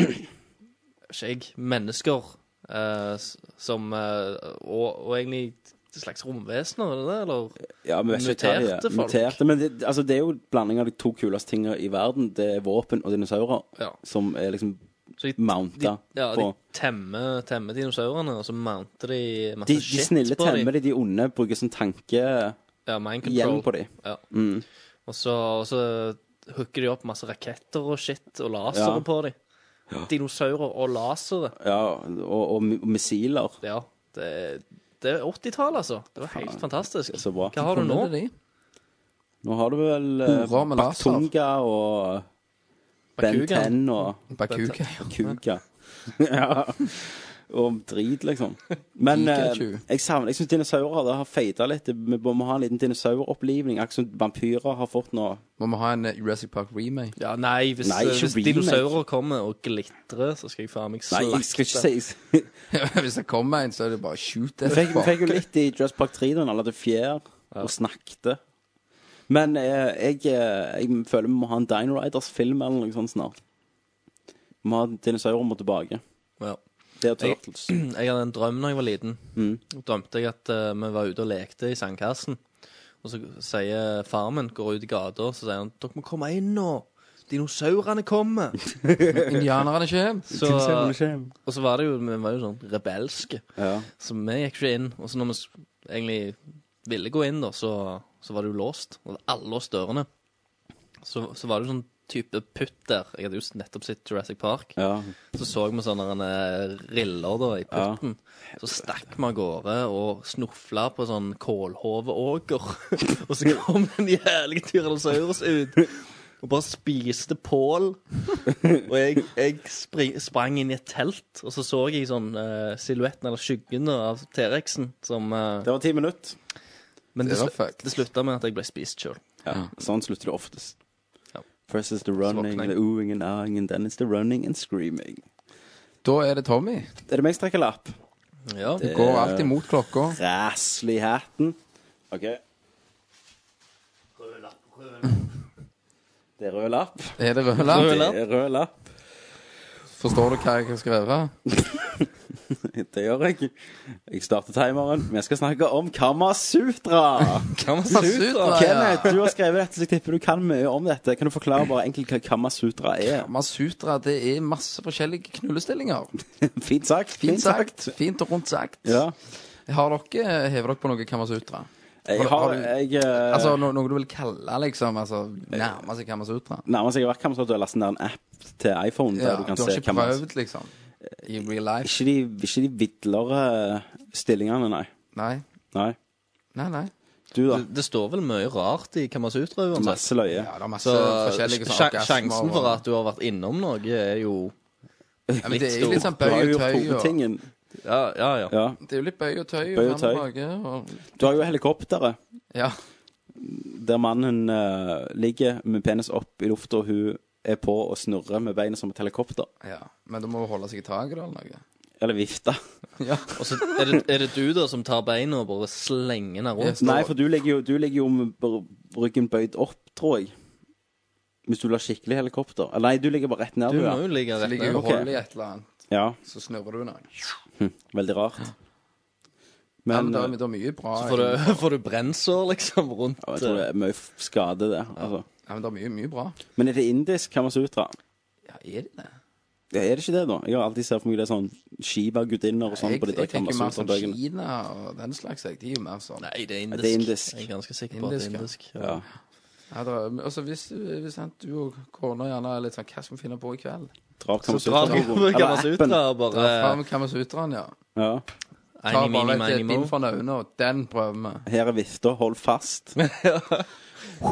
F: Ikke jeg, mennesker eh, s- som eh, og, og egentlig et slags romvesener, er det det, eller?
E: Ja, men vet ikke hva de er.
F: Muterte folk.
E: Muterte, men det, altså, det er jo blanding av de to kuleste tingene i verden. Det er våpen og dinosaurer
F: Ja.
E: som er liksom
F: Så de, de,
E: mounta
F: ja, de
E: på.
F: temmer, temmer dinosaurene, og så mounter de masse
E: De, de
F: shit
E: snille
F: på
E: temmer
F: dem.
E: de, de onde bruker som tankegjeng
F: Ja, mind control.
E: på dem.
F: Ja.
E: Mm.
F: Og så, og så hooker de opp masse raketter og shit og lasere
E: Ja.
F: på dem. Dinosaurer og lasere.
E: Ja, og, og mi- missiler.
F: Ja, det, er- det er 80-tallet, altså. Det var helt fantastisk.
E: Så bra.
F: Hva har du nå?
B: Det er de.
E: Nå har du vel eh,
B: Horer med laser.
E: Baktunga og Ben
F: Bakugan.
E: 10 og
B: Bakuga. ja.
E: Kuga. ja. Og drit, liksom. Men eh,
B: Pikachu.
E: jeg savner Jeg syns dinosaurer det har fada litt. Vi må må ha en liten dinosauropplivning. Akkurat som vampyrer har fått nå.
B: Må vi ha en eh, Jurassic Park remake?
F: Ja, nei, hvis,
E: Nei, ikke
F: hvis
E: remake.
F: dinosaurer kommer og glitrer, så skal jeg faen meg
E: Nei,
F: slakte.
E: jeg skal ikke si
B: Hvis det kommer en, så er det bare shoot det.
E: Vi fikk, vi fikk jo litt i Just Park 3 da han hadde fjær og snakket. Men eh, jeg, eh, jeg føler vi må ha en Dino Riders-film eller noe sånt snart. Vi må ha dinosaurer må tilbake.
F: Ja.
E: Det er Turtles.
F: Jeg hadde en drøm da jeg var liten. Da Drømte jeg at eh, vi var ute og lekte i sandkassen. Og så sier faren min, går ut i gata, og så sier han dere må komme inn nå. Dinosaurene kommer!
B: Indianerne kommer.
F: Så, og så var det jo, vi var jo sånn rebelske.
E: Ja.
F: Så vi gikk ikke inn. Og så når vi s- egentlig ville gå inn, da, så, så var det jo låst. Og alle låste dørene. Så, så var det jo sånn type putt der. Jeg hadde jo s- nettopp sett Jurassic Park.
E: ja.
F: Så så vi sånne eh, riller da i putten. Så stakk vi av gårde og snufla på sånn kålhoveåker. og så kom den jævlige tyrannosaurus ut og bare spiste pål. Og jeg, jeg spring, sprang inn i et telt, og så så jeg sånn eh, silhuetten eller skyggen av T-rexen som eh,
E: Det var ti minutter.
F: Men det,
B: det var
F: slu-
B: fucked.
F: det slutta med at jeg ble spist sjøl.
E: Ja. Sånn slutter det oftest.
F: Ja.
E: First is the
F: Så
E: running,
F: våkner jeg.
E: the ooing and ahing, and then it's the running and screaming.
B: Da er det Tommy.
E: Er det meg som trekker lapp?
F: Ja.
B: Det går alltid mot klokka.
E: Rasl i hatten. OK. Det er rød lapp.
B: Er det rød
F: Rød
B: lapp?
F: lapp.
E: Det er rød lapp.
B: Forstår du hva jeg har skrevet?
E: Det gjør jeg. Jeg starter timeren. Vi skal snakke om Kamasutra.
B: Kamasutra,
E: Kenneth, du har skrevet dette, så jeg tipper du kan mye om dette. Kan du forklare bare enkelt hva Kamasutra er?
B: Kamasutra, det er masse forskjellige knullestillinger.
E: Fint sagt.
B: Fint sagt. Fint og rundt sagt.
E: Ja.
B: Har dere hevet dere på noe Kamasutra?
E: Jeg har, jeg, eh,
B: Altså no, noe du vil kalle liksom altså, nærme seg Kamasutra?
E: nærmer seg hvert kamasutra. Du har lastet ned en app til iPhone der
B: Ja,
E: du
B: du
E: kan
B: har
E: se
B: ikke
E: Kamas-
B: prøvd, liksom? I real life?
E: Ikke de, ikke de vidlere stillingene, nei.
B: Nei.
E: Nei.
B: Nei, nei.
E: Du, da.
F: Det, det står vel mye rart i Kamasutra uansett.
E: Masse løye.
B: Ja, det er masse
F: Så
B: forskjellige sånne
F: sja-
B: orgasmer
F: sjansen
B: og-
F: for at du har vært innom noe, er jo
B: ja, men Det er jo
F: litt
B: litt sånn
E: Du har jo
B: bøy og
E: gjort
B: tøy og
E: hodetingen.
F: Ja, ja. ja.
E: Ja.
B: Det er jo litt bøy og tøy
E: Bøy
B: og
E: og
B: frem og tilbake. Og...
E: Du har jo helikopteret,
B: Ja.
E: der mannen eh, ligger med penis opp i lufta, og hun er på og snurrer med beinet som et helikopter.
B: ja. Men du må jo holde seg i taket da, eller noe.
E: Eller vifte.
B: Ja.
F: Og så er det, er det du da som tar beina og bare slenger den rundt?
B: Yes.
E: Nei, for du ligger jo, du ligger jo med br- ryggen bøyd opp, tror jeg. Hvis du vil ha skikkelig helikopter. Eller Nei, du ligger bare rett ned.
F: Du
E: Du,
F: må
E: ja.
F: jo ligge
B: Så
F: rett
B: ligger
F: ned.
B: jo
E: ok.
B: hold i et eller annet,
E: ja.
B: så snurrer du noe.
E: Veldig rart. Men, eh,
B: Ja, men det er, det er mye bra
F: Så får du, får du brensår, liksom, rundt
E: eh, jeg tror det er mye f- skade, det. Altså.
B: Ja, men det er mye, mye bra.
E: Men er det indisk Kamasutra?
F: eh,
B: Ja, er det det?
E: Ja, er det ikke det, da? Jeg har alltid sett for meg det er sånn Shiva-gudinner og sånn
B: Jeg,
E: på de der
B: jeg tenker mer sånn
E: Kamasutra-bøkene.
B: Kina og den slags. Jeg. De er jo mer sånn
F: Nei, det er indisk.
E: Det er indisk.
F: Jeg er ganske sikker på at det er indisk.
B: Indisk,
F: Ja.
B: ja, det er, altså, hvis, hvis sant, du og kona gjerne er litt sånn Hva skal vi finne på i kveld?
E: Drap
F: Så drar vi over
E: Kamasutra-boken. Eller appen.
F: Kamasutra og bare
B: Da fram Kamasutraen, ja.
E: Ja.
B: Ta
F: Eini, mini,
B: bare
F: mini,
B: et bind
F: mo.
B: foran øynene, og den prøver vi.
E: Her er vifta, hold fast.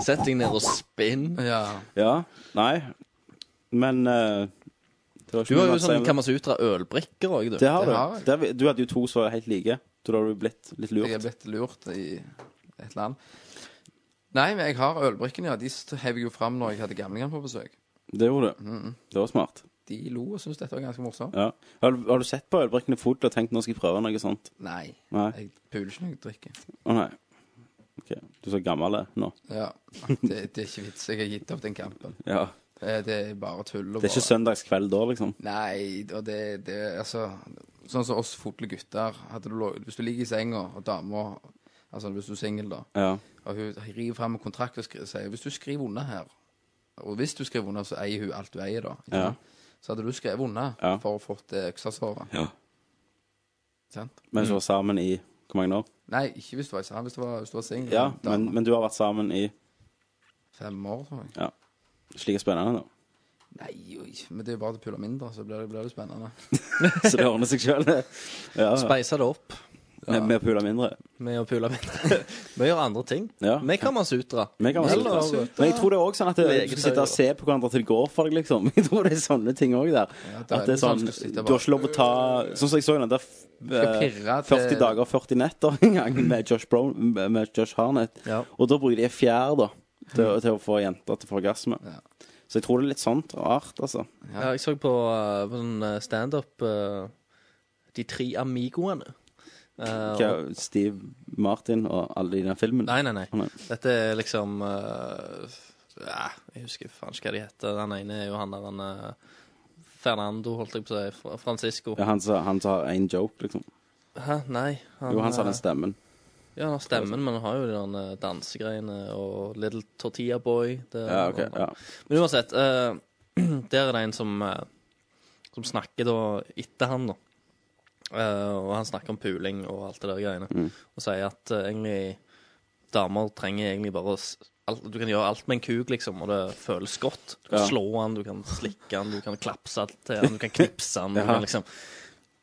F: Sett deg ned og spinn.
B: Ja.
E: Ja. Nei. Men eh, det var ikke
F: Du har
E: mye
F: jo
E: mer å si om
F: sånn
E: det.
F: Kamasutra-ølbrikker òg, du.
E: Det har
B: Det har
E: du.
B: jeg.
E: Det har vi- du hadde jo to som var helt like. Så da har du blitt litt lurt.
B: Jeg er blitt lurt i et land. Nei, men jeg har ølbrikkene, ja. De st- hev jeg jo fram når jeg hadde gamlingene på besøk.
E: Det gjorde du.
B: Mm,
E: Det var smart.
B: De lo og syntes dette var ganske morsomt.
E: Ja. Har, du- har du sett på ølbrikkene fort og tenkt nå skal jeg prøve noe sånt?
B: Nei.
E: Nei.
B: Jeg puler ikke når jeg drikker.
E: Å nei. Ok, Du er så gammel det, nå.
B: Ja. Det, det er ikke vits. Jeg har gitt opp den kampen.
E: Ja.
B: Eh, Det er bare tull. og
E: Det er ikke
B: bare-
E: søndagskveld da, liksom?
B: Nei, og det, det Altså, sånn som oss fotle gutter hadde du, lå- Hvis du ligger i senga, og dama Altså, hvis du er singel, da,
E: Ja.
B: og hun river fram en kontrakt og skri, sier Hvis du skriver unna her, og hvis du skriver unna, så eier hun alt du eier, da. ikke
E: Ja.
B: sant? Så hadde du skrevet unna
E: Ja.
B: for å få det øksasåret.
E: Ja. Mm.
B: Sant?
E: Men så var sammen i Hvor mange år?
B: Nei, ikke hvis du var sammen, hvis du var, hvis du var singel.
E: Ja,
B: da.
E: men, men du har vært sammen i
B: Fem år, tror jeg.
E: Ja. Slik er spennende, da.
B: Nei, oi. Men det er jo bare at du puller mindre, så blir det, blir det spennende.
E: Så det ordner seg sjøl, det. Ja, ja.
F: Speise det opp
E: Med- Med å pule mindre.
F: med å pule mindre. Vi gjør andre ting.
E: Ja.
F: Vi Kamasutra.
E: Vi kan være
F: Eller-
E: sykere. Men jeg tror det er også sånn at du
F: Legetøy,
E: skal sitte og se på hverandre til det går for deg, liksom. Jeg tror det er sånne ting òg der.
B: det er
E: at det er
B: litt sånn
E: sånn
B: at du skal sitte
E: Du har ikke lov å ta Sånn som jeg så den der
B: Skal
E: eh,
B: pirre til-
E: 40 dager og 40 netter en gang med Josh, Brown, med Josh Harnett.
F: Ja.
E: Og da bruker de fjær, da, til, å- til å få jenter til å få orgasme.
B: Ja.
E: Så jeg tror det er litt sånt rart, altså.
F: Ja, jeg så på, eh, på sånn eh, standup eh, De tre amigoene. Eh,
E: Hva,
F: og,
E: Steve Martin og alle i den filmen.
F: nei, nei, nei.
E: Nei.
F: Dette er liksom eh, ja, Jeg husker faen ikke hva de heter. Den ene er jo han der han eh, Fernando, holdt jeg på å si. Fra- Francisco.
E: Ja, han som han som har én joke, liksom.
F: Hæ, nei. Han,
E: Jo, han sa
F: eh,
E: den stemmen.
F: Ja, han har stemmen, men han har jo de der eh, dansegreiene og Little Tortilla Boy. Det,
E: Ja, OK. Ja.
F: Men uansett, eh, der er det en som, eh, som snakker da etter han, da. Eh, og han snakker om puling og alt det der greiene. Og sier at eh, egentlig damer trenger egentlig bare å s- alt, Du kan gjøre alt med en kuk, liksom, og det føles godt. Du kan
E: Ja.
F: slå han, du kan slikke han, du kan klapse til han, du kan knipse han. du kan liksom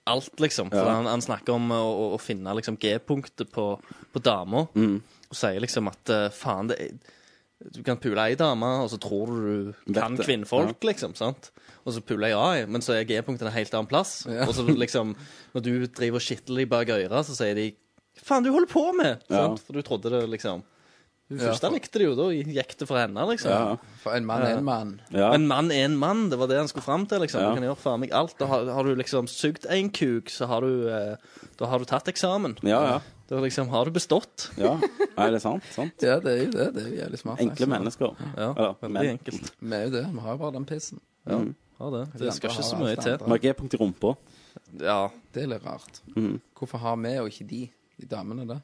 F: Alt, liksom. For han, han snakker om å, å, å finne liksom G-punktet på, på dama,
E: Mm.
F: og sier liksom at eh, faen, det er du kan pule ei dame, og så tror du du
E: Vet
F: kan
E: det.
F: kvinnfolk, liksom. sant? Og så puler jeg AI, men så er G-punktet en helt annen plass. Og så liksom, når du driver og skitler deg bak øret, så sier de 'faen, du holder på med', sant? for du trodde det, liksom. Hun
B: Ja.
F: første likte det jo, da gikk det for henne, liksom.
E: Ja.
B: For en mann er en mann.
E: Ja.
F: En mann er en mann, det var det han skulle fram til. liksom.
E: Ja.
F: Du kan gjøre faen meg alt. Da har, har du liksom sugd én kuk, så har du, eh, da har du tatt eksamen.
E: Ja, ja.
F: Da liksom har du bestått.
E: ja. Nei, det er sant. sant.
B: Ja, det er jo det. Det er jo jævlig smart.
E: Enkle
B: altså.
E: mennesker.
F: Ja,
E: Eller,
F: veldig
E: men- Mm.
F: enkelt.
B: Vi er jo det. Vi har jo bare den pissen.
F: Ja. Har det. Det skal ikke så mye til.
E: Med G-punkt i rumpa.
F: Ja.
B: Det er litt rart.
E: Mhm.
B: Hvorfor har vi og ikke de, de damene, det?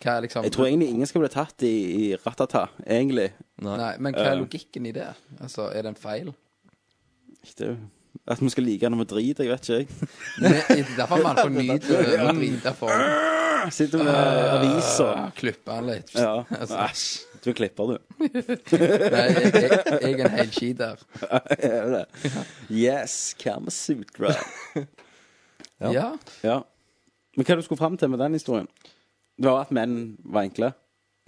B: Hva er liksom
E: Jeg tror egentlig ingen skal bli tatt i, i ratata, egentlig.
B: Nei, men hva er
E: Eh.
B: logikken i det? Altså, er det en feil?
E: Det er jo at vi skal like når vi driter, jeg vet ikke, jeg.
B: Men, derfor har man får nyte å drite for
E: Sitter med aviser.
B: Klippe han litt.
E: Ja.
B: Altså,
E: Æsj. Ah, Du er klipper, du.
B: nei, jeg, jeg, jeg er en hel ski der.
E: Er du det? Yes, Kama Sutra.
B: Ja.
E: Ja. Men hva er det du skulle fram til med den historien? Det var at menn var enkle.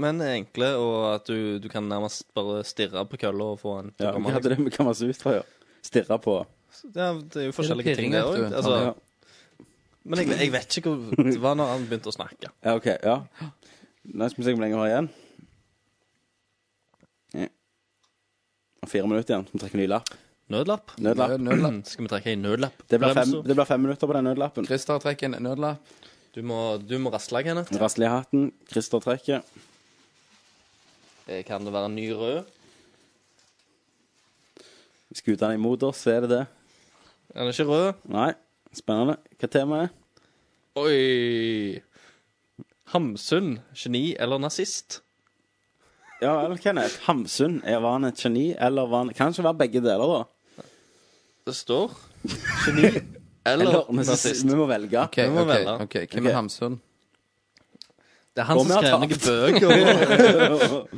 F: Men er enkle, og at du, du kan nærmest bare stirre på kølla og få en til
E: Ja,
F: å komme,
E: hva hadde det med Kama Sutra å gjøre? Stirre på.
F: liksom. ja, Det er jo forskjellige
B: Det er
F: ting,
B: pirring,
F: det
B: vet
F: òg.
B: du.
F: Altså,
E: Ja.
F: men jeg, jeg vet ikke hvor Det var når han begynte å snakke.
E: Ja, ok, ja. Nå skal vi se hvor lenge vi har igjen. Ja. Fire minutter igjen. Vi trekker ny lapp.
F: Nødlapp?
E: Nødlapp.
B: Nødlapp.
F: Skal vi trekke en nødlapp?
E: Mm. Det blir fem,
F: Bremser.
E: det blir fem minutter på den nødlappen.
B: Christer trekker en nødlapp.
F: Du må, du må rasle, Kenneth.
E: Rasle i hatten. Christer trekker.
F: Eh, Kan det være en ny rød?
E: Skutene imot oss, er det det?
F: Er det ikke rød?
E: Nei. Spennende. Hva temaet er?
F: Oi! Hamsun, geni eller nazist?
E: Ja vel, Kenneth. Hamsun. Er- Var han et geni, eller var han Kanskje være begge deler, da.
F: Det står geni eller
E: vi-
F: nazist.
E: Vi må velge.
B: Ok,
F: må
B: ok,
F: velge.
B: ok, Hvem
E: Ok.
B: er Hamsun?
F: Det er han
E: Og
F: som
E: vi
F: skrev
E: har
F: noen
E: tapt.
F: bøker.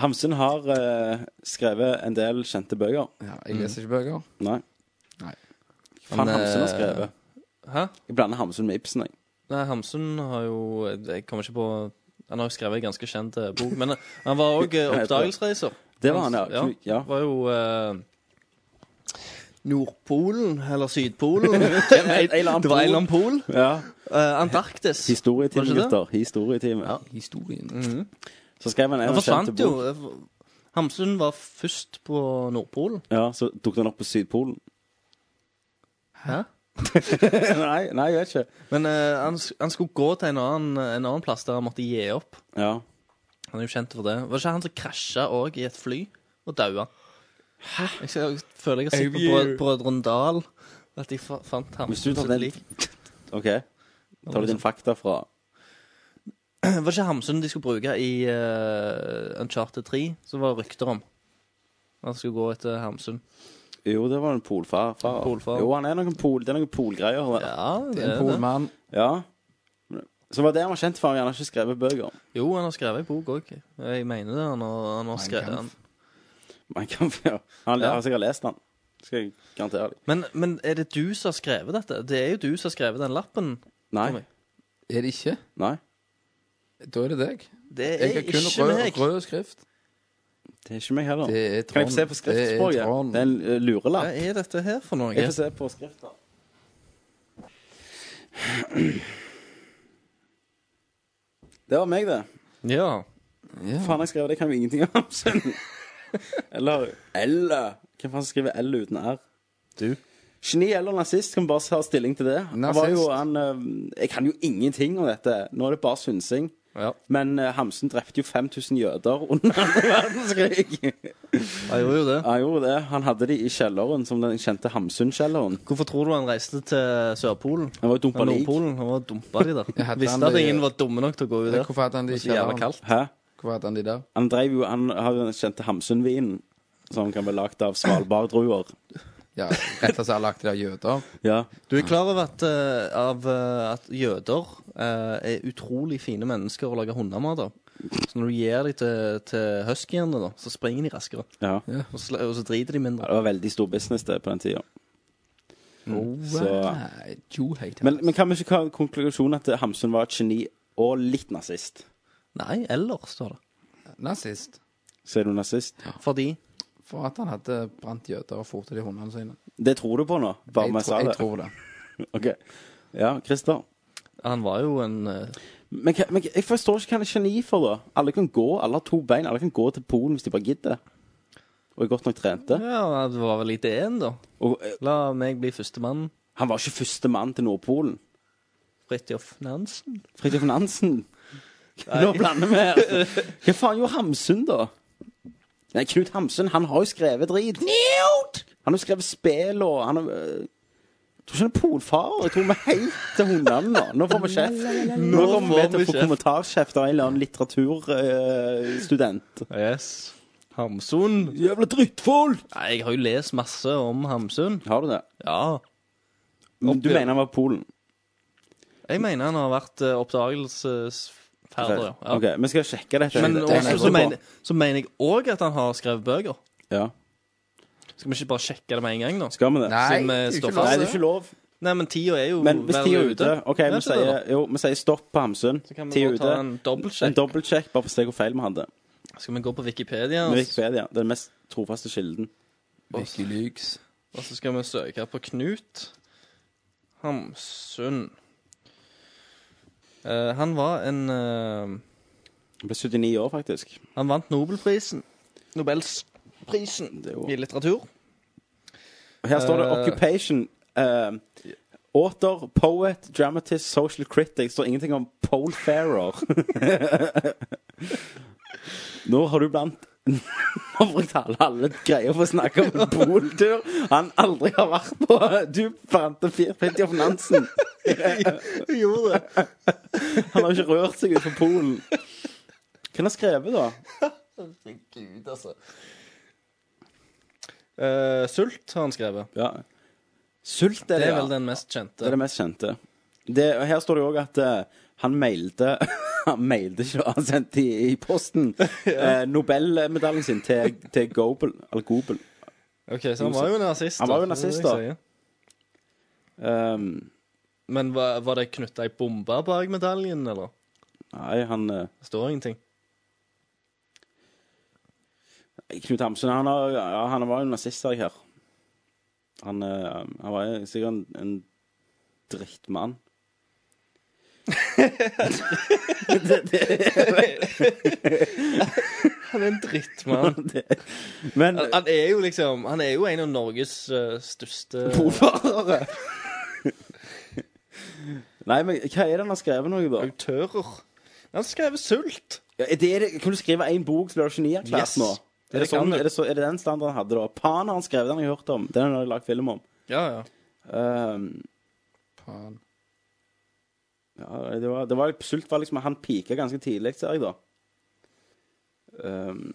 E: Hamsun har eh, skrevet en del kjente bøker.
B: Ja, jeg leser ikke bøker.
E: Nei.
B: Nei.
E: Faen,
F: Men,
E: Hamsun har
F: eh,
E: skrevet.
F: Hæ?
E: Jeg blander Hamsun med Ibsen, jeg.
F: Nei, Hamsun har jo Jeg kommer ikke på Han har jo skrevet en ganske kjent eh, bok, men eh, han var òg
E: Hva heter det?
F: oppdagelsesreiser.
E: Det var han, ja. Knu- ja.
F: Var jo eh, Nordpolen, eller Sydpolen Det var en
E: eller annen
F: eller
E: pol.
F: annen pol.
E: ja.
F: Eh, Antarktis.
E: Historietime,
F: Var det ikke det?
E: gutter. Historietime.
B: Historien.
E: Så skrev han en
F: Han
E: av kjente
F: forsvant jo.
E: bok.
F: Hamsun var først på Nordpolen.
E: Ja, så dukket han opp på Sydpolen.
F: Hæ?
E: nei, nei, jeg vet ikke.
F: Men eh, han, s- han skulle gå til en annen, en annen plass der han måtte gi opp.
E: Ja.
F: Han er jo kjent for det. Var det ikke han som krasja òg i et fly og daua? Hæ? Jeg, skal- jeg føler jeg har sett på Brød- Brødrene Dal at de fa fant ham
E: Hvis du tar
F: sitt
E: den
F: lik.
E: OK. Tar du din fakta fra
F: Var det ikke Hamsun de skulle bruke i eh, Uncharted 3, som var rykter om? Han skulle gå etter Hamsun.
E: Jo, det var en polfar. far.
F: Polfar.
E: Jo, han er noen pol, det er noen polgreier. Ja.
F: Ja, det
B: Det er
F: er
B: en
F: det.
B: polmann.
E: ja. Så var det han var kjent for. Han har ikke skrevet bøker.
F: Jo, han har skrevet ei bok òg. Jeg mener det. Han har, han har skrevet den.
E: Men han kan ja. Han
F: Ja.
E: har sikkert lest den. Skal jeg garantere deg.
F: Men, men er det du som har skrevet dette? Det er jo du som har skrevet den lappen.
E: Nei.
F: Tommy.
B: Er det ikke?
E: Nei.
B: Da er det deg.
F: Det
B: Jeg
F: er
B: har kun
F: ikke
B: rød,
F: meg.
B: rød skrift.
E: Det er ikke meg heller.
B: Det er
E: Kan
B: Trond.
E: jeg få se på skriftspråket?
B: Det er Trond.
E: Det er en eh,
F: Hva
E: lurelapp.
F: er dette her for noe?
E: Jeg får se på skrifta. Det var meg, det.
F: Ja.
B: Ja.
E: Faen, jeg skrev det, kan jo ingenting om Hamsun. Eller L. Hvem faen skriver L uten R?
F: Du.
E: Geni eller nazist, kan vi bare ta stilling til det. Han var jo
B: Nazist.
E: han, eh, jeg kan jo ingenting om dette. Nå er det bare synsing.
F: Ja.
E: Men eh, Hamsun drepte jo 5000 jøder under andre verdenskrig.
F: Jeg gjorde jo det.
E: Han gjorde det. Han hadde de i kjelleren, som den kjente Hamsun-kjelleren.
F: Hvorfor tror du han reiste til Sørpolen?
E: Han var jo dumpa
F: Eller
E: lik.
F: Nordpolen? Han var dumpa de der.
B: Jeg hadde
F: Visste
B: han
F: at
B: de-
F: ingen var dumme nok til å gå ut der.
B: Hvorfor hadde han de i
F: Så jævla
B: kjelleren?
F: kaldt.
E: Hæ?
B: Hvorfor hadde han de der?
E: Han drev jo Han har jo den kjente Hamsun-vinen, som kan bli lagd av svalbarddruer.
B: Ja, rett og slett lagt de der jøder.
E: Ja.
F: Du er klar over at, eh, av, eh, at jøder eh, er utrolig fine mennesker å lage hundemat av? Så når du gir dem til, til huskyene, da, så springer de raskere.
E: ja.
F: Og så, og så driter de
E: Ja,
F: mindre.
E: Det var veldig stor business det på den tida.
B: Right. You hate
E: Men, men kan vi ikke ha en konklusjon at Hamsun var et geni og litt nazist?
F: Nei, eller, står det.
B: Nazist.
E: Så er du nazist?
F: Fordi
B: For at han hadde brant jøder og fortet de hundene sine.
E: Det tror du på nå? Bare
B: Jeg,
E: med jeg
B: tror-
E: sa
B: jeg
E: det?
B: tror det.
E: Ok. Ja, Christer.
F: han var jo en eh,
E: Men, hva- men jeg forstår ikke hva han er geni for, da. Alle kan gå, alle har to bein. Alle kan gå til Polen hvis de bare gidder. Og er godt nok trente.
F: Ja, det var vel ideen, da.
E: Og eh,
F: La meg bli førstemann.
E: han var ikke første mann til Nordpolen.
F: Fridtjof Nansen.
E: Fridtjof Nansen. Nå blander vi her. Hva faen gjorde Hamsun, da? Nei, Knut Hamsun, han har jo skrevet drit. Knut! Han har skrevet spill og han har, øh, Jeg tror ikke han er polfarer. Jeg tror vi er helt til hundene nå. Nå får vi kjeft. Nå kommer vi til å få kommentarkjeft av en eller annen litteraturstudent.
F: Yes. Hamsun.
E: Jævla drittfolk!
F: Nei, jeg har jo lest masse om Hamsun.
E: Har du det?
F: Ja.
E: Men Mm, Du
F: Opp-
E: mener han var Polen?
F: Jeg mener han har vært eh, oppdagelsesferdig. ja. Ja.
E: Ok, vi skal sjekke dette.
F: Men
E: Det er
F: også,
E: jeg
F: så,
E: tror på.
F: mener, så mener jeg òg at han har skrevet bøker.
E: Ja.
F: Skal vi ikke bare sjekke det med en gang, nå?
E: Skal vi det?
B: Nei, altså-
F: Siden vi
B: det er jo
F: står
B: ikke
E: eh, Nei,
F: fast.
B: lov.
E: det er ikke lov.
F: Nei, men tida er jo
E: Men hvis
F: vel
E: tida er ute OK,
F: Er
E: vi
F: ikke det
E: sier, jo, vi sier stopp på Hamsun.
F: Så kan vi
E: Tida
F: bare
E: er
F: ta
E: ute.
F: en
E: En
F: dobbeltsjekk.
E: dobbeltsjekk bare for å se hvor feil vi hadde.
F: Skal vi gå på Wikipedia, og
E: Med Wikipedia. Den mest trofaste kilden.
B: Wikileaks.
F: og så skal vi søke på Knut Hamsun. Eh, han var en eh,
E: Han ble 79 år, faktisk.
F: Han vant Nobelprisen. Nobelsprisen
E: Det er jo-
F: i litteratur.
E: Og Her står det
F: Eh.
E: 'occupation'. eh, author, poet, dramatist, social critic. Det står ingenting om Pole Farer. Nå har du blant Nå brukte alle, alle greier for å snakke om en poltur han aldri har vært på. Du fant en fyr, Fridtjof Nansen.
F: Jeg gjorde det.
E: Han har ikke rørt seg utenfor Polen. Hva har han skrevet, da?
F: Gud, altså. Eh, Sult har han skrevet.
E: Ja. Sult er
F: Det
E: det,
F: er vel
E: ja.
F: den mest kjente.
E: Det er det mest kjente. Det, og her står det òg at eh, han mailte Han mailte ikke, han sendte i, i posten eh, Nobelmedaljen sin til, til Gobel, eller Gobel.
F: Ok, Så han var jo nazist.
E: Han var jo
F: det er det
E: nazist,
F: jeg
E: da.
F: sier.
E: Um,
F: Men var, var det knytta ei bombe bak medaljen, eller?
E: nei, han eh,
F: Det står ingenting.
E: Knut Hamsun, han, har, ja, han var jo nazist, ser jeg her. Han, eh, han var jo sikkert en, en drittmann.
F: Han er en drittmann.
E: Det, men
F: Han, han er jo liksom Han er jo en av Norges eh, største
E: Polfarere! Nei, men hva er det han har skrevet noe, da?
F: autører. Han skrev 'Sult'.
E: Ja, Er det, er det- kan du skrive én bok til du er genierklært
F: Yes.
E: nå? Er det,
F: Det kan
E: sånn,
F: du.
E: er, det så, er det den standarden han hadde da? Pan har han skrevet, den har jeg hørt om. Den har jeg lagd film om.
F: Ja, ja.
E: Ehm,
B: Faen.
E: ja, det var, det var, sult var liksom Han pika ganske tidlig, ser jeg, da. Ehm,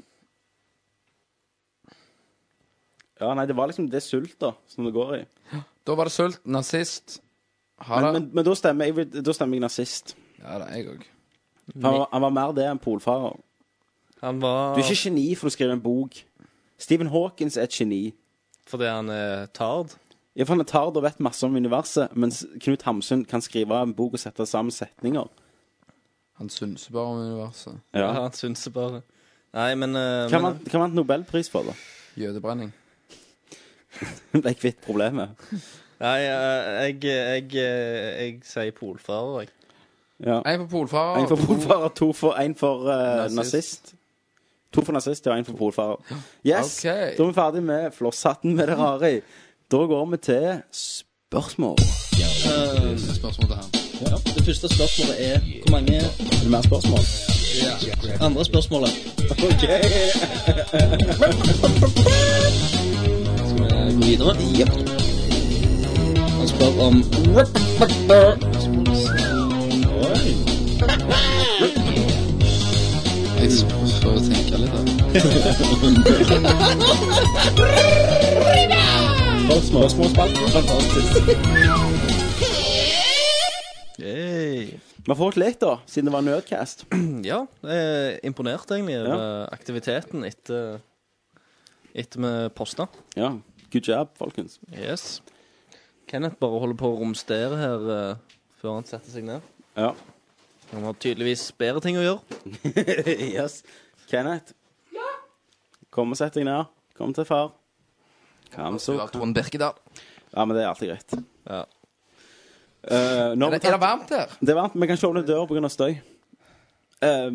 E: ja, nei, det var liksom det sult, da, som det går i.
B: Da var det sult. Nazist. Ha
E: Men,
B: det.
E: men, men da stemmer jeg, vil- da stemmer jeg nazist.
B: Ja, det er jeg òg.
E: Han, var- han var mer det enn polfarer.
F: Han var
E: Du er ikke geni for å skrive en bok. Stephen Hawkins er et geni.
F: Fordi han er tard.
E: Ja, for han er tard og vet masse om universet, mens Knut Hamsun kan skrive en bok og sette sammen setninger.
B: Han synser bare om universet.
F: Ja. Han synser bare Nei, men, eh,
E: Hva
F: men
E: vant hva vant Nobelpris for, da?
B: Jødebrenning.
E: Ble kvitt problemet.
F: Nei, eh, jeg, jeg, jeg, jeg sier polfarer, jeg.
E: Ja.
B: Én for polfarer.
E: En for
B: to-
E: polfarer, to for En for eh,
B: Nazist.
E: nazist. To for nazist og en for polfarer. Yes!
B: Ok.
E: Da er vi ferdig med flosshatten med det rare i. Da går vi til spørsmål.
B: Spørsmål til han.
F: Det første spørsmålet er hvor mange
E: Er det mer spørsmål?
F: andre spørsmålet
E: OK!
F: skal vi gå videre. Yep. Han spør om
B: Jeg får jo tenke litt, da.
E: Vi har fått litt, da, siden det var nødcast.
F: Ja, jeg er imponert egentlig over aktiviteten etter etter vi posta.
E: Ja. Good job, folkens.
F: Yes. Kenneth bare holder på å romstere her eh, før han setter seg ned.
E: Ja.
F: Han har tydeligvis bedre ting å gjøre.
E: yes. Kenneth. Kom og sett deg ned. Kom til far. Kom så.
B: Du har Trond Birkedal.
E: Ja, men det er alltid greit.
F: Ja.
E: Eh, nå har vi
B: Er det, er det
E: tatt-
B: varmt her?
E: det er varmt. Vi kan ikke åpne døra pga. støy. Eh,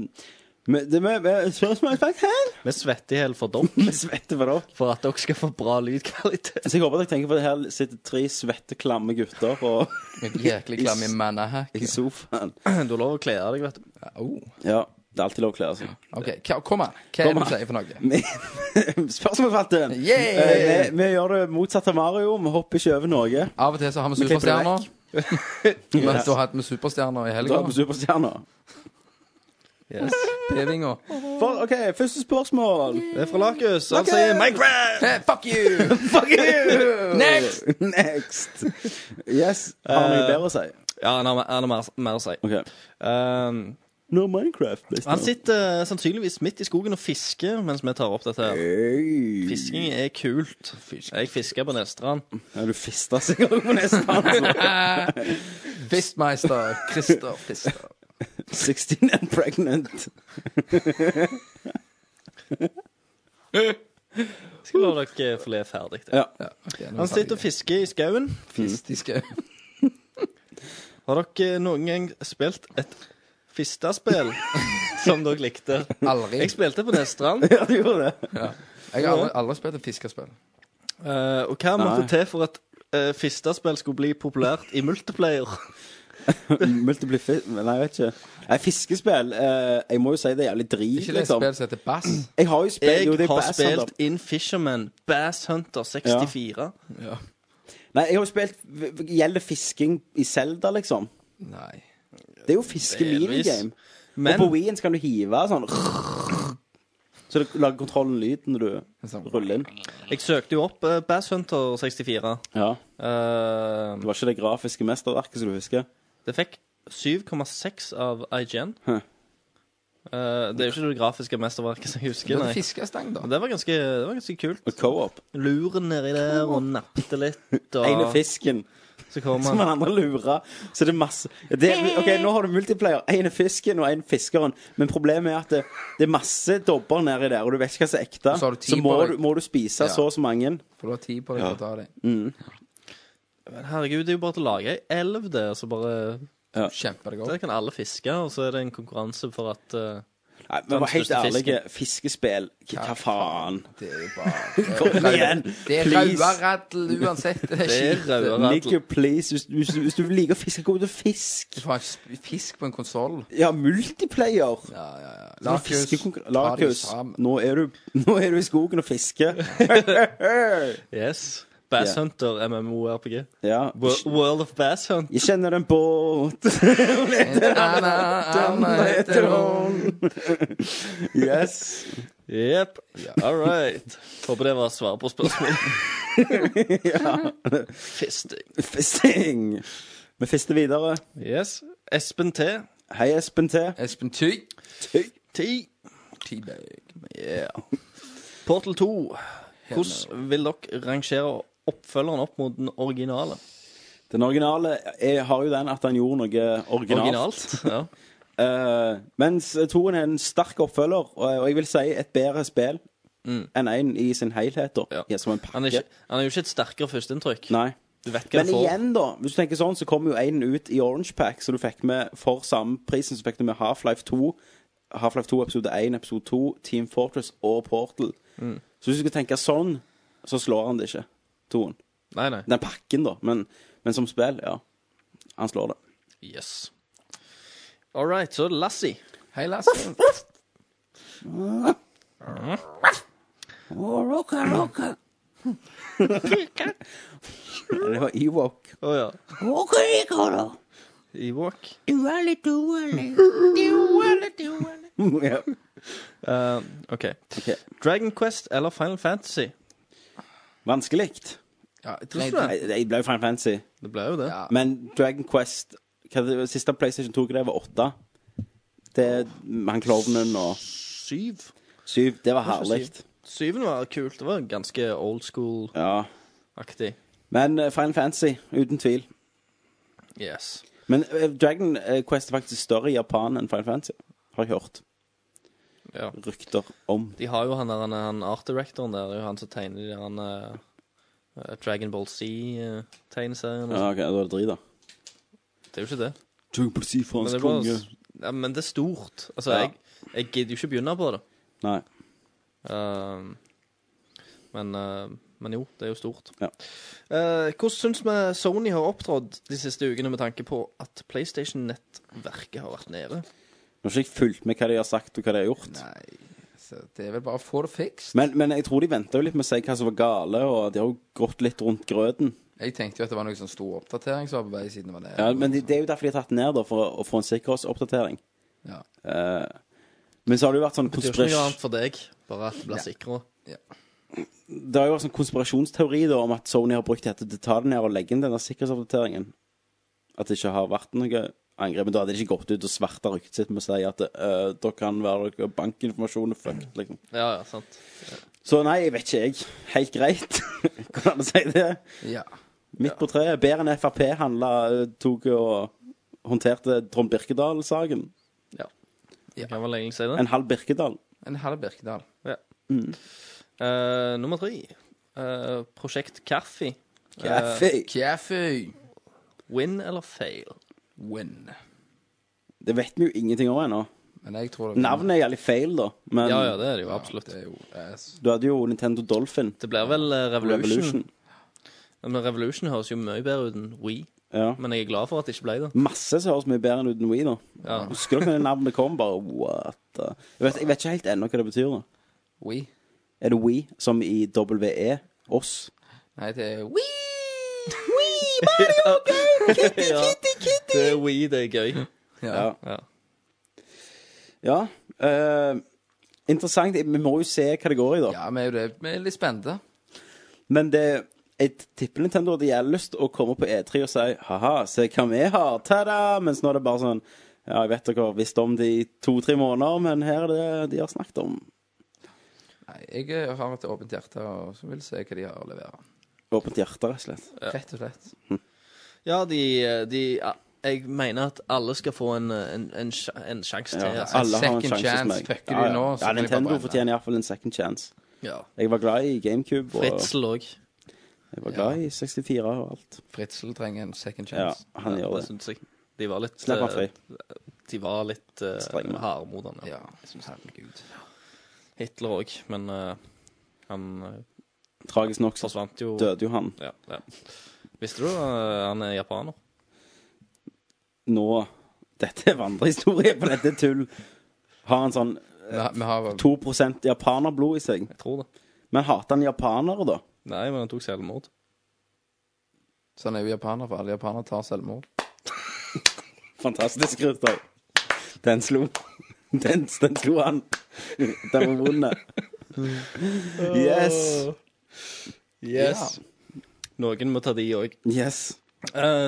E: men det med, med spørsmålsfakt her
F: Vi svetter i hjel for dere.
E: Vi svetter for dere.
F: For at dere skal få bra lydkvalitet.
E: Så jeg håper dere tenker på det her sitter tre svette, klamme gutter og
B: Med Jæklig klam i mannahack.
E: i sofaen.
F: Du har lov å kle av deg, vet du.
B: Oh.
E: Ja. Det er alltid lov å kle av seg.
B: OK, hva- kom an. Hva er det
E: Kom
B: du
E: an.
B: sier for noe?
E: Spørsmålsfeltet!
B: Yeah!
E: Eh, vi, vi gjør det motsatt av Mario. Vi hopper ikke over noe.
B: Av og til så har vi
E: Vi klipper det
B: superstjerner. Men
E: Yes.
B: da hadde vi superstjerner i
E: Da
B: helga.
E: er vi superstjerner.
J: Yes.
B: Pevinga.
E: For, OK, første spørsmål.
J: Det er fra Lakus. Han sier Minecraft!
B: Hey, fuck you!
E: Fuck you!
B: Next!
E: Next. Yes. Har vi noe
F: Eh,
E: bedre å si?
F: Ja, han har, han har mer, mer å si.
E: Ok.
F: Um,
E: No Minecraft. neste
F: han
E: år.
F: sitter eh, sannsynligvis midt i skogen og fisker mens vi tar opp dette. her
E: Hey.
F: Fisking er kult. Jeg fisker på Nestrand.
E: Ja, du fista sikkert på neste altså.
B: Fistmeister. Christer Fister.
E: 16 and pregnant.
F: Skal la dere eh, få le ferdig. det.
E: Ja.
F: Han sitter og fisker i skauen.
B: fister.
F: Har dere eh, noen gang spilt et fistespill som dere likte?
B: Aldri.
F: Jeg spilte på Nestrand.
E: ja, du gjorde det.
B: Jeg har aldri, aldri spilt et fiskespill.
F: eh, Og hva måtte
E: Nei.
F: til for at eh, fistespill skulle bli populært i multiplayer?
E: Multiple fisk... Nei, jeg vet ikke. Nei, fiskespill eh, Jeg må jo si det er jævlig drit,
B: Ikke det et
E: liksom.
B: spill som heter Bass?
E: Jeg har jo spilt
F: Jeg
E: jo, det er
F: har
E: Bass Hunter.
F: spilt In Fisherman Bass Hunter 64.
E: Nei, jeg har jo spilt v- v- Gjelder fisking i Zelda, liksom.
B: Nei.
E: Det er jo fiske-minigame. Og
F: Men
E: på Wien kan du hive sånn Så du lager kontrollen lyd når du
B: Sånn.
E: ruller inn.
F: jeg søkte jo opp eh, Bass Hunter 64.
E: Ja.
F: Eh,
E: Det var ikke det grafiske mesterverket som du husker?
F: Det fikk 7,6 av IGN.
E: Hæ.
F: Eh, det er jo ikke det grafiske mesterverket som jeg
B: Det
F: husker.
B: er
F: Nei.
B: et fiskestang, da.
F: Men Det var ganske, det var ganske kult.
E: Og co-op.
F: Luren nedi der og nappte litt.
E: Ene
F: Og
E: fisken.
F: så kom
E: Som
F: han.
E: han andre lurer. Så det er masse det, OK, nå har du multiplayer. Én er fisken, og én fiskeren. Men problemet er at det, det er masse dobber nedi der, og du vet ikke hva som er ekte.
B: Og så har du tid
E: må
B: på
E: du,
B: deg.
E: må du spise
B: Ja.
E: så og så mange.
B: For du har tid på deg til å ta dem.
F: Men herregud, det er jo bare til å lage ei elv, det. Og så bare
B: Kjempe deg
F: Der
B: opp.
F: kan alle fiske, og så er det en konkurranse for at eh,
E: Nei, men
F: Den
E: var helt
F: største fisken.
E: ærlige. Fiskespill. Hva, hva faen?
B: Det er jo bare
E: Kom igjen,
B: Det er
E: please.
B: rauaradel uansett. Det er
F: Det er
B: skit.
F: rauere.
E: Nigger, please. Hvis, hvis, hvis du liker å fiske, kom til fisk.
B: Du får ikke fisk på en konsoll.
E: Ja, multiplayer.
B: Ja, ja, ja.
E: Sånn fiskekonkurran- Lakus, nå er, du, nå er du i skogen og fisker.
F: Yes. Bass
E: Ja.
F: Hunter MMORPG.
E: Ja.
F: Wo- World of Bass Hunt.
E: Jeg kjenner en båt Yes.
F: Jepp. All right. Håper det var svar på spørsmålet. Fisting.
E: Fisting. Vi fister videre.
F: Yes. Espen T.
E: Hei, Espen T.
B: Espen Tygg.
F: Ti.
B: T-bag.
F: Yeah. Portal 2. Hvordan vil dere rangere oppfølgeren opp mot den originale?
E: Den originale jeg har jo den at han gjorde noe originalt.
F: Originalt? Ja.
E: Eh, mens toen er en sterk oppfølger, og, og jeg vil si et bedre spill enn én i sin helhet. Da.
F: Mm. Ja.
E: Ja, som en pakke.
F: Han er, ikke, han er jo ikke et sterkere førsteinntrykk.
E: Nei.
F: Du vet hva
E: Men
F: du får.
E: igjen, da. Hvis du tenker sånn, så kom jo én ut i Orange Pack, så du fikk med for samme prisen så fikk du med Half-Life 2, Half-Life 2 episode 1, episode 2, Team Fortress og Portal. Så hvis du skal tenke sånn, så slår han det ikke, toen.
F: Nei, nei.
E: Den pakken, da. Men, men som spill, ja. Han slår det.
F: Yes. All right, så Lassie.
B: Hei, Lasse.
E: Eller Det var Ewok.
F: Å ja. Ewok.
E: ja.
F: Eh, OK.
E: Ok.
F: Dragon Quest eller Final Fantasy?
E: Vanskelig.
B: Ja,
F: Hvordan
B: nei,
F: er det?
E: Nei, Jeg ble jo Final Fantasy.
F: Det ble jo det.
B: Ja.
E: Men Dragon Quest hva det, Siste PlayStation 2-greia var åtte. Det Han klovnen og
F: Syv.
E: syv. Det var
F: Kanskje
E: herlig.
F: Syven var kult. Det var ganske old school-aktig.
E: Ja. Men eh, Final Fantasy, uten tvil.
F: Yes.
E: Men eh, Dragon eh, Quest er faktisk større i Japan enn Final Fantasy, har jeg hørt.
F: Ja.
E: Rykter om.
F: De har jo han der, han, han art-directoren der, det er jo han som tegner de der han eh, Dragon Ball C-tegneserien.
E: Ja, ok, Da er det drit, da.
F: Det er jo ikke det.
E: Dragon Ball Z,
F: Men det, er bare, ja, men det er stort. Altså,
E: Ja.
F: jeg, jeg gidder jo ikke begynne på det.
E: Nei.
F: Ehm, men, eh, men jo, det er jo stort.
E: Ja.
F: Eh, hvordan syns vi Sony har opptrådt de siste ukene med tanke på at PlayStation-nettverket har vært nede?
E: Nå har ikke jeg fulgt med hva de har sagt, og hva de har gjort.
B: Så det er vel bare å få det fikst.
E: Men, men jeg tror de venta litt med å si hva som var gale, og de har jo gått litt rundt grøten.
B: Jeg tenkte jo at det var noe sånn stor oppdatering som var på vei siden det var det.
E: Ja, men det, det er jo derfor de har tatt den ned, da, for å, å få en sikkerhetsoppdatering.
B: Ja.
E: Eh, men så har det jo vært sånn
F: Det er jo ikke noe
E: konspirasjon...
F: annet for deg, bare at det blir sikrere.
E: Det har jo vært sånn konspirasjonsteori da, om at Sony har brukt dette til å ta det ned og legge inn denne sikkerhetsoppdateringen. At det ikke har vært noe angrep. Men da hadde de ikke gått ut og sverta ryktet sitt med å si at eh, dere kan være dere bankinformasjon er fucked, liksom.
F: Ja, ja, sant.
E: Så nei, jeg vet ikke, jeg. Helt greit. kan man si det?
B: Ja.
E: Midt på treet. Bedre enn Frp handla, eh, tok og håndterte Trond Birkedal-saken.
F: Jeg kan vel egentlig si det.
E: En halv Birkedal.
B: En halv Birkedal.
F: Eh, nummer tre. Eh, prosjekt Kaffi.
E: Kaffe.
B: Kjæføy.
F: Win eller fail?
B: Win.
E: Det vet vi jo ingenting om ennå.
B: Men jeg tror det
E: Navnet er jævlig feil, da. Men
F: Ja, ja, det er det jo absolutt.
B: Det er jo ass.
E: du hadde jo Nintendo Dolphin.
F: Det blir vel eh, Revolution.
E: Revolution.
F: Men Revolution høres jo mye bedre ut enn We.
E: Ja.
F: Men jeg er glad for at det ikke ble det.
E: Masse som høres mye bedre enn uten Wii nå.
F: Ja.
E: Husker dere når navnet kom? Bare what? the- Jeg vet, jeg vet ikke helt ennå hva det betyr. da
B: We.
E: Er det We som i WE? Oss?
B: Nei, det er we.
F: ja. Det er We, det er gøy.
E: Ja.
F: Ja.
E: Ja. eh, interessant. Vi må jo se hva det går i, da.
B: Ja, vi er jo det. Vi er litt spente.
E: Men det jeg tipper Nintendo hadde jævlig lyst å komme på E3 og si ha-ha, se hva vi har, ta-da! Mens nå er det bare sånn Ja, jeg vet dere har visst om det i to-tre måneder, men her er det de har snakket om.
B: Nei, jeg eh, har et åpent hjerte og så vil se hva de har å levere.
E: Åpent hjerte, rett og slett.
B: Rett og slett.
F: Ja, de, eh, de ja, Jeg mener at alle skal få en, eh, en, en, sj- en sjanse til.
E: Ja,
F: altså.
E: alle har en sjanse
B: second
E: hos
B: chance.
E: meg.
B: Fucker
E: Ja,
B: du
E: ja.
B: nå, så
E: Ja,
B: kan jeg bare
E: Nintendo
B: brenne.
E: fortjener iallfall en second chance.
F: Ja.
E: Jeg var glad i GameCube, og
F: Fritzel òg.
E: jeg var glad i 64 og alt.
B: Fritzel trenger en second
E: Ja,
B: chance.
E: han gjør
B: altså,
E: det.
F: syns jeg. De var litt
E: Slipp han fri.
F: eh, De var litt eh,
E: Streng med.
F: harde mot han. Ja.
B: Ja, herregud.
F: Hitler òg, men eh, han eh,
E: Tragisk nok så
F: forsvant jo.
E: døde jo han
F: Ja, ja. Visste du eh, han er japaner?
E: nå. Dette er vandrehistorie, for dette er tull. Har han sånn
B: Vi har, vi har
E: 2 japanerblod i seg.
F: Jeg tror det.
E: Men hater han japanere, da?
F: Nei, men han tok selvmord.
B: Sånn er jo japaner, for alle japanere tar selvmord.
E: Fantastisk, Kristian. Den slo. Den, den slo han. Den var vond. Yes.
F: Yes. Noen må ta de òg.
E: Yes.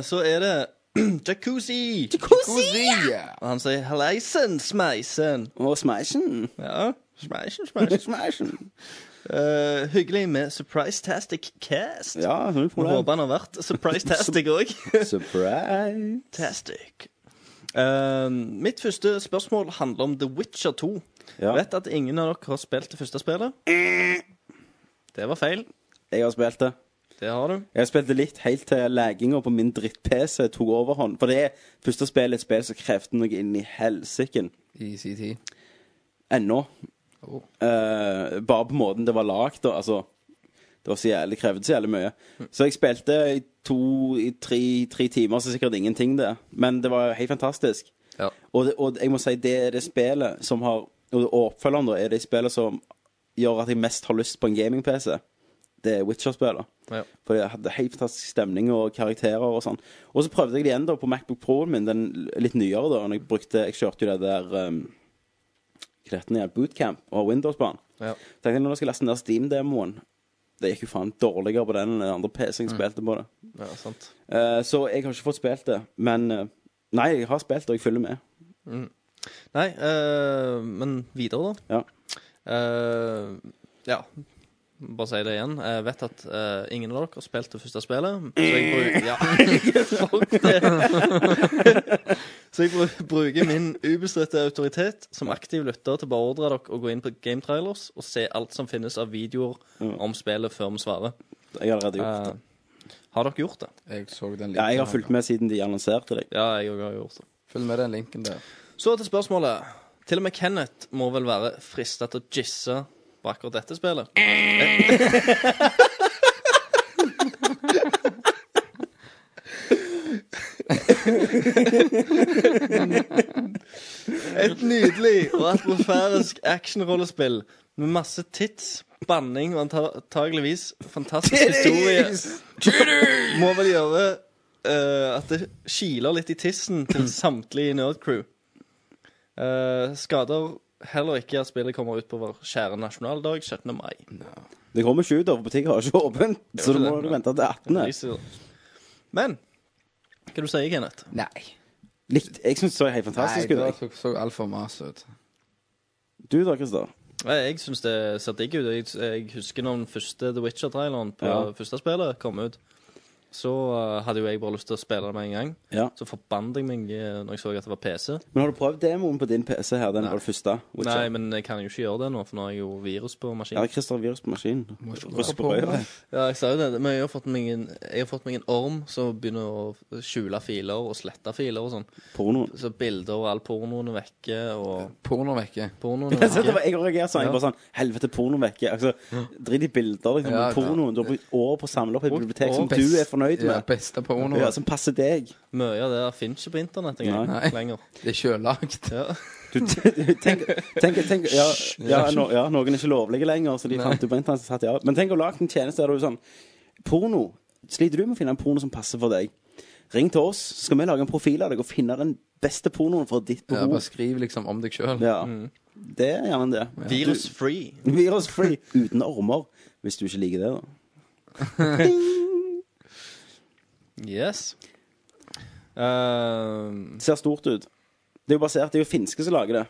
F: så er det Jacuzzi.
B: Kosia!
F: Og han sier 'halleisen, smeisen'.
E: Og smashen.
F: Ja, smeisen, smeisen.
E: Smashen.
F: Eh, hyggelig med surprise-tastic cast.
E: Ja, null
F: Må
E: problem.
F: håpe han har vært surprise-tastic òg.
E: Surprise.
F: Tastic. Eh, mitt første spørsmål handler om The Witcher 2.
E: Ja.
F: Vet at ingen av dere har spilt det første spillet. Det var feil.
E: Jeg har spilt det.
F: Det har du.
E: Jeg har spilt det litt helt til lagginga på min dritt-PC tok overhånd. For det er første spill et spill som krevde noe inn i helsiken.
B: I sin tid.
E: Ennå.
B: Oh.
E: Eh, bare på måten det var lagd, og altså Det var så jævlig, krevde så jævlig mye. Så jeg spilte i to, i tre, tre timer, så sikkert ingenting, det. Men det var jo helt fantastisk.
F: Ja.
E: Og, det, og jeg må si, det er det spillet som har Og oppfølgeren, da, er det spillet som gjør at jeg mest har lyst på en gaming-PC. Det er Witcher-spillet.
F: Ja.
E: For jeg hadde helt fantastisk stemning og karakterer og sånn. Og så prøvde jeg det igjen da på Macbook Pro-en min, den litt nyere da. Når jeg brukte Jeg kjørte jo det der um, Hva heter det? Bootcamp og Windows på den.
F: Ja.
E: Tenkte jeg nå skal jeg laste ned Steam-demoen. Det gikk jo faen dårligere på den enn den andre PC-en jeg spilte på det.
F: ja, sant.
E: Eh, så jeg har ikke fått spilt det. Men eh, Nei, jeg har spilt det, og jeg følger med.
F: Nei, eh, men videre, da.
E: Ja.
F: Eh, ja. Bare si det igjen. Jeg vet at eh, ingen av dere har spilt det første spillet, så jeg bruker Ja, fuck det! så jeg bru- bruker min ubestridte autoritet som aktiv lytter til å beordre dere å gå inn på gametrailers og se alt som finnes av videoer om spillet, før vi svarer.
E: Jeg har allerede gjort det.
F: Eh, har dere gjort det?
B: Jeg så den linken.
E: Ja, jeg har fulgt med siden de annonserte deg.
F: Ja, jeg òg har gjort det.
B: Følg med den linken der.
F: Så til spørsmålet. Til og med Kenneth må vel være frista til å jisse på akkurat dette spillet? Et overatmosfærisk actionrollespill med masse tits, banning og antageligvis fantastisk historie. Må vel gjøre eh, at det kiler litt i tissen til samtlige i Nerdcrew. Eh, skader heller ikke at spillet kommer ut på vår kjære nasjonaldag 17. mai.
E: Det kommer ikke ut, da, for butikken har ikke åpent.
F: Det
E: Så du
F: var
E: må
F: det.
E: du vente til 18.
F: Release i år. Men hva du sier du, Kenneth?
B: Nei.
E: Likt. Jeg syns det så helt fantastisk
B: Nei,
E: ut.
B: det
E: jeg.
B: så, så altfor mas ut.
E: Du da, Christer?
F: Nei, Eh, Jeg syns det ser digg ut. Jeg, jeg husker når den første The Witcher-traileren på
E: Ja.
F: første spillet kom ut. Så eh, hadde jo jeg bare lyst til å spille det med en gang.
E: Ja.
F: Så forbannet jeg meg eh, når jeg så at det var PC.
E: Men har du prøvd demoen på din PC her? Den var det første? Witcher?
F: Nei, men jeg kan jo ikke gjøre det nå, for nå har jeg jo virus på
E: Ja,
F: maskinen.
E: Christer har virus på maskinen.
B: Må ikke
E: Rust på
B: prøve på
E: røya.
F: Ja, jeg sa jo det, men jeg har fått meg en, jeg har fått meg en orm som begynner å skjule filer og slette filer og sånn.
E: Pornoen.
F: Så bilder og all pornoen er vekke, og
B: Porno vekke.
F: pornoen er
E: Jeg
F: vekke.
E: reagerte sånn. Jeg bare sånn Helvete, pornoen vekke. Altså, Drit i bilder, liksom.
B: Ja,
E: men Pornoen. Du har brukt år på å samle opp et bibliotek som du
B: Og
E: er
B: best-
E: fornøyd
B: Ja,
E: med.
B: beste porno.
E: Ja, som passer deg.
F: Mye av det finnes ikke på internett engang
B: Nei.
F: lenger.
B: Det er sjølagt.
F: Ja.
E: Du, du- tenk, tenk, tenk ja, ja, no, ja, noen er ikke lovlige lenger, så de
B: Nei.
E: fant ut på internett. så satt de av. Men tenk å lage en tjeneste der du er sånn Porno. Sliter du med å finne en porno som passer for deg? Ring til oss, så skal vi lage en profil av deg og finne den beste pornoen for ditt
B: Ja, bare
E: behov.
B: skriv liksom om deg sjøl.
E: Ja, Det er gjerne det.
F: Virus-free.
E: Virusfree uten ormer, hvis du ikke liker det, da.
F: Yes. Ehm,
E: Det ser stort ut. Det er jo basert, det er jo finske som lager det.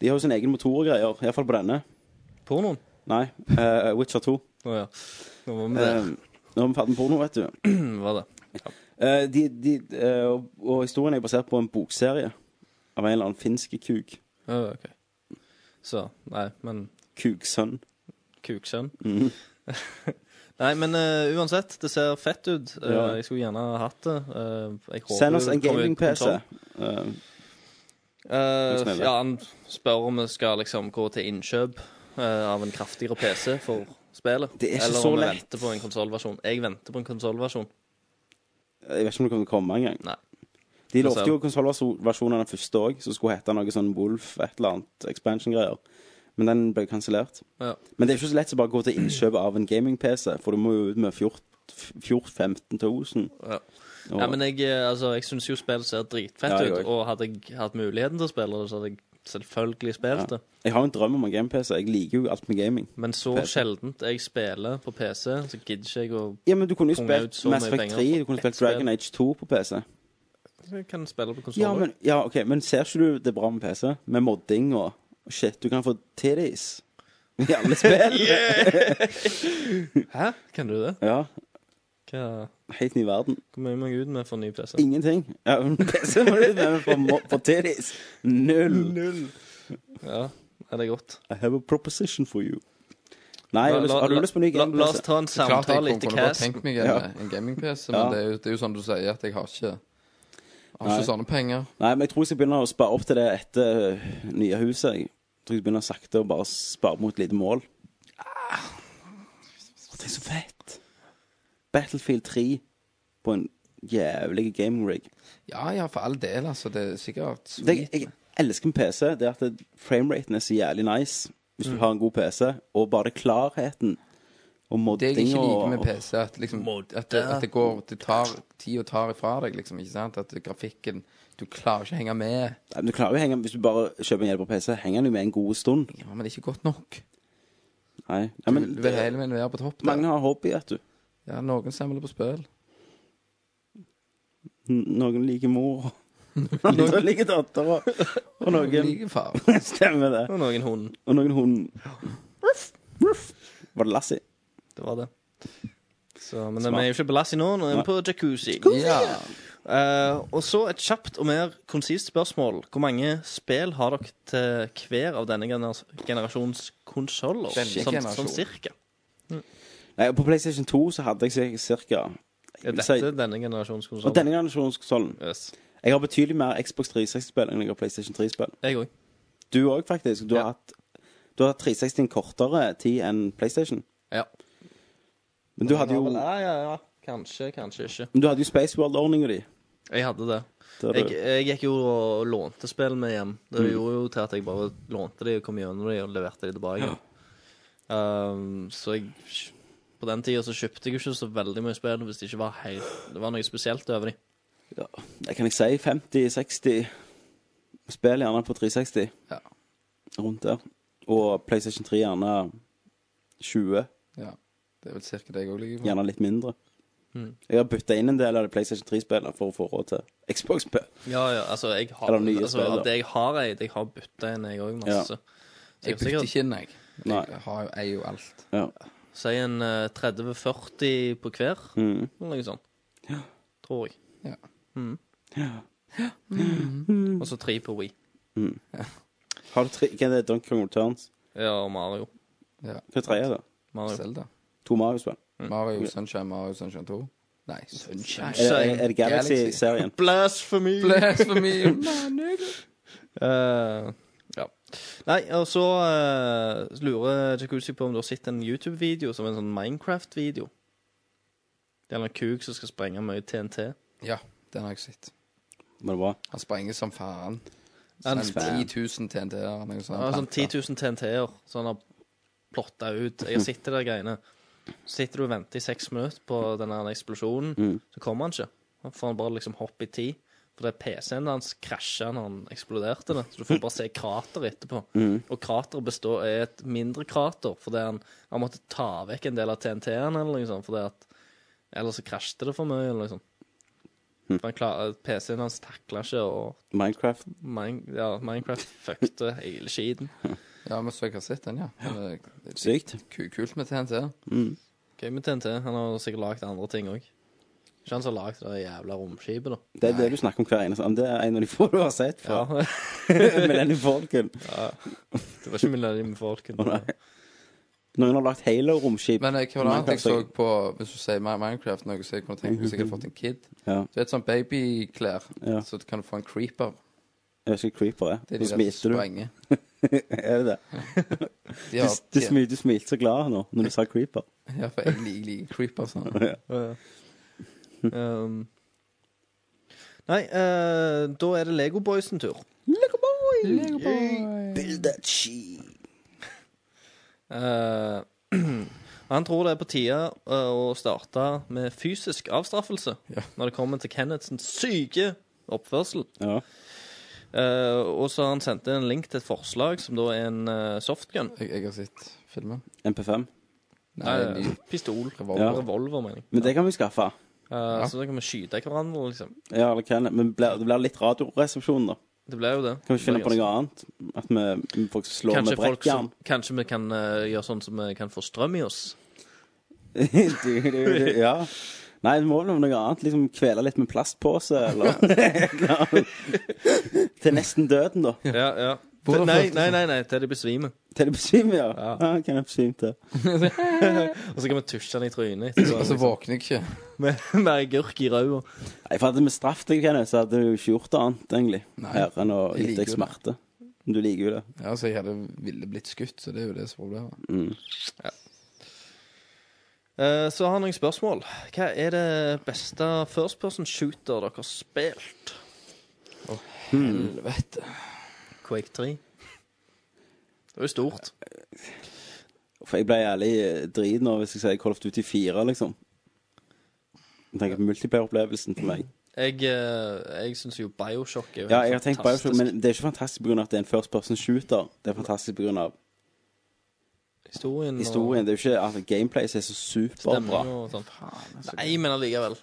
E: De har jo sin egen motor og greier, iallfall på denne.
F: pornoen?
E: Nei, eh, Witcher 2.
F: Å ja. Nå var vi
E: Eh,
F: der.
E: nå er vi ferdig med porno, vet du.
F: Var det.
E: Eh, de, de, eh, og, og historien er basert på en bokserie av en eller annen finske kuk.
F: Å, ok. Så Nei, men
E: Kuksønn.
F: kuksønn.
E: Mm.
F: nei, men eh, uansett, det ser fett ut. Eh,
E: Ja.
F: Jeg skulle gjerne ha hatt det. Eh, jeg håper
E: Send oss
F: det
E: en
F: kommer ut på
E: gaming-PC.
F: konsoll.
E: Eh,
F: Eh,
E: Tusen hjertelig.
F: ja, han spør om vi skal liksom gå til innkjøp eh, av en kraftigere PC for spillet.
E: Det er ikke
F: Eller
E: så
F: om vi
E: lett.
F: venter på en konsollversjon. Jeg venter på en konsollversjon.
E: jeg vet ikke om det kommer til å komme engang.
F: Nei.
E: De
F: Hva
E: lovte
F: sier
E: jo konsollversjonen av den første òg, som skulle hete noe sånn Wolf, et eller annet expansion-greier. Men den ble kansellert.
F: Ja.
E: Men det er jo ikke så lett som bare å gå til innkjøp av en gaming-PC, for du må jo ut med 14 14-15 000.
F: Ja.
E: Og-
F: Ja, men jeg, eh, altså, jeg syns jo spillet ser dritfett
E: Ja, jeg
F: ut,
E: også.
F: og hadde jeg hatt muligheten til å spille det, så hadde jeg selvfølgelig spilt det.
E: Jeg har jo en drøm om en game-PC. Jeg liker jo alt med gaming.
F: Men så
E: Fett.
F: sjeldent jeg spiller på PC, så gidder ikke jeg å
E: Ja, men du kunne jo
F: Punga ut
E: spilt
F: så
E: Mass
F: mye
E: Effect
F: penger
E: 3,
F: for
E: du kunne
F: ett
E: spilt
F: spill.
E: Dragon Age 2 på PC.
F: Jeg kan spille på konsoll.
E: Ja, men, ja, ok, men ser ikke du det er bra med PC? Med modding og og shit. Du kan få titties i alle spill.
F: Hæ? Kan du det?
E: Ja,
F: Hva,
E: helt ny verden.
F: hvor mye må jeg ut med for ny PC?
E: Ingenting. Ja, men PC må du ut med for, mo- for titties. Null.
F: Ja, er det godt?
E: I have a proposition for you. Nei, har du lyst- har du lyst på ny
F: la, la oss
E: game-PC?
F: ta en
B: Klart jeg
F: samtale
B: kunne
F: etter
B: kunne godt
F: cast.
B: tenkt meg en,
E: Ja.
B: en gaming-PC, men
E: Ja.
B: det, er jo, det er jo sånn du sier, at jeg har ikke, har
E: Nei.
B: ikke sånne penger.
E: Nei, men jeg tror jeg skal begynne å spare opp til det etter øh, nye huset. Jeg tror jeg skal begynne sakte å bare spare mot et lite mål. Å, det er så fett. Battlefield 3 på en jævlig gaming-rig.
B: Ja ja, for all del, altså. Det er sikkert
E: Det jeg,
B: sweet.
E: jeg elsker med PC, det er at det- frameraten er så jævlig nice hvis du
B: Mm.
E: har en god PC, og bare klarheten og
B: Det jeg
E: modding
B: ikke liker
E: og
B: med PC, er at, liksom, at, det, at det går det tar tid og tar ifra deg, liksom. ikke sant? At grafikken Du klarer ikke å henge med.
E: Nei, men Du klarer jo å henge Hvis du bare kjøper en hjelper PC, henger den jo med en god stund.
B: Ja, Men det er ikke godt nok.
E: Nei, Nei
B: Du
E: men
B: vil hele veien være på topp. der.
E: mange har hobby, vet du.
B: Ja, Noen samler på spill.
E: N- Noen liker mor, noen liker datter, og, og noen
B: Like far.
E: Stemmer det.
F: Og noen hund.
E: Og noen hund. Ruff. Var det Lassie?
F: Det var det. Så, men vi er jo ikke på Lassie nå, nå er vi på jacuzzi.
B: Ja.
F: Eh, og så et kjapt og mer konsist spørsmål. Hvor mange spill har dere til hver av denne gener generasjons konsoller?
B: Denne
F: Sånn,
B: generasjon.
F: sånn cirka.
E: Nei, og På PlayStation 2 så hadde jeg ca.
F: Er dette denne generasjons
E: Og
F: konsoller?
E: denne generasjonskonsollen
F: Yes.
E: Jeg har betydelig mer Xbox 360-spill enn jeg har PlayStation 3-spill.
F: Jeg òg.
E: Du òg, faktisk. Du
F: Ja.
E: har hatt Du har hatt 360 en kortere tid enn PlayStation.
F: Ja.
E: Men du hadde jo,
F: ja, ja, ja. Kanskje, kanskje ikke.
E: men du hadde jo Space World-ordninga di.
F: Jeg hadde det.
E: Det er
F: Jeg,
E: det.
F: jeg gikk jo og lånte spill med hjem. Det
E: Mm.
F: gjorde jo til at jeg bare lånte de og kom gjennom de og leverte de tilbake. Um, så jeg På den tida så kjøpte jeg jo ikke så veldig mye spill hvis det ikke var helt Det var noe spesielt over de.
E: Det kan jeg si 50-60. Spill gjerne på 360.
B: Ja.
E: Rundt der. Og PlayStation 3 gjerne 20.
B: Ja. Det er vel cirka det jeg òg ligger på.
E: Gjerne litt mindre.
F: Mm.
E: Jeg har bytta inn en del av det PlayStation 3-spillene for å få råd til Xbox-spill.
F: Ja, ja, altså, jeg har,
E: Eller nye
F: altså,
E: spill, da.
F: at jeg har eid, jeg har bytta en, jeg òg, masse. Så
B: Jeg
F: jeg har
B: bytter
F: sikkert
B: ikke inn, jeg.
E: Nei.
B: Jeg har jo, eier jo alt.
E: Ja.
F: si en eh, 30-40 på hver,
E: Mm.
F: eller noe sånt. Tror jeg.
B: Ja.
F: Mm. Og så tre på Wii.
E: Har du tre Hva er det? Donkey Kong Returns?
F: Ja, og Mario.
E: Hva er tredje, da?
F: Mario.
B: Zelda.
E: To Mario-spill?
B: Mario Sunshine, Mario Sunshine 2. Nei, Sunshine
E: Er, er, er det Galaxy-serien?
F: Blasphemy!
B: Blasphemy.
F: Eh, ja. Nei, og så eh, lurer Jacuzzi på om du har sett en YouTube-video som er en sånn Minecraft-video. Det er en kuk som skal sprenge mye TNT.
B: Ja, den har jeg sett.
E: Var det bra?
B: Han sprenger som faen. Sånn
F: Han
B: Han 10 000 TNT-er. eller noe sånt.
F: Han har sånn 10 000 TNT-er som han har plotta ut. Jeg har sett det der greiene. Så sitter du og venter i seks minutter på den her eksplosjonen, så kommer han ikke. Da får han bare liksom hoppe i tid. For det er PC-en hans krasja når han eksploderte det. Så du får bare se krater etterpå. Og krateret består er et mindre krater fordi han, han måtte ta vekk en del av TNT-en eller noe sånt. Fordi at ellers så krasjte det for mye eller noe sånt. For han klar- PC-en hans takla ikke å
E: Minecraft?
F: Mine, ja, Minecraft fuckte hele skiten.
B: Ja, men så jeg har sett den, ja. Men det er
E: Sykt.
B: ku- Kult med TNT.
F: Gøy med TNT. Han har sikkert lagd andre ting òg. Ikke han som har lagd det jævla romskipet, da.
E: Det er det du snakker om hver eneste Men Det er en av de få du har sett
F: Ja.
E: fra Millennium Falcon.
F: det var ikke Millennium Falcon.
E: Å, nei. Noen har lagt Halo-romskip.
B: Men eh, hva var det annet jeg så
E: Minecraft,
B: på Hvis du sier Mi- Minecraft, noe så jeg kunne tenkt meg sikkert fått en kid.
E: Ja.
B: Du vet sånn babyklær,
E: Ja. Sånn
B: så du kan få en creeper.
E: Jeg vet ikke hva creeper er.
B: Det er
E: Du
B: de der
E: smilte, du.
B: sprenge.
E: Er det det?
B: De
E: Du,
B: har,
E: du, smilte, du smilte så glad nå når du sa creeper.
B: ja, for jeg liker, liker creeper sånn.
F: Um, nei, eh, da er det Lego Boys sin tur.
E: Build that she.
F: Eh, han tror det er på tide eh, å starte med fysisk avstraffelse
B: Ja.
F: når det kommer til Kenneths syke oppførsel.
E: Ja.
F: Eh, og så har han sendt en link til et forslag som da er en eh, softgun.
B: Jeg, jeg har sett filmen.
E: MP5.
B: Nei,
F: Nei,
B: ny
F: pistol.
B: revolver.
E: Ja.
F: Eh, Revolver, mener jeg.
E: Men det kan vi skaffe.
F: Eh, Så da kan vi skyte hverandre, liksom.
E: Ja, det kan, men blir- det blir litt radioresepsjon, da.
F: Det ble jo det.
E: Kan vi ikke finne på noe annet? At vi vi folk slår
F: Kanskje,
E: med
F: folk som,
E: brekkjern?
F: kanskje vi kan eh, gjøre sånn som vi kan få strøm i oss?
E: Du, du, du, ja. Nei, det må vel være noe annet. Liksom Kvele litt med plastpose, eller Til nesten døden, da.
F: Ja, ja.
B: Hvorfor
F: Nei,
B: føltes
F: nei, nei, nei, til de besvimer.
E: Til det besvimer, ja.
F: Ja.
E: ja. Kan jeg besvime til?
F: Og så kan vi tusje den i trynet etterpå,
B: Og så
F: liksom.
B: våkner jeg ikke.
F: med, med agurk i ræva.
E: Nei, for hadde vi straffet deg, Kenneth, så hadde du jo ikke gjort det annet, egentlig.
B: Nei.
E: Her enn å
B: Jeg
E: gi
B: liker
E: deg
B: jo det.
E: smerte. Men Du liker jo det.
B: Ja, så jeg hadde ville blitt skutt, så det er jo det som er problemet.
E: Mm.
F: Eh, så har jeg noen spørsmål. Hva er det beste first person shooter dere har spilt?
B: Helvete.
F: Quake 3. Det var jo stort.
E: For jeg ble jævlig eh, drit nå hvis jeg sier Call of Duty 4, liksom. Jeg tenker på multiplayer-opplevelsen for meg.
F: Jeg, eh, jeg syns jo Bioshock er jo
E: Ja,
F: helt
E: jeg har tenkt
F: fantastisk.
E: Bioshock, men det er ikke fantastisk pga. at det er en first person shooter. Det er fantastisk pga.
F: historien, og-
E: historien. Det er jo ikke at gameplay er så superbra.
F: Stemmer og sånn.
E: altså.
F: Nei, men allikevel.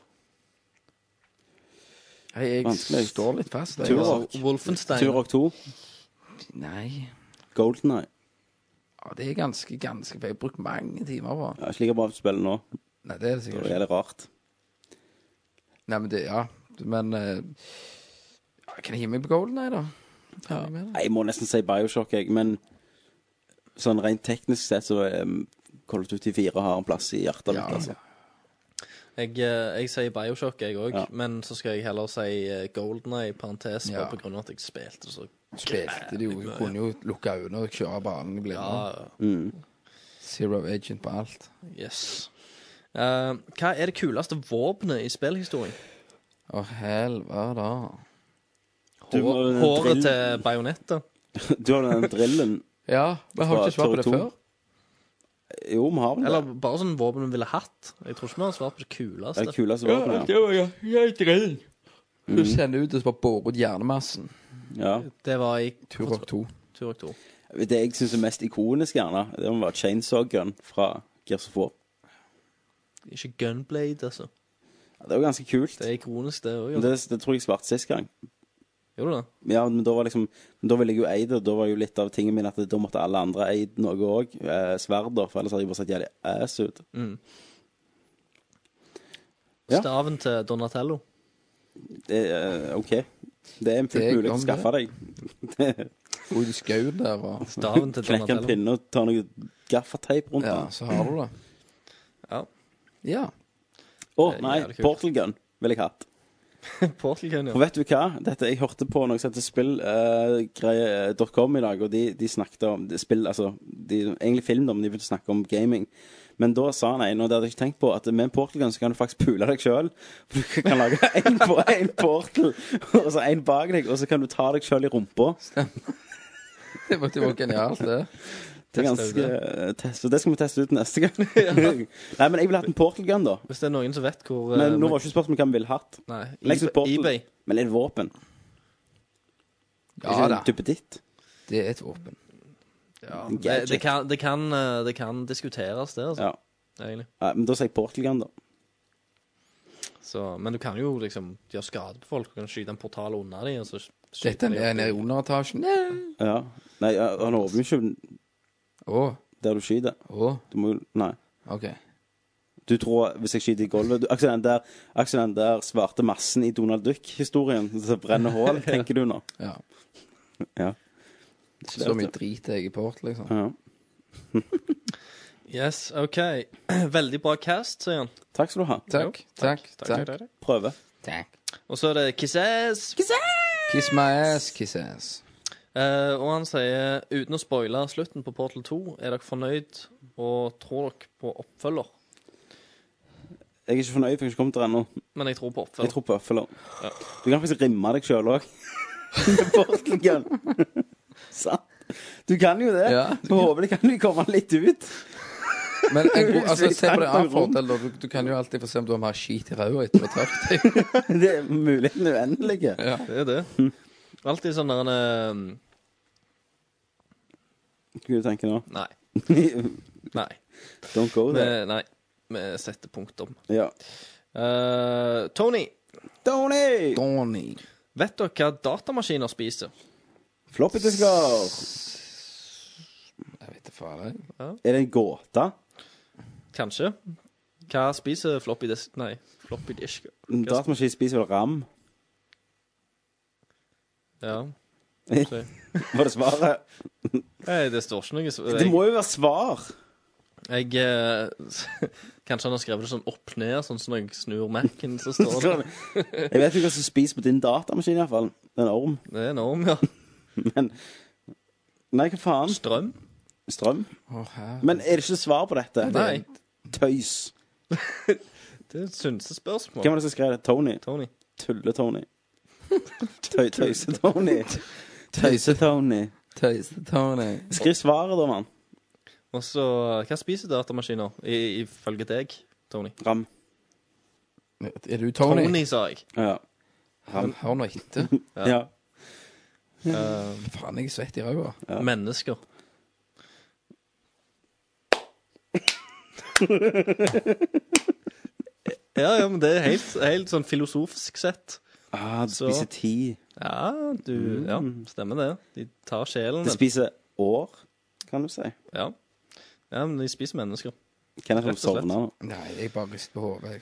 B: Hei, jeg
E: Vanskelig.
B: står litt fast. jeg, altså.
E: Turok.
F: Wolfenstein.
E: Turok 2.
B: Nei.
E: Golden Eye.
B: Ja, det er ganske, ganske Jeg har brukt mange timer på
E: Ja, ikke like bra å spille nå.
B: Nei, det er det
E: Det
B: sikkert
E: er
B: ikke.
E: jævlig rart.
B: Nei, men det Ja. Men eh, ja, Kan jeg gi meg på Golden Eye, da? Kan jeg med det?
E: Nei, jeg må nesten si Bioshock, jeg. Men sånn rent teknisk sett så um, Call of Duty 4 har en plass i hjertet
B: Ja.
E: mitt, altså.
F: Jeg, eh, jeg sier Bioshock, jeg òg,
E: Ja.
F: men så skal jeg heller si eh, Golden Eye, parentes, bare
B: Ja.
F: på grunn av at jeg spilte så
B: Spilte de jo Jeg kunne jo lukke øynene og kjøre banen i blinde.
F: Ja,
B: Zero agent på alt.
F: yes. Eh, hva er det kuleste våpenet i spillhistorien?
B: Å, helvete.
E: Du må-
F: Hår,
E: eh, drill-
F: håret til bajonetta.
E: Du har den drillen.
B: Ja, men har du ikke
E: Fra
B: svart på det
E: Toro
B: før?
E: to. Jo, vi har vel det.
F: Eller bare sånn våpen vi ville hatt. Jeg tror ikke vi har svart på det kuleste.
E: Det er kuleste våpenet, ja.
B: Du sender ut og så bare borer ut hjernemassen.
E: ja.
F: Det var i
B: Turok 2.
F: Turok 2.
E: Det jeg syns er mest ikonisk, gjerne, det må være chainsaw gun fra Gears of War.
F: Ikke Gunblade, altså.
E: Ja, Det var ganske kult.
F: Det er ikonisk, det òg.
E: Men Det, det tror jeg svarte sist gang.
F: Gjorde du det?
E: Ja, men da var liksom men Da ville jeg jo eie det. og Da var jo litt av tingen min at da måtte alle andre eie noe òg. Eh, sverd, da. For ellers hadde jeg bare sett jævlig ass ut. Ja.
F: Staven til Donatello.
E: Det, eh, OK. Det er
B: Det
E: fullt
B: er
E: mulig å
B: gammel.
E: skaffe deg.
B: Og du skau der og
F: Staven til
E: Knekke en
F: Donatello.
E: pinne og ta noe gaffateip rundt
B: Ja,
E: den.
B: så har du det.
F: Ja.
B: Ja.
E: Å
F: er
E: nei,
F: jævlig kult.
E: portal gun ville jeg hatt.
F: Portal Gun, ja.
E: For vet du hva? Dette, jeg hørte på noe som heter eh, spillgreie.com i dag, og de, de snakket om de spill, altså de, egentlig film, da, men de begynte å snakke om gaming. Men da sa han en, og det hadde jeg ikke tenkt på, at med en portal gun så kan du faktisk pule deg sjøl. Du kan lage én på én portal, og så én bak deg, og så kan du ta deg sjøl i rumpa.
B: Det var, det var genialt, det.
E: Det er ganske eh, test, og Det skal vi teste ut neste gang. Nei, men jeg ville hatt en portal gun, da.
F: Hvis det er noen som vet hvor eh,
E: Men nå var ikke spørsmålet hva vi ville hatt.
F: Nei,
E: Legg til
F: eBay.
E: portal.
F: eBay.
E: Men er det våpen?
B: Ja da.
E: en duppeditt?
B: Det er et våpen.
F: Ja,
E: En
F: det,
E: gadget.
F: det, kan, det, kan, eh, det kan diskuteres, det, altså.
E: Ja.
F: Egentlig.
E: Nei, men da sier jeg portal gun, da.
F: Så, men du kan jo liksom gjøre skade på folk. Du kan skyte en portal under dem. Og så skyter
B: Dette
F: de
B: er
F: opp.
B: nede i underetasjen. Nei.
E: Ja. Nei, ja, han åpner jo ikke
B: Å,
E: der du skyter.
B: å,
E: Du må jo Nei.
B: OK.
E: Du tror hvis jeg skyter i gulvet du- Akkurat den der, akkurat den der svarte massen i Donald Duck-historien som brenner hull, tenker du nå.
B: Ja.
E: Ja.
B: Så mye drit jeg i port, liksom.
E: Ja.
F: Yes, OK. Veldig bra cast, sier han.
E: Takk skal du ha.
B: Takk, takk, takk.
E: Prøve.
B: takk.
F: Og så er det Kisses.
B: Kiss my ass, kiss ass.
F: Eh, og han sier uten å spoile slutten på Portal 2, er dere fornøyd og tror dere på oppfølger?
E: Jeg er ikke fornøyd, for jeg har ikke kommet der ennå.
F: Men jeg tror på
E: Jeg
F: oppfølger.
E: tror på øffel. Du kan faktisk rimme deg sjøl òg. Med portal gun. Sant? Du kan jo det.
B: Ja, du
E: du håper det kan jo komme litt ut.
B: Men en god, altså,
E: Hvis vi
B: se på det
E: tanker
B: av fordel, da. Du, du kan jo alltid få se om du har mer skit i ræva etter å ha truffet deg.
E: Det er muligheten er uendelig.
F: Det er det. Alltid sånn der en, eh,
E: Skal du tenke nå?
F: Nei. Nei.
E: Don't go there.
F: Vi, nei. Vi setter punktum.
E: Ja.
F: Eh, Tony,
E: Tony!
B: Donny.
F: vet dere hva datamaskiner spiser?
E: Floppydisker!
B: Jeg vet ikke faen. jeg.
E: Er det en gåte?
F: Kanskje? Hva spiser floppy disk Nei, floppy disk.
E: En Datamaskin spiser vel ram?
F: Ja.
E: Var det svaret?
F: Nei, det står ikke noe s-
E: Det må jo være svar!
F: Jeg eh, Kanskje han har skrevet det sånn opp ned, sånn som når jeg snur Mac-en, så står det
E: Jeg vet jo hva som spiser på din datamaskin, iallfall. En orm.
F: Det er enorm, ja.
E: Nei, hva faen?
F: Strøm?
E: Strøm?
B: Å, herre.
E: Men er det ikke svar på dette?
F: Nei.
E: Tøys.
F: Det er et synsespørsmål.
E: Hvem var det som skrev det? Tony?
F: Tony.
E: Tulle-Tony. Tøy- Tøyse-Tony. Tøyse-Tony.
B: Tøyse-Tony.
E: Skriv svaret, da, mann.
F: Og så eh, Hva spiser datamaskiner, i- ifølge deg, Tony?
E: Ram.
B: Er du
F: Tony,
B: Tony?
F: sa jeg.
E: Ja.
B: Han Hør nå etter.
E: ja.
B: Faen, jeg er svett i ræva.
F: Mennesker. Ja, ja, men det er helt, helt sånn filosofisk sett.
E: Ah, det
F: Så-
E: spiser ti.
F: Ja, du Ja, stemmer det. De tar sjelen
E: Det
F: din.
E: spiser år, kan du si.
F: Ja. ja, men de spiser mennesker.
E: Kan jeg
F: Rett og
E: få
F: slett.
E: sovne nå?
B: Nei, jeg bare rister på hodet, jeg.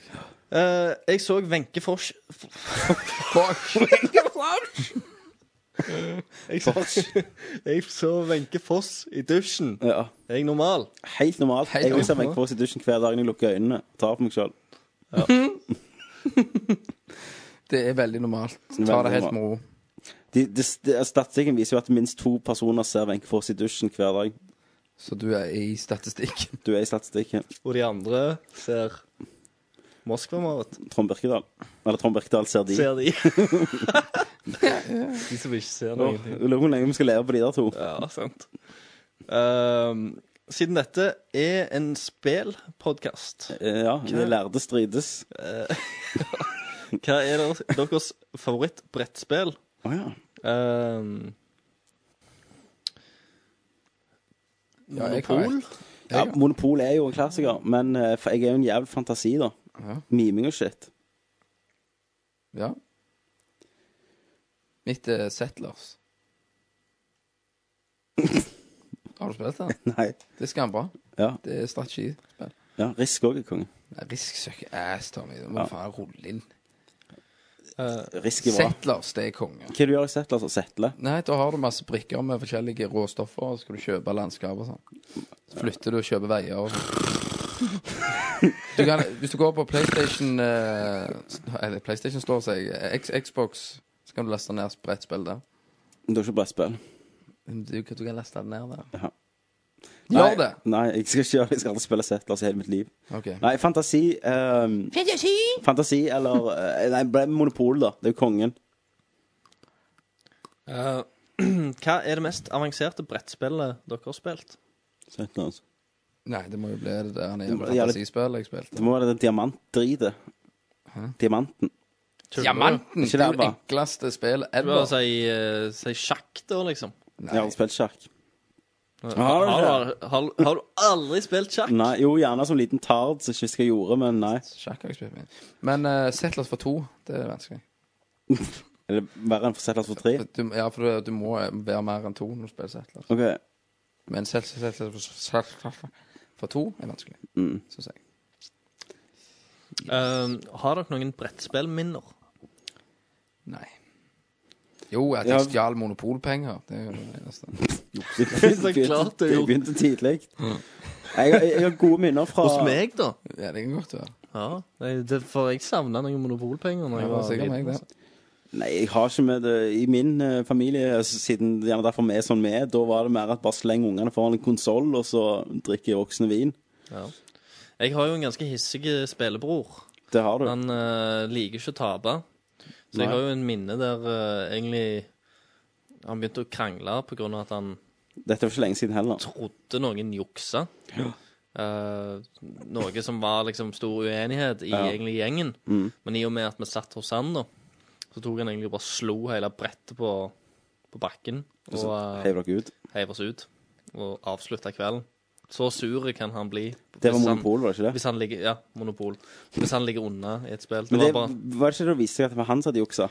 F: Eh, jeg så Wenche Fors
B: Fuck.
F: Jeg så, jeg så Wenche Foss i dusjen.
E: Ja.
F: Er jeg normal?
E: Helt normalt.
B: Helt
E: jeg også har
B: normalt.
E: vengt på oss i dusjen hver dag når jeg lukker øynene. Tar på meg sjøl.
B: Det er veldig normalt. Ta det helt med ro.
E: De, de, de, statistikken viser jo at minst to personer ser Wenche Foss i dusjen hver dag.
B: Så du er i statistikken.
E: Du er i statistikken.
F: Og de andre ser Moskva-Marit.
E: Trond Birkedal. Eller Trond Birkedal ser de.
F: Ser de.
E: de
F: som ikke ser
E: noe. Lurer på hvor lenge vi skal leve på de der to.
F: Ja, sant. Ehm, siden dette er en spelpodkast
E: Eh, Ja,
F: Hva-
E: de lærde strides.
F: eh, Hva er deres, deres favorittbrettspill?
E: Å ja.
F: Ehm,
B: Ja, jeg har
F: Monopol?
B: et.
E: ja. Monopol er jo en klassiker, men eh, for jeg er jo en jævl fantasi, da.
B: Ja.
E: Miming og shit.
B: ja. Mitt er Settlers. Har du spilt den?
E: Nei.
B: Det er skambra.
E: Ja.
B: Det er strategispill.
E: ja Risk òg er konge.
B: Nei, Risk søker ass, Tommy. Du må
E: Ja. Eh,
B: faen rulle inn.
E: Risk er bra.
B: Settlers, det er konge.
E: Hva du gjør i altså? Settlers og Settle?
B: Nei, da har du masse brikker med forskjellige råstoffer, og så skal du kjøpe landskap og sånn. Så flytter du og kjøper veier og sånn. Du kan, hvis du går på PlayStation eh, Eller PlayStation står seg eh, X, Xbox, så kan du laste ned brettspill der.
E: Det er ikke brettspill.
B: Du, du kan laste det ned der.
E: Ja.
B: Gjør det!
E: Nei, jeg skal ikke gjøre det. Jeg skal aldri spille Settlers i hele mitt liv.
B: Ok.
E: Nei, fantasi ehm, Fantasi eller eh, Nei, ble Monopol, da. Det er jo kongen.
F: eh, hva er det mest avanserte brettspillet dere har spilt?
E: Settlers.
B: Nei, det må jo bli det der nede
E: må- jævlig-
B: fantasispillet jeg
E: Det
B: spilte.
E: må være det diamantdritet. Diamanten.
B: Diamanten!
E: Ikke
B: Det
E: det,
B: er jo det
E: da?
B: enkleste spillet
F: Du har
B: ever.
F: si, eh, si sjakk, da, liksom.
E: Jeg har aldri spilt sjakk.
F: Har,
E: det
F: du- har, har du aldri spilt sjakk?
E: Nei, jo, gjerne som liten tard, så jeg ikke husker jeg gjorde, men nei.
B: Sjakk har jeg spilt med. Men eh, Settlers for to, det er vanskelig.
E: Eller verre enn for Settlers for tre.
B: Du, ja, for du, du må være mer enn to når du spiller Settlers.
E: OK.
B: Men selv, selv, selv, selv, selv for to er vanskelig, synes jeg.
F: Eh, har dere noen brettspillminner?
B: Nei. Jo, at
E: Ja.
B: jeg stjal monopolpenger. Det er jo det eneste.
F: så klart du
E: det
F: gjorde.
E: begynte tidlig. Jeg, jeg, jeg har gode minner fra
F: Hos meg, da?
B: Ja, det kan godt være.
F: Ja, det, det- for jeg savna noen monopolpenger. Når
B: Det
F: jeg
B: var
F: var
B: sikkert
F: liten,
B: meg, det.
F: altså.
E: Nei, jeg har ikke med det i min eh, familie, s- siden det gjerne derfor vi er sånn vi er. Da var det mer at bare sleng ungene foran en konsoll, og så drikker voksne vin.
F: Ja. Jeg har jo en ganske hissig eh, spillebror.
E: Det har du.
F: Han eh, liker ikke å tape. Så
E: Nei.
F: jeg har jo en minne der eh, egentlig han begynte å krangle pga. at han
E: Dette var ikke lenge siden heller.
F: trodde noen juksa. Eh, noe som var liksom stor uenighet i egentlig gjengen.
B: Mm.
F: Men i og med at vi satt hos han, da, så tok han egentlig og bare slo hele brettet på, på bakken. Og, eh,
E: Heiv dere ut.
F: heiv oss ut og avslutta kvelden. Så sur kan han bli.
E: Det var
F: hvis han-
E: monopol, var det ikke det?
F: Hvis han ligger, ja, monopol. Hvis han ligger unna i et spill. Det
E: Men
F: var
E: det,
F: bare,
E: var det ikke det å vise seg at det var han som hadde juksa?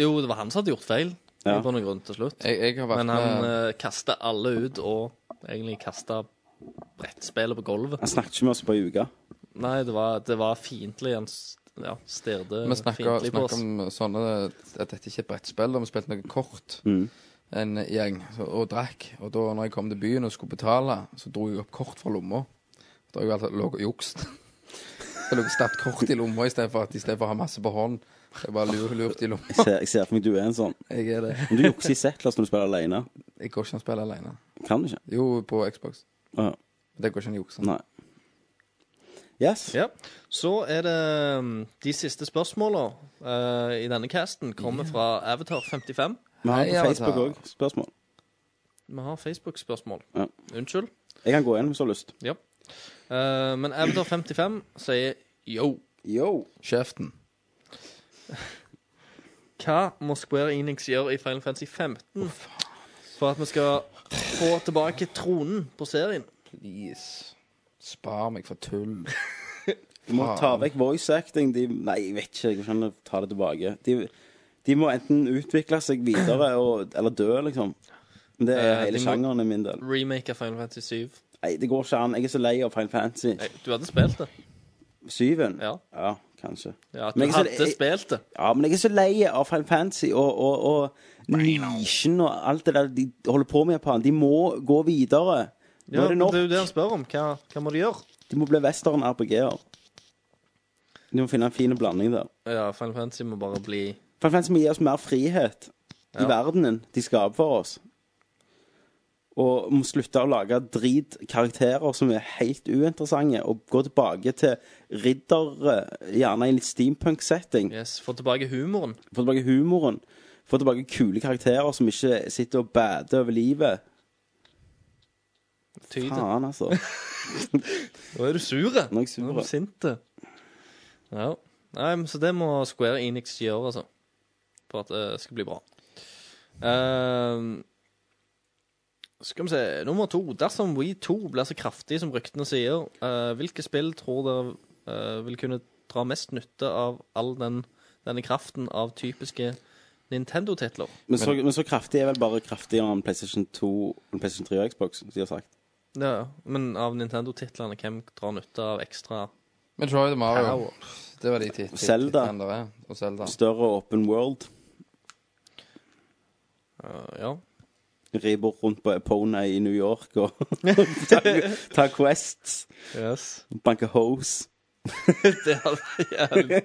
F: jo, det var han som hadde gjort feil,
E: Ja.
F: i bunn og grunn, til slutt.
B: Jeg, jeg har vært
F: Men han
B: med
F: uh, kasta alle ut, og egentlig kasta brettspillet på gulvet.
E: Han snakket ikke med oss på ei uke.
F: Nei, det var, det var fiendtlig. Han s- ja, stirrede
B: Vi snakker,
F: fiendtlig på oss.
B: snakker om sånne At dette ikke er brettspill. da. Vi spilte noe kort, en gjeng, så- og drakk. Og da når jeg kom til byen og skulle betale, så dro jeg opp kort fra lomma. Da har jeg alltid lå og jukst. Jeg lå og stappet kort i lomma istedenfor å ha masse på hånd. Jeg bare lur, lurt i lomma.
E: Jeg ser, jeg ser for meg du er en sånn.
B: Jeg er det.
E: Men du jukser i Settlers når du spiller alene.
B: Jeg går ikke an å spille alene.
E: Kan du ikke?
B: Jo, på Xbox.
E: Å, ja.
B: Det går ikke an å jukse.
E: nei. Yes.
F: Ja. Så er det mm, de siste spørsmåla i denne casten. Kommer fra Avatar55.
E: Vi har
B: Nei,
E: det på Facebook òg
B: altså.
E: spørsmål.
F: Vi har Facebook-spørsmål.
E: Ja.
F: Unnskyld.
E: Jeg kan gå igjen hvis du har lyst.
F: Ja. Eh, men Avatar55 sier yo.
E: Yo.
B: Kjeften.
F: Hva må Square Enix gjøre i Final Fantasy 15 for at vi skal få tilbake tronen på serien?
B: Please. Spar meg for tull.
E: Du må ta vekk voice acting. De, nei, jeg vet ikke. Jeg kan ikke ta det tilbake. De, de må enten utvikle seg videre og, eller dø, liksom. Men det er
F: Eh,
E: hele
F: de må-
E: sjangeren i min del.
F: Remake av Final Fantasy 7.
E: Nei, det går ikke an. Jeg er så lei av Final Fantasy.
F: Nei, Du hadde spilt det.
E: Syven?
F: Ja.
E: ja kanskje.
F: Ja, at du
E: Men jeg er så-
F: hadde spilt det.
E: Ja, men jeg er så lei av Final Fantasy og, og, og nisjen og alt det der de holder på med i Japan. De må gå videre. Nå
F: Ja,
E: er det
F: men
E: nok.
F: det er jo det han spør om. Hva, hva må de gjøre?
E: De må bli western-RPG-er. De må finne en fin blanding der.
F: Ja, Final Fantasy må bare bli
E: Final Fantasy må gi oss mer frihet i verdenen de skaper for oss. Og må slutte å lage dritkarakterer som er helt uinteressante, og gå tilbake til riddere, gjerne i en litt steampunk-setting.
F: Yes, Få tilbake humoren.
E: Få tilbake humoren. Få tilbake kule karakterer som ikke sitter og bader over livet.
F: Tyd.
E: Faen, altså.
F: Nå er du sure.
E: Nå er jeg sur,
F: du
E: ja.
F: sinte. Ja. Nei, men så det må Square Enix gjøre, altså. For at det skal bli bra. Ehm, skal vi se Nummer to. Dersom Wii 2 blir så kraftig som ryktene sier, eh, hvilke spill tror dere eh, vil kunne dra mest nytte av all den, denne kraften av typiske Nintendo-titler?
E: Men så, men så kraftig er vel bare kraftigere enn PlayStation 2, enn PlayStation 3 og Xbox, som de har sagt.
F: Ja, men av Nintendo-titlene, hvem drar nytte av ekstra
B: Metroid og Mario.
F: power?
B: Det var de tit- tit-
E: Zelda.
B: titlene der er. Og Zelda.
E: Større open world.
F: Eh, ja.
E: Rir rundt på Epona i New York og ta, ta quests.
F: Yes.
E: Banke hoes.
F: Det hadde jævlig-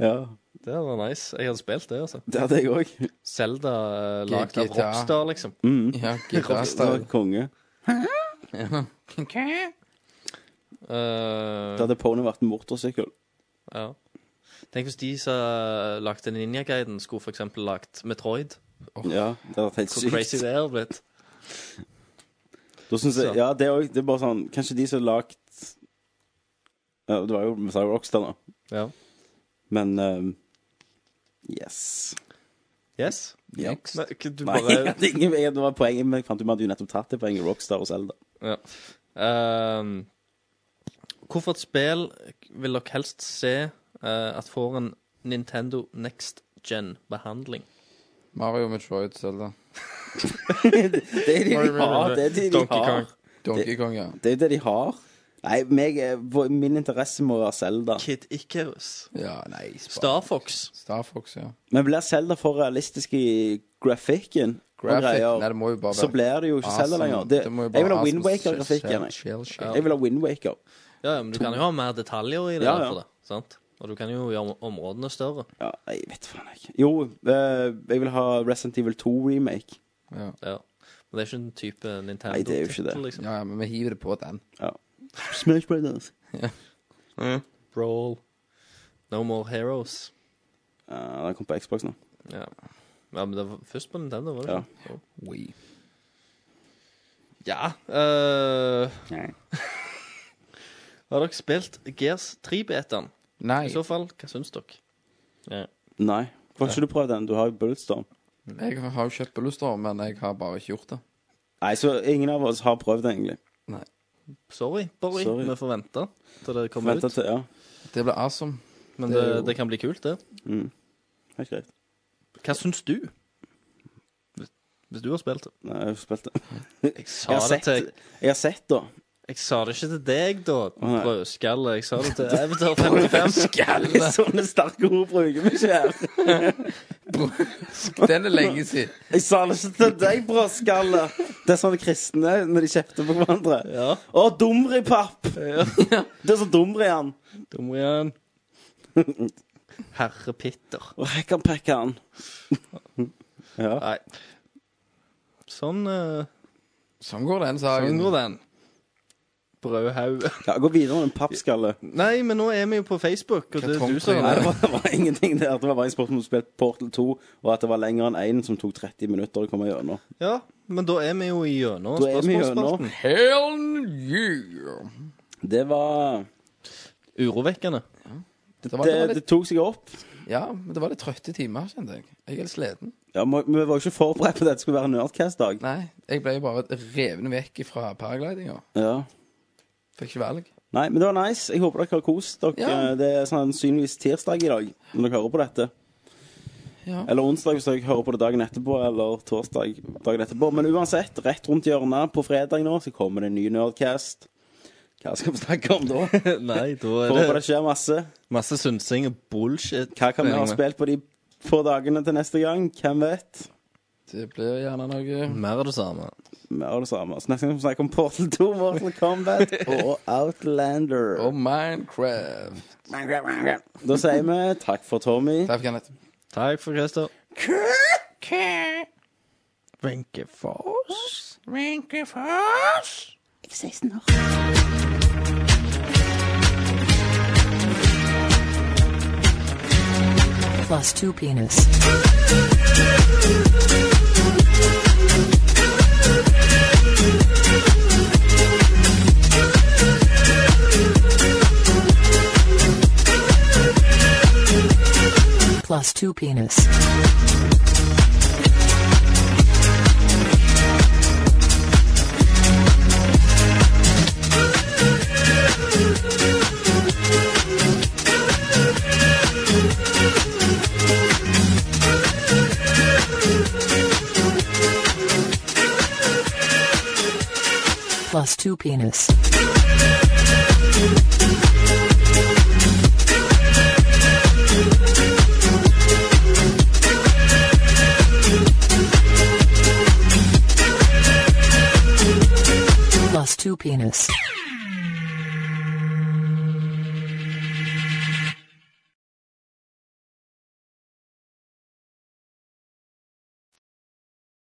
E: Ja,
F: det hadde vært nice. Jeg hadde spilt det, altså.
E: det hadde jeg òg.
F: Zelda eh, lagd av
B: GTA.
F: Rockstar, liksom.
E: Mm.
B: Ja,
E: Det var
B: gitarstyle.
E: konge.
F: Eh,
E: Da hadde Pony vært en motorsykkel.
F: ja. Tenk hvis de eh, som lagde Ninja Guiden, skulle for eksempel lagd Metroid.
E: Ja, det hadde vært helt
F: Hvor crazy
E: sykt.
F: det hadde blitt.
E: Da synes jeg,
F: Så.
E: ja, det er, også, det er bare sånn Kanskje de som har lagd ja, Det var jo vi sa jo Rockstar, da.
F: Ja.
E: Men ehm, Yes.
F: Yes.
E: Ja.
F: Men, k- du
E: Nei, jeg
F: bare
E: hadde ingen, jeg, det var poenget, men jeg fant ut at du nettopp tatt det poenget Rockstar og Zelda.
F: ja. Eh, Hvorfor et spill vil dere helst se eh, at får en Nintendo Next Gen-behandling?
B: Mario, Metroid, Zelda.
E: Det er det de har. Det er det de har.
B: Donkey Kong, ja.
E: Det er det de har. Nei, meg, eh, vår- min interesse må være Zelda.
F: Kid Icarus.
B: Ja, nei spa-
F: Star Fox.
B: Star Fox, ja.
E: Men blir Zelda for realistisk i grafikken? og
B: Graphic.
E: greier,
B: Nei, det må jo bare
E: så blir det jo ikke Zelda lenger. Det,
B: må jo bare
E: jeg vil ha
B: awesome
E: Wind
B: shell-
E: Waker-grafikken. jeg.
B: shell- shell-
E: Jeg vil ha Wind Waker.
F: Ja, ja, men du kan jo ha mer detaljer i det.
E: Ja,
F: der
E: ja.
F: For det sant? Og du kan jo gjøre områdene større.
E: Ja, jeg vet faen ikke. Jo, eh, jeg vil ha Resident Evil 2-remake.
F: Ja. Men det er ikke en type Nintendo.
E: Nei, det er jo ikke det.
F: Liksom.
B: Ja, ja, men vi hiver det på den.
E: Smash Brothers.
F: Brawl. No More Heroes.
E: Ja, den kom på Xbox nå.
F: Ja. ja, men det var først på Nintendo, var det
E: Ja.
F: ikke?
B: We.
F: Ja. øh,
E: Nei.
F: har dere spilt Gears 3-betaen?
B: Nei,
F: I så fall, hva syns dere?
E: Nei. Får ikke du prøvd den? Du har jo Bulletstorm.
B: jeg har jo kjøpt Bulletstorm, men jeg har bare ikke gjort det.
E: Nei, så ingen av oss har prøvd det, egentlig.
F: Sorry, Borry.
E: Sorry.
F: Vi får vente til det kommer
E: Vent
F: ut.
E: til, ja.
B: Det blir awesome.
F: Men
B: det
F: det,
B: er jo-
F: det kan bli kult, det.
E: Helt greit.
F: Hva syns du? Hvis- Hvis du har spilt det.
E: Nei, jeg har spilt det.
F: Jeg
E: Jeg
F: sa
E: har
F: det til
E: sett, jeg har sett da.
F: Jeg sa det ikke til deg, da.
E: nei.
F: Brødskalle. Jeg sa det til Avatar 55.
E: Sånne sterke ord bruker vi ikke her.
B: Den er lenge siden.
E: Jeg sa det ikke til deg, brødskalle. Det er sånne kristne når de kjefter på hverandre.
F: Ja.
E: Å, dumripapp! Det er så dumri han.
F: Dumrian. Herre Pitter.
E: Og hekkan pekkan. Ja.
F: Nei. Sånn eh,
B: Sånn går den
F: Sånn
B: saken.
F: går den. Brødhaug.
E: ja. Gå videre med en pappskalle.
F: Nei, men nå er vi jo på Facebook, og det er du som
E: Nei, det var, det var ingenting der. Det var bare en sport som spilte Portal 2, og at det var lenger enn én som tok 30 minutter å komme gjennom.
F: Ja, men da er vi jo i gjennom
E: Da er vi
F: spørsmålsspalten.
E: gjennom.
B: Hell yeah!
E: Det var
F: Urovekkende.
E: det,
B: Det var, det var
E: det
B: litt,
E: tok seg opp.
B: ja, men det var litt trøtte timer, kjente jeg. Jeg er litt sliten.
E: Ja, men Vi var jo ikke forberedt på at dette skulle være Nerdcast-dag.
B: Nei, jeg ble jo bare revet vekk fra paraglidinga.
E: Ja.
B: Fikk ikke valg.
E: Nei, men det var nice. Jeg håper dere har kost dere.
B: Ja.
E: Det er sånn sannsynligvis tirsdag i dag når dere hører på dette.
B: Ja.
E: Eller onsdag hvis dere hører på det dagen etterpå, eller torsdag dagen etterpå. Men uansett, rett rundt hjørnet på fredag nå så kommer det en ny Nerdcast. Hva skal vi snakke om da?
F: Nei, da
E: Håper det skjer masse.
F: masse synsing og bullshit.
E: Hva kan vi ha
F: Meninger.
E: spilt på de få dagene til neste gang? Hvem vet?
B: Det blir gjerne noe
F: Mer av det samme.
E: Vi har det samme. Så neste gang skal vi snakke om Portal 2, Mortal Kombat og Outlander.
B: Og Minecraft.
E: Da sier vi takk for Tommy.
B: Takk, Kenneth.
F: Takk for Christer. Wenche Foss.
B: Vinkefoss!
K: Jeg er 16 år.
L: Plus two penis. Plus two penis. Plus two penis. Plus two penis.